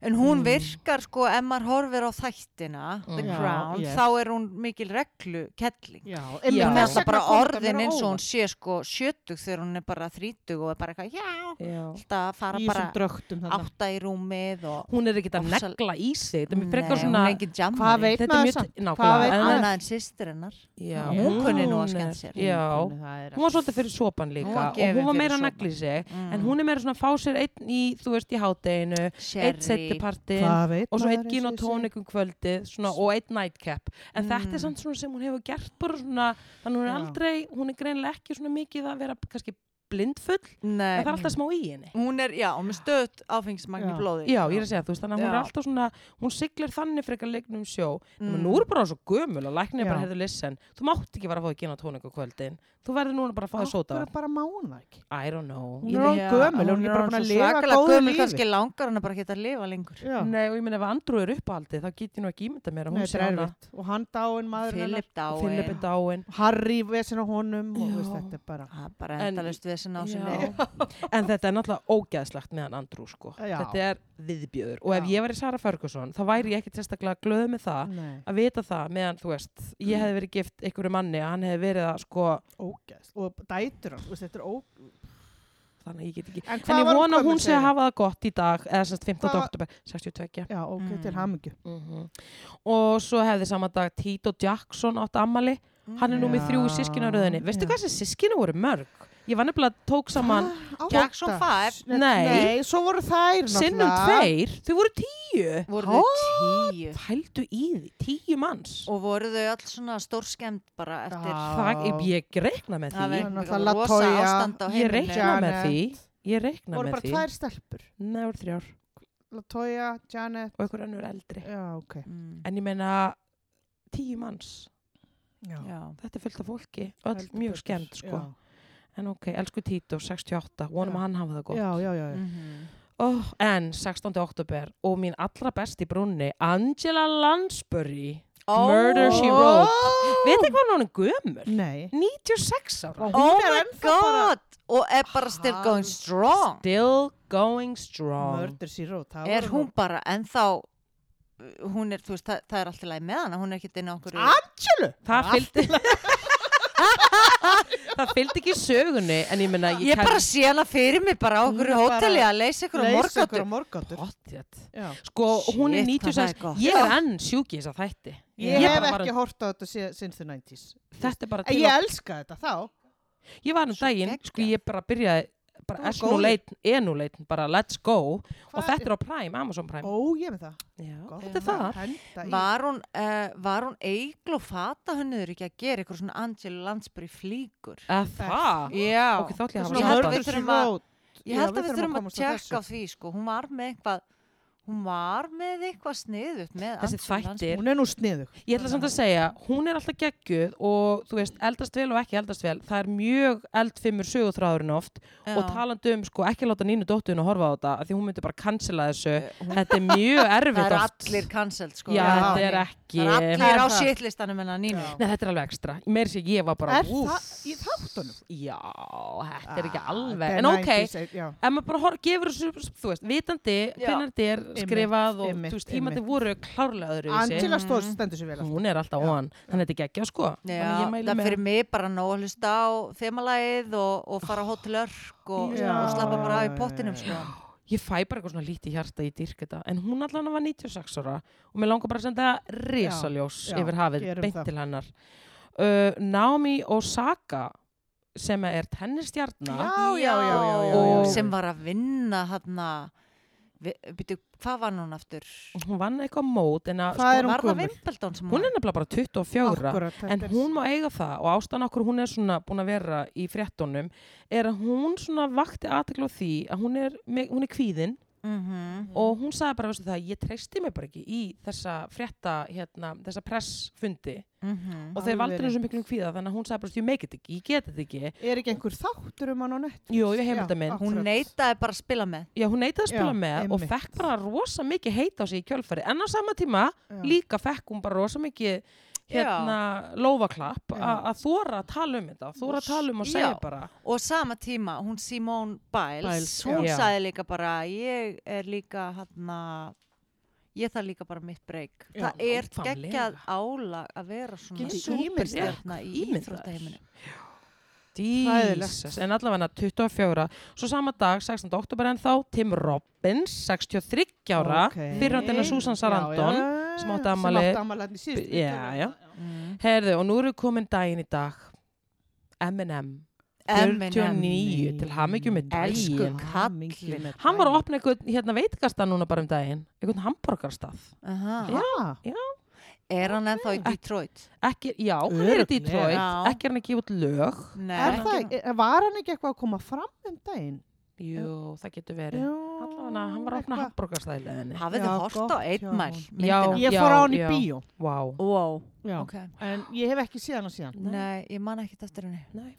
S3: En hún
S1: Mm.
S3: virkar sko, ef maður horfir á þættina, The
S1: Mm.
S2: Já,
S3: Crown,
S2: yes.
S3: þá er hún mikil reglu kettling.
S2: Já,
S1: Já.
S3: Mér
S1: Þess
S3: finnst það bara orðin eins og hún
S2: svona
S3: sé sko sjötug þegar hún er bara þrítug og er bara eitthvað, já,
S1: Já.
S3: alltaf að fara
S2: í þessum
S3: bara
S2: drögtum þarna.
S3: átta í rúmið og
S1: hún er ekkert að
S3: Ofsal-
S1: negla í sig þetta er mér
S3: Nei,
S1: frekar
S3: hún
S1: svona
S3: er engin jammari.
S2: Hvað veit
S1: þetta er
S2: maður
S1: mjög
S2: samt? Hvað
S1: nákvæmlega
S2: veit
S1: en-
S3: Annað en sýstir hennar.
S1: já,
S2: Hún
S3: kunni nú
S1: hún
S3: að skemmta
S1: er-
S3: sér.
S1: já,
S2: Það er
S1: hún var svolítið fyrir sopan líka
S3: Hún var
S1: og hún
S3: gefin
S1: var
S3: fyrir
S1: meira að
S3: sopann.
S1: negla í sig
S3: Mm.
S1: en hún er meira svona að fá sér einn í þú veist í hátteginu einn
S3: Sherry.
S1: setjupartin
S2: Hvað veit
S1: og svo
S2: maður
S1: einn gin
S2: eins
S1: og
S2: ég segi?
S1: tónik um kvöldið svona, og einn nightcap en þetta
S3: Mm.
S1: er samt svona sem hún hefur gert bara svona þannig hún er
S2: Já.
S1: aldrei, hún er greinilega ekki svona mikið að vera kannski blindfull en
S3: Nei,
S1: það er alltaf smá í henni
S3: hún er, já, hún er stöðt áfengismagn í
S2: Já.
S3: blóði.
S1: Já, ég er að segja, þú veist, þannig að hún er
S3: Já.
S1: alltaf svona, hún siglir þannig frekar leiknum sjó, mm.
S3: Mm.
S1: nú er bara svo gömul að læknir bara
S2: Já.
S1: hefði listen, þú mátt ekki bara að fá ekki inn á tónik á kvöldin, þú verður núna bara að fá þér sóta,
S2: Akkur bara má hún það ekki.
S1: I don't know,
S2: Hún er orðin
S3: Já,
S2: gömul, hún er bara búin
S3: orðin
S2: að
S3: svo
S2: lifa
S3: svakalega
S2: góðu
S3: gömul,
S2: lífi.
S3: kannski langar hann bara ekki að lifa lengur.
S2: Já. Nei,
S1: nei og ég meina ef Andrew er uppáhaldið, þá get ég nú ekki ímynda mér að hún
S2: þetta
S1: sé
S2: er
S1: hana,
S2: erfitt. Og hann dáin, maður hennar,
S3: Philip dáin.
S1: Philip er dáin,
S2: Harry vesen á honum og
S1: Já.
S2: veist, þetta er bara.
S3: Það er bara
S1: En-
S3: endalust við þessi
S1: Já.
S3: násinni.
S1: en þetta er náttúrulega ógæðslegt með hann Andrew sko,
S2: Já.
S1: þetta er viðbjöður og ef
S2: Já. Mm.
S1: ég væri Sara Ferguson, þá væri ég ekkit sérstaklega glöð með það
S2: Nei,
S1: að vita það meðan, þú veist,
S2: Mm.
S1: ég hefði verið gift einhverju manni að hann hefði verið að sko,
S2: ógæðs. Og dætur hann, veist, þetta er ógæðs.
S1: þannig að ég get ekki
S2: En,
S1: En
S2: hvað
S1: ég
S2: var
S1: vona að
S2: gömul,
S1: hún sé að
S2: segirðu?
S1: hafa það gott í dag, eða semst 15.
S2: Hvað Mhm. var-
S1: oktober, 62.
S2: Já, ok, til
S3: Mm.
S2: hamingju.
S1: Og svo hefði saman dag Tito Jackson átt ammali, hann er
S2: nú
S1: númið
S2: Mm. Já.
S1: þrjú í sískinaröðinni. Veistu
S2: Já.
S1: hvað þessi sískinu voru mörg? Ég var nefnilega tók saman
S2: Ah,
S3: Jackson
S2: átta.
S3: Five.
S2: Nei,
S1: Nei.
S2: Nei, svo voru þær
S1: sinnum
S2: náttúrulega.
S1: tveir, þau voru tíu.
S3: voru þau tíu
S1: Pældu í því, tíu manns.
S3: og voru þau alls svona stórskemd bara eftir
S2: Já.
S1: það, ég, ég reikna með
S3: það
S1: því.
S3: var
S2: Náttúrulega
S3: einhver rosa
S2: Latoya.
S3: ástand á
S1: Ég
S3: heimilinu
S1: reikna með
S2: Janet.
S1: því. Ég reikna
S2: Voru
S1: með
S2: bara
S1: því.
S2: tvær stelpur.
S1: Nei, það voru þrjár.
S2: Latoya, Janet.
S1: Og einhver önnur eldri.
S2: Já, ok.
S3: Mm,
S1: En ég meina, tíu manns.
S2: Já.
S3: já.
S1: Þetta er fullt af fólki. Öll
S2: Heldur
S1: mjög
S2: betur.
S1: skemmt, sko.
S2: Já.
S1: En ok, elsku Tito, 68. Vonum
S2: Já.
S1: að hann hafa það gott.
S2: Já, já, já. já.
S3: Mhm.
S1: Oh, en 16. oktober og mín allra besti brúnni Angela Lansbury Murder,
S3: Oh,
S1: She Wrote. Veit ekki hvað hún er
S3: Mm.
S1: gömur?
S2: Nei.
S1: 96 ára
S2: Og
S3: Oh
S2: hún er
S3: my
S2: ennþá bara-
S3: god og er bara still going strong
S1: Still going strong
S2: Murder She Wrote. það
S3: er
S2: voru
S3: hún
S2: nú-
S3: bara ennþá uh, hún er, þú veist, það, það er alltaf læg með hana hún er ekkert inn á okkur
S2: Ah, Angelu!
S1: Það fylgdi Það fylgdi ekki sögunni en ég meina
S3: ég bara sé hana fyrir mig bara á
S2: Hún
S3: okkur
S2: er bara-
S3: hóteli að leysa ykkur á
S2: Leys ykkur á
S3: morgáttu
S2: morgáttur.
S1: Pottet.
S2: Já.
S1: Sko hún er
S3: Shit, hvað það er
S1: 96
S3: gott.
S1: Ég er enn sjúki þess að þætti
S2: Ég,
S1: Ég
S2: hef
S1: bara var-
S2: ekki hort á þetta sé- since the 90s.
S1: Þetta er bara
S2: En
S1: til
S2: ég elska þetta þá.
S1: að- Ég var um daginn Sko
S3: geggjað.
S1: ég bara byrjaði bara
S2: Þú var
S1: enúleitn, enúleitn, bara let's go og
S2: Hvað
S1: þetta er á Prime, Amazon Prime
S2: Ó, ég er með það.
S1: Já,
S2: Gott.
S1: þetta er það
S2: Henda í.
S3: var hún, uh, var hún eigl og fata henniður ekki að gera ykkur svona Angela Landsbury flíkur
S1: Að það?
S3: já,
S1: Ok, þá ætlum ég að
S3: Svona
S1: hafa
S2: Svona
S3: held
S1: samband.
S3: að við
S2: Murder She
S3: þurfum að-
S2: Wrote.
S3: ég held
S2: Já,
S3: að við þurfum að
S2: komast að
S3: tjekka á
S2: þessu.
S3: því sko, hún var með eitthvað hún var með eitthvað sniðut með
S1: Þessi
S3: Angela
S1: þættir.
S2: Hún er nú sniðug.
S1: Ég ætla samt að segja, hún er alltaf geggjuð og þú veist, eldast vel og ekki eldast vel það er mjög eldfimur sögutráðurinn oft
S3: Lansbury.
S1: og
S3: Já.
S1: talandi um sko ekki láta nínu dóttuðin að horfa á þetta af því hún myndi bara cancela þessu
S3: Eh, Hún-
S1: þetta er mjög erfitt
S3: það er
S1: oft
S3: allir cancelled sko
S1: já,
S2: Já.
S1: þetta er ekki
S3: það er
S2: Það
S3: allir
S2: er
S3: á
S2: það.
S3: shitlistanum en að nínu
S2: Já.
S1: Nei, þetta er alveg ekstra, meir sér ég var bara
S2: Er
S1: úff,
S2: það í þáttunum?
S1: já, þetta er ekki
S2: Ah,
S1: alveg,
S2: þetta er
S1: en ok
S2: 90s, eh, já.
S1: ef maður bara hor, gefur þessu, þú veist, vitandi
S3: Já.
S1: hvernig þetta er skrifað og
S2: einmitt,
S1: þú veist, tímandi
S2: einmitt.
S1: voru klárlega öðru
S2: Angela
S3: Mm.
S2: Stór stendur sér vel alltaf.
S1: hún er alltaf
S2: Já.
S1: on, þannig að þetta er geggjað sko Þannig að
S3: Já,
S1: ég mæli
S3: það
S1: með-
S3: fyrir mig bara nóg að hlusta á þemalæð og, og fara á hótel örk og,
S2: Já.
S3: og slappa bara á í
S2: Já,
S3: pottinum
S2: já,
S3: sko.
S1: ég fæ bara eitthvað svona lítið hjarta í dyrk þetta en hún allan var 96 ára og mér langar bara að senda risaljós
S2: Já, já,
S1: yfir hafið,
S2: gerum
S1: beint
S2: það.
S1: til hennar uh, Naomi Osaka sem er tennistjarnar
S2: Já, já, já, já, já, já,
S1: Og-
S2: já.
S3: sem var að vinna hann að hvað var hún aftur?
S1: hún vann eitthvað mót en að, sko,
S2: Hvað er hún
S3: var það
S2: gömul?
S3: Wimbledon sem
S1: hún er nefnilega bara 24
S2: Akkúrat, þetta
S1: en
S2: er-
S1: hún má eiga það og ástæðan okkur hún er svona búin að vera í fréttunum er að hún svona vakti aðtekla á því að hún er, með- hún er kvíðin
S3: Mhm.
S2: Mm.
S1: og hún sagði bara veistu það, ég treysti mig bara ekki í þessa frétta hérna, þessa pressfundi
S3: Mhm.
S1: og þeir valdur
S2: Alveg
S1: henni svo miklum kvíða þannig að hún sagði bara "Þú, ég make it ekki, ég get þetta ekki
S2: Er ekki einhver þáttur um hann á nett?
S1: Jú, ég hef þetta mynd.
S3: hún neitaði bara að spila með
S1: já, hún neitaði að spila
S2: Já,
S1: með
S2: einmitt.
S1: og fekk bara rosa mikið heita á sig í kjölfari en á sama tíma líka fekk hún bara rosa mikið hérna lófaklapp
S2: Já.
S1: a- að þóra að tala um þetta þóra að tala um og
S3: Já.
S1: segja bara
S3: og sama tíma, hún Simone Biles,
S2: Biles,
S3: hún
S1: já.
S3: sagði líka bara ég er líka hann að ég þarf líka bara mitt breyk
S2: Já,
S3: það er
S1: nákvæmlega.
S3: geggjað álag að vera svona
S2: Getur
S3: superstjarna í
S1: ímyndað þér.
S3: íþróttaheiminum
S2: Hræðilegt.
S1: Jesus, en allavega 24 svo sama dag, 16. oktober en þá Tim Robbins, 63 ára okay. fyrirhandina Susan Sarandon sem átti afmæli-
S2: Sem átti ammali hann í síðust.
S1: Já, já.
S3: mm.
S1: herðu, og nú eru komin daginn í dag Eminem 49 til hamingju með
S3: Elsku
S1: daginn
S3: kallinn.
S1: Hann var að opna einhvern hérna, veitingastað núna bara um daginn, einhvern hamburgarstað.
S3: Aha.
S2: Já,
S3: er hann ennþá í Detroit
S1: Ekki, já, hann er í
S2: Örugglega.
S1: Detroit,
S3: Já.
S1: ekki er hann ekki út lög.
S2: er
S3: Nei.
S2: það, er- var hann ekki eitthvað að koma fram um daginn?
S1: Jú, það getur verið.
S2: Já,
S1: Allavega, hann var að opna
S2: eitthvað.
S1: hamburgarstað í leðinni.
S3: hafið
S2: Já,
S3: þið hort
S2: gott
S3: á
S2: hjá
S3: 8 mile
S2: honum.
S3: myndina?
S1: Já.
S2: Ég fór á hann í bíó,
S1: Vá.
S3: wow.
S2: Já.
S3: ok
S2: en ég hef ekki séð hann síðan.
S3: Nei, ég man ekki eftir henni
S1: Nei.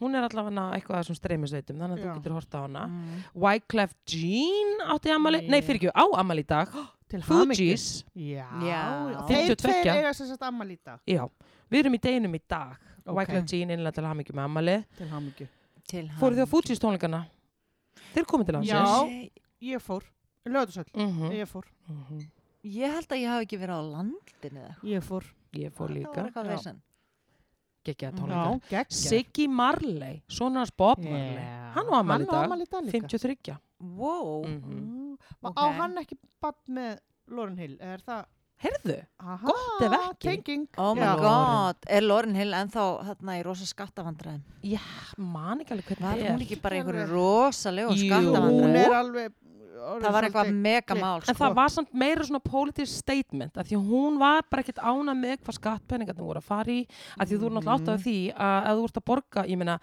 S1: Hún er allavega eitthvað af þessum streymisveitum, þannig að
S2: Já.
S1: þú getur horta á hana.
S3: mm.
S1: Wyclef Jean átti amali,
S2: Nei.
S1: nei fyrir ekki, á amali í dag.
S2: Til hamingju.
S1: Fugees,
S2: Já,
S3: Já.
S2: þeir
S1: 52.
S2: tveir eiga sem sagt ammali í dag.
S1: já, við erum í deginum í dag.
S2: Ok.
S1: Wyclef Jean innlega til hamingju með amali.
S2: Til hamingju.
S3: til hann
S1: Fóruð þið á Fugees tónleikana? Þeir komið til Mhm. hans.
S2: Já. Ég fór, löðusöll,
S1: Mm.
S2: ég fór.
S3: ég held að ég hafi ekki verið á landinu eða eitthvað.
S2: Ég fór.
S1: Ég fór
S3: það var
S1: líka,
S3: eitthvað
S2: Já.
S3: vesen
S1: gekkja
S2: Já,
S1: tónleika.
S2: geggjað.
S1: Siggi Marley, sonur hans Bob
S2: Já.
S1: Marley. Hann á afmæli í dag,
S2: afmæli í dag líka.
S1: 53.
S3: wow.
S1: Mhm.
S2: Mm.
S3: Ok.
S2: Á hann ekki bann með Lauren Hill, er það
S1: heyrðu,
S2: Aha,
S1: Gott ef ekki.
S2: Tenging.
S3: Oh my
S2: Já.
S1: Lauren.
S3: god, er Lauren Hill ennþá hérna í rosa skattavandræðum?
S1: já, man ekki alveg
S3: Var
S1: hvernig það
S3: hún
S1: er
S3: ekki bara í einhverju
S2: Alveg.
S3: rosalegu
S1: Jú.
S2: Hún
S3: skattavandræðum?
S2: er alveg... orðin
S3: Það var eitthvað
S2: svolítið-
S3: mega mál,
S1: En
S3: sko.
S1: það var samt meira svona politisk statement af því að hún var bara ekkert ána með hvað skattpeningarnir voru að fara í af því að þú eru
S3: Mhm.
S1: náttúrulega átt af því að ef þú ert að borga ég meina,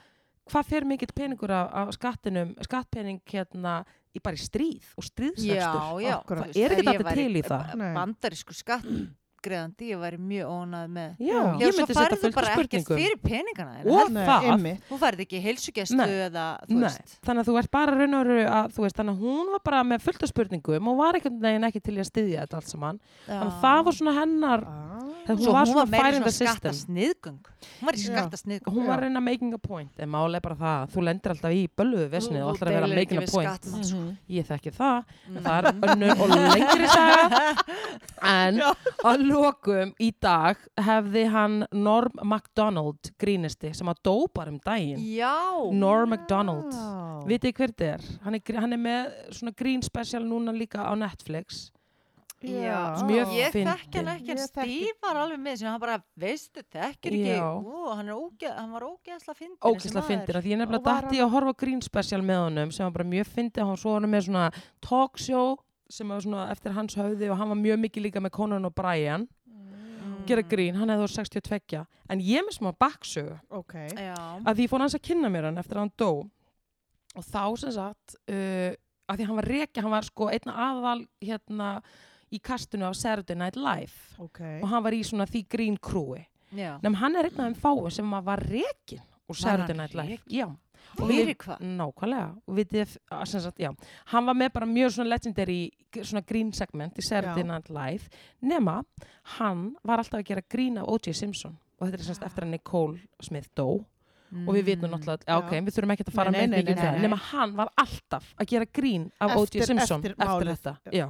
S1: hvað fer mikill peningur af, af skattinum, skattpening hérna í bara í stríð og stríðsrekstur
S3: já, já.
S2: Akkúrat.
S1: Það er
S3: Ef
S1: ekkert
S3: ég
S1: allir
S3: væri
S1: til í það.
S2: Nei.
S3: Bandarísku skattgreðandi, ég væri mjög ónað með.
S1: Já, ég
S2: Já.
S3: Já, svo
S1: myndi setja
S3: færðu þú
S1: fullt af
S3: bara ekkert
S1: spurningum
S3: fyrir peningana þeirna.
S1: Og
S2: Nei,
S1: það,
S2: einmitt.
S3: Þú færði ekki heilsugestu
S1: Nei.
S3: eða, þú
S1: Nei,
S3: veist.
S1: þannig að þú ert bara raun og veru að, þú veist, þannig að hún var bara með fullt af spurningum og var ekkert neginn ekki til í að styðja þetta allt saman. Þannig að það var svona hennar,
S2: Ah.
S1: hún var
S3: Svo hún var
S1: svona
S3: meira
S1: færinda
S3: svona
S1: system.
S3: skattasniðgöng. Hún var í
S2: Já.
S3: skattasniðgöng.
S1: Hún var
S2: Já.
S1: að reyna að making a point, en máli er bara það, að þú lendir alltaf í bölluðu vesni og alltaf að vera að making a point. Ég þekki það,
S3: Mm.
S1: en það er önnur og lengri saga. En að lokum í dag hefði hann Norm MacDonald grínisti sem að dó bara um daginn.
S3: Já.
S1: Norm MacDonald.
S2: Já.
S1: Vitið þið hver þetta er? Hann, er? gr- hann er með svona grín special núna líka á Netflix.
S3: Já,
S1: Sem mjög
S3: ég
S1: fyndin.
S3: þekki hann ekki, hann
S2: Ég þekki-
S3: Steve var alveg með sem hann bara, veistu, þekkir ekki,
S1: Já.
S3: ú, hann, er óge, hann var ógeðsla fyndin.
S1: Ókesslega fyndin, af því ég
S2: Og
S1: nefnilega
S2: var
S1: dætti að horfa á grín special með honum sem var bara mjög fyndin, hann svo var hann með svona talk show sem var svona eftir hans höfði og hann var mjög mikið líka með Conan og Brian
S2: Mm.
S3: Mm.
S1: gera grín, hann hefði voru 62 en ég með smá baksögu
S2: Ok. Mm.
S3: Já,
S1: að því ég fór hans að kynna mér hann eftir að hann dó og þá sem sagt uh, að því hann var reki, hann var sko einna aðal hérna í kastinu á Saturday Night Live
S2: Ok.
S1: og hann var í svona því grín krúi
S3: já.
S1: nefn hann er einn af þeim fáum sem að var rekin úr Saturday
S3: hann
S1: Night Live
S3: rekinn?
S1: Já, og við-
S3: Fyrir hvað?
S1: nákvæmlega og vitið þið, að sem sagt, já, hann var með bara mjög svona legendary svona grín segment í Saturday
S2: Já.
S1: Night Live nema hann var alltaf að gera grín af O.J. Simpson og þetta er semst eftir að Nicole Smith dó og við vitum náttúrulega, já,
S2: Mm, Já.
S1: ok, við þurfum ekki að fara
S2: Nei, nei,
S1: með
S2: nei,
S1: mikið
S2: nei,
S1: um það,
S2: nei.
S1: nema hann var alltaf að gera grín af
S2: Eftir-
S1: O.J. Simpson
S2: eftir
S1: eftir,
S2: málið,
S1: þetta, já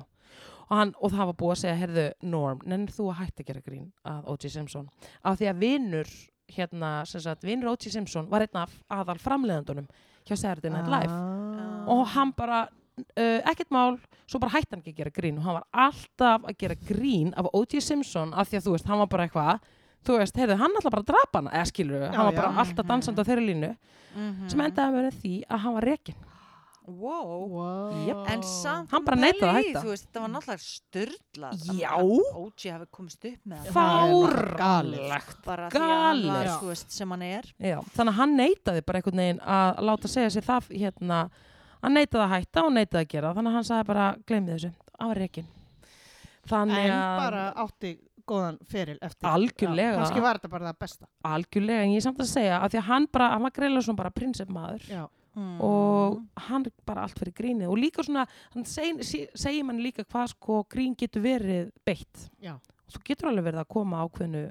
S1: og, hann, og það var búið að segja, herðu, Norm nennir þú að hætta að gera grín af O.J. Simpson af því að vinur hérna, sem sagt, vinur O.J. Simpson var einn af aðal framleiðandunum hjá Saturday Night Live
S2: Ah.
S1: og hann bara uh, ekkert mál, svo bara hætti hann ekki að gera grín og hann var alltaf að gera grín af O.J. Simpson af því að þú veist, hann var bara eitthvað þú veist, heyrðu, hann alltaf bara að drapa hana eða skilur, hann var
S2: já. Mhm.
S1: bara alltaf dansandi á þeirri línu sem endaði með því að hann var rekin
S3: Mhm. Wow.
S2: Wow.
S1: Jep.
S3: En samt,
S1: Hann bara
S3: pæli
S1: neitaði að
S3: í,
S1: hætta.
S3: Þú veist, það var náttúrulega styrlað.
S1: Já.
S3: Óji hafi komist upp með það.
S1: fáralegt
S3: Bara því að hann var,
S1: galið.
S3: þú veist, sem hann er.
S1: Já, þannig að hann neitaði bara einhvern veginn að láta segja sér það hérna, hann neitaði að hætta og neitaði að gera það. þannig að hann sagði bara, gleymið þessu, hann var rekin þannig
S2: En
S1: að
S2: bara átti góðan feril eftir.
S1: Algjörlega.
S2: Kanski var þetta bara það besta.
S1: algjörlega, en ég er samt að segja að því að hann bara, hann var greiðlega svona bara prinsipmaður
S2: Já.
S3: Mm.
S1: og hann bara allt fyrir grínið og líka svona, hann seg, sí- segir mann líka hvað sko grín getur verið beitt
S2: Já.
S1: þú getur alveg verið að koma ákveðnu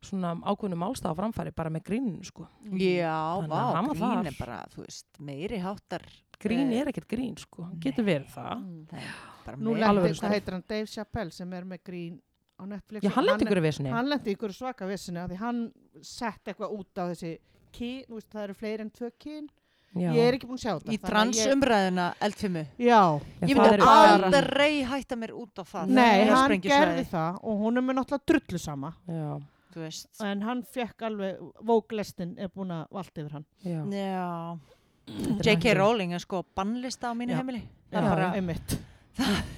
S1: svona ákveðnu málstað á framfæri bara með gríninu sko
S3: Mm. Já,
S1: Þannig að
S3: vá,
S1: hann var
S3: grín
S1: þar.
S3: er bara, þú veist, meiri háttar,
S1: grín
S3: Eh, Mm.
S1: er ekkert grín sko, Hann getur verið það
S3: það er bara
S2: Nú
S3: meiri
S1: alvöru
S2: lendi,
S1: stærð.
S2: hvað heitir hann, Dave Chappelle sem er með grín á Netflix.
S1: já,
S2: og
S1: hann lendi ykkur við sinni
S2: Hann lendi ykkur svaka vissinu því hann sett eitthvað út á þessi kyn, þú veist, það eru fleiri en tvö kyn. Ég er ekki búin að sjá þetta. þannig
S3: Í
S2: að
S3: transumræðuna eldfimu.
S2: Ég, já.
S1: það
S3: Ég myndi
S1: eru
S2: bara-
S3: aldrei hætta mér út á það.
S2: Nei,
S3: Það er
S2: hann
S3: sprengjusvæði,
S2: gerði það og hún er með náttúrulega drullu sama
S1: já,
S3: Þú veist.
S2: en hann fekk alveg, vóklestin er búin að valda yfir hann.
S1: já.
S3: Já.
S1: Þetta er
S3: J.K.
S1: merkilegt.
S3: Rowling er sko bannlista á mínu
S1: Já.
S3: heimili.
S2: Já,
S3: Það, er bara,
S2: einmitt.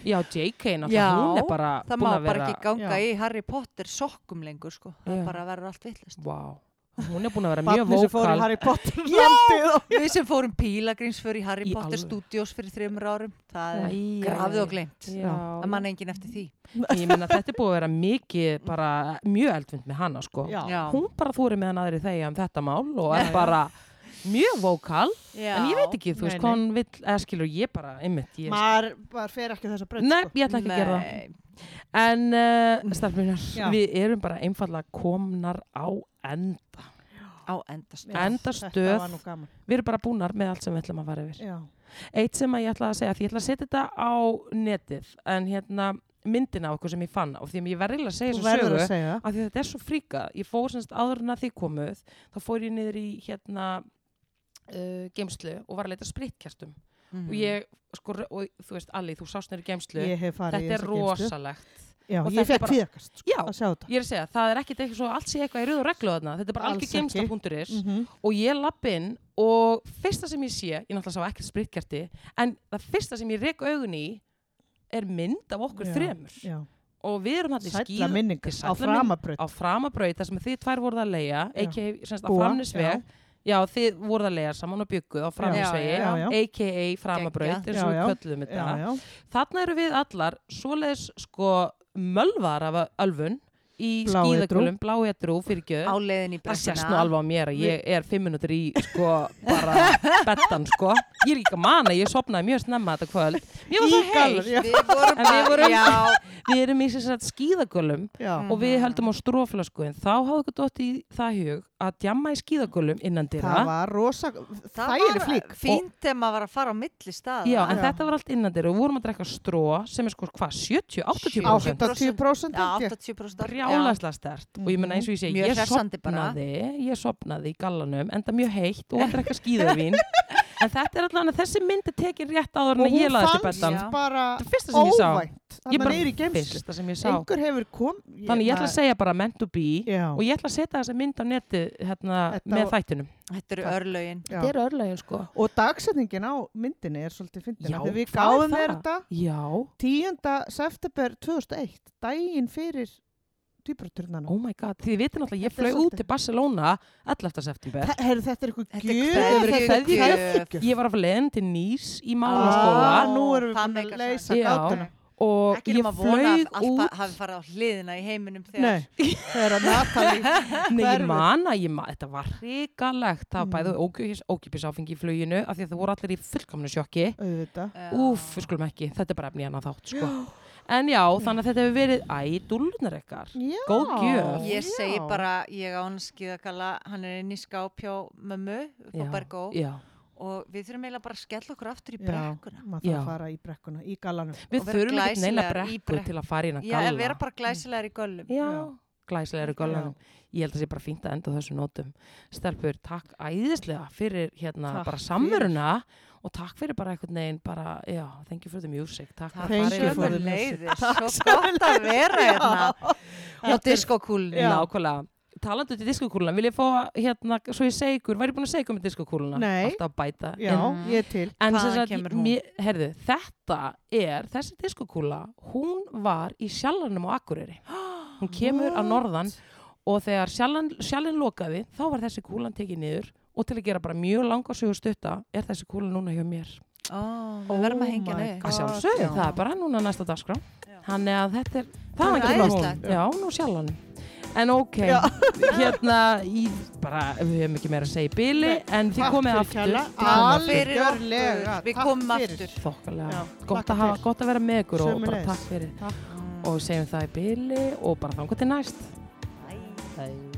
S1: já, JK náttúrulega,
S3: Já,
S1: hún er bara
S3: það
S1: búin að
S3: má bara
S1: vera
S3: ekki ganga
S2: Já.
S3: í Harry Potter sokkum lengur sko. Það
S1: Já.
S3: bara verður allt vittlust.
S1: Vá. hún er búin að vera mjög
S2: Barni sem fór í
S1: vókal
S2: Harry Potter landið og
S3: Við sem fórum pílagrinsför í Harry
S1: Í
S3: Potter
S1: alvöru.
S3: Studios fyrir þreymur árum, það er
S1: Æ,
S3: grafið
S1: æ,
S3: og glemt.
S1: já.
S3: Það mann engin eftir því.
S1: ég meina þetta er búið að vera mikið bara mjög eldvind með hana sko
S2: Já.
S1: hún bara þúri með hann aðri þegja um þetta mál og
S3: Já,
S1: er
S3: já.
S1: bara mjög vókal
S3: Já.
S1: en ég veit ekki, þú
S2: Nei,
S1: veist
S2: nei.
S1: hvað hann vill eða skilur ég bara, einmitt ég,
S2: maður maður fer ekki þess að breyta
S1: Nei, ég ætla ekki að gera það
S3: Nei.
S1: En uh, starfminar,
S2: Já.
S1: við erum bara einfallega komnar á enda.
S3: Á endast.
S1: Já. enda
S2: Þetta
S1: stöð.
S2: var nú gaman.
S1: Við erum bara búnar með allt sem við ætlum að fara yfir.
S2: Já.
S1: Eitt sem að ég ætla að segja, því ég ætla að setja þetta á netið, en hérna myndina á okkur sem ég fann, og því að ég verður að segja
S2: Þú
S1: þessu
S2: verður
S1: sögu,
S2: að segja
S1: af því að þetta er svo fríkað. Ég fór semst áður en að þið komuð, þá fór ég niður í hérna uh, geimslu og var að leita að spritkjastum.
S3: Mhm.
S1: Og ég, sko, og þú veist, Alli, þú sást niður í geimslu,
S2: Mm. Ég hef farið í
S1: þetta er
S2: þessa geymslu.
S1: rosalegt.
S2: Já,
S1: Og
S2: ég
S1: þetta
S2: fekk
S1: bara-
S2: fíðakast sko,
S1: Já,
S2: að sjá þetta.
S1: ég er að segja, það er ekkit eitthvað svo að allt sé eitthvað í rauð og reglu þarna, þetta er bara
S2: Alls
S1: algjör geimsta.is
S2: Mm -hmm.
S1: og ég lapp inn og fyrsta sem ég sé, ég náttúrulega sá ekkert spritkerti, en það fyrsta sem ég rek augun í er mynd af okkur
S2: Já,
S1: þremur
S2: Já,
S1: og við erum hann í
S2: sætla
S1: skýð til
S2: minningar
S1: sælla
S2: á framabraut.
S1: á framabraut, þar sem þið tvær voruð að leia,
S2: Já.
S1: a.k.a. Semst, á
S2: Búa,
S1: framnisveg, já. þið voruð að leia saman og bygguð á framnisvegi,
S2: Já, já.
S1: a.k.a. framabraut,
S3: Geggjað.
S1: eins og við
S2: Já, já.
S1: köllum
S2: Já,
S1: þetta.
S2: já,
S1: Þarna eru við allar svoleiðis sko mölvar af ölfun í
S2: Bláedrú.
S1: skíðakölum, bláedrú, fyrirgjöð.
S3: áleiðin í
S1: Það sést nú
S3: bressina
S1: alveg á mér að ég er fimm minútur í sko bara bettan sko. Ég er ekki að mana, ég sopnaði mjög snemma þetta kvöld. Mér var
S2: Í
S1: svo
S2: gallerí.
S1: heitt.
S2: Já.
S3: við vorum
S1: En við
S3: bara
S1: vorum-
S3: já,
S1: Við erum í sér sagt skíðakölum
S2: já.
S3: Mm.
S1: og við
S3: Mhm.
S1: höldum á stróflasku en þá hafði okkur dótt í það hug að djamma í skíðagölum innan
S2: Það
S1: dyra
S2: var rosa,
S3: það
S2: það er
S3: var
S2: flík.
S3: fínt þegar maður var að fara á milli stað
S1: Já, en
S2: Já.
S1: þetta var allt innan dyra og við vorum að drekka stró sem er sko hvað, 70-80%
S2: Á
S3: 80%.
S2: 80%
S3: já,
S2: held ég.
S3: 80%
S1: brjálæslega stert og ég menna eins og ég segi,
S3: Mjög
S1: ég
S3: hressandi bara.
S1: sopnaði ég sopnaði í gallanum, enda mjög heitt og að drekka skýðavín en þetta er allan að þessi myndi tekin rétt áður
S2: Og
S1: en ég
S2: hún
S1: laði til
S2: fannst
S1: betan
S3: Já.
S2: bara
S1: þetta er fyrsta sem ég sá
S2: óvænt.
S1: ég
S2: Þannig að neyri
S1: bara
S2: geimslu.
S1: fyrsta sem ég sá
S2: Einhver hefur kom.
S1: þannig ég ætla að segja bara meant to be
S2: Já,
S1: og ég ætla að setja þessa mynd á neti hérna,
S2: Þetta
S1: með
S2: var-
S1: þættinum
S3: þetta eru örlögin
S2: já.
S1: er örlægin sko
S2: Og dagsetningin á myndinni er svolítið fyndin.
S1: Já,
S2: af því
S1: hvað er
S2: Við gáðum
S1: það?
S2: þér þetta
S1: já,
S2: 10. september 2001, daginn fyrir dýbraturnana.
S1: oh my god, þið viti náttúrulega ég
S2: Þetta er
S1: flög út
S2: svolítið-
S1: til Barcelona 11. september
S2: Herru, þetta er eitthvað
S3: Þetta er
S2: gjöf.
S3: kveðju-
S2: þetta er
S3: kveðju-
S2: kveðjugjöf.
S1: ég var að fara leiðin til Nýs í
S2: Ah,
S1: Málaskóla
S2: nú erum við
S3: það
S2: búin að
S3: meikar
S2: leysa
S1: sens. Já.
S2: gátuna.
S1: og
S3: ekki
S1: ég
S3: nema vona að
S1: flög
S3: allt
S1: út
S3: fa- hafi farið á hliðina í heiminum
S2: Nei,
S3: þegar
S2: þegar að Natalie
S1: Nei, ég
S2: Hverfur.
S1: man að ég man, þetta var hrikalegt, það var
S2: Mm.
S1: bæði ókjöfis, ókjöfis áfengi í fluginu af því að það voru allir í fullkomnu sjokki.
S2: auðvitað.
S3: Já.
S1: Úf, við skulum ekki, þetta er bara efni hann að þátt, sko. En já, þannig að þetta hefur verið, æ, dúllunar ekkar.
S2: Já.
S1: Góð gjöf.
S3: Ég segi
S2: Já.
S3: bara, ég á hann skíðakalla, hann er inn í skáp hjá mömmu upp á Bergó
S1: Já,
S3: og við þurfum eiginlega bara að skella okkur aftur í
S2: Já,
S3: brekkuna.
S2: maður þarf
S1: Já.
S2: að fara í brekkuna, í gallanum.
S1: við
S3: vera
S1: þurfum ekki neina
S3: glæsilegar í
S1: brekku
S3: brekku.
S1: til að fara inn að
S3: Já, en vera
S1: galla.
S3: bara glæsilegar í göllum.
S1: Já,
S2: Já.
S1: glæsilegur gallanum. Ég held að það sé bara fínt að enda á þessum nótum. Stelpur, takk æðislega fyrir hérna
S2: Takk
S1: bara
S2: fyrir.
S1: samveruna og takk fyrir bara einhvern veginn bara, já, thank you for the music. Takk, hérna
S3: Það
S2: Thank
S3: var
S2: you for
S3: sömur
S2: the
S3: leiðis, svo gott að vera hérna á diskokúlunni.
S2: Já.
S1: Nákvæmlega. Talandu til diskokúluna, vil ég fá hérna, svo ég segi ykkur, væri ég búin að segja ykkur með diskokúluna?
S2: Nei.
S1: Alltaf að bæta.
S2: Já,
S1: En,
S3: Mm.
S2: ég er til.
S1: en
S3: Hvaðan
S1: sem sagt,
S3: kemur hún?
S1: mér- heyrðu, þetta er, þessi diskokúla, hún var í sjallanum á Akureyri. Hún kemur að norðan og þegar sjallan, sjallin lokaði, þá var þessi kúlan tekið niður og til að gera bara mjög langa sögur stutta er þessi kúla núna hjá mér.
S3: Ó, við verðum að hengja
S2: Oh my
S1: Að
S3: henni.
S2: God.
S1: sjálfsögðu,
S2: já.
S1: það er bara núna næsta dagskrá.
S3: Já.
S1: Þannig að þetta er,
S3: Það
S1: það
S3: er
S1: er ekki
S3: æðislegt.
S1: Já, nú sjallan. En ok,
S2: Já.
S1: hérna, í, bara, við höfum ekki meira að segja í bili, en þið
S2: Takk
S1: komið
S2: fyrir
S1: aftur.
S2: kærlega.
S1: Þið komið aftur.
S3: Fyrir okkur,
S2: Algjörlega,
S3: við
S2: takk
S3: komum
S2: fyrir.
S3: aftur.
S1: Þokkalega,
S2: Já,
S1: gott,
S2: hlakka
S1: að hafa-
S2: til.
S1: gott að vera með ykkur og bara
S2: Sömuleiðis.
S1: takk fyrir.
S2: Takk.
S1: Og segjum það í bili og bara þangu til næst.
S3: Æ.
S1: Hei.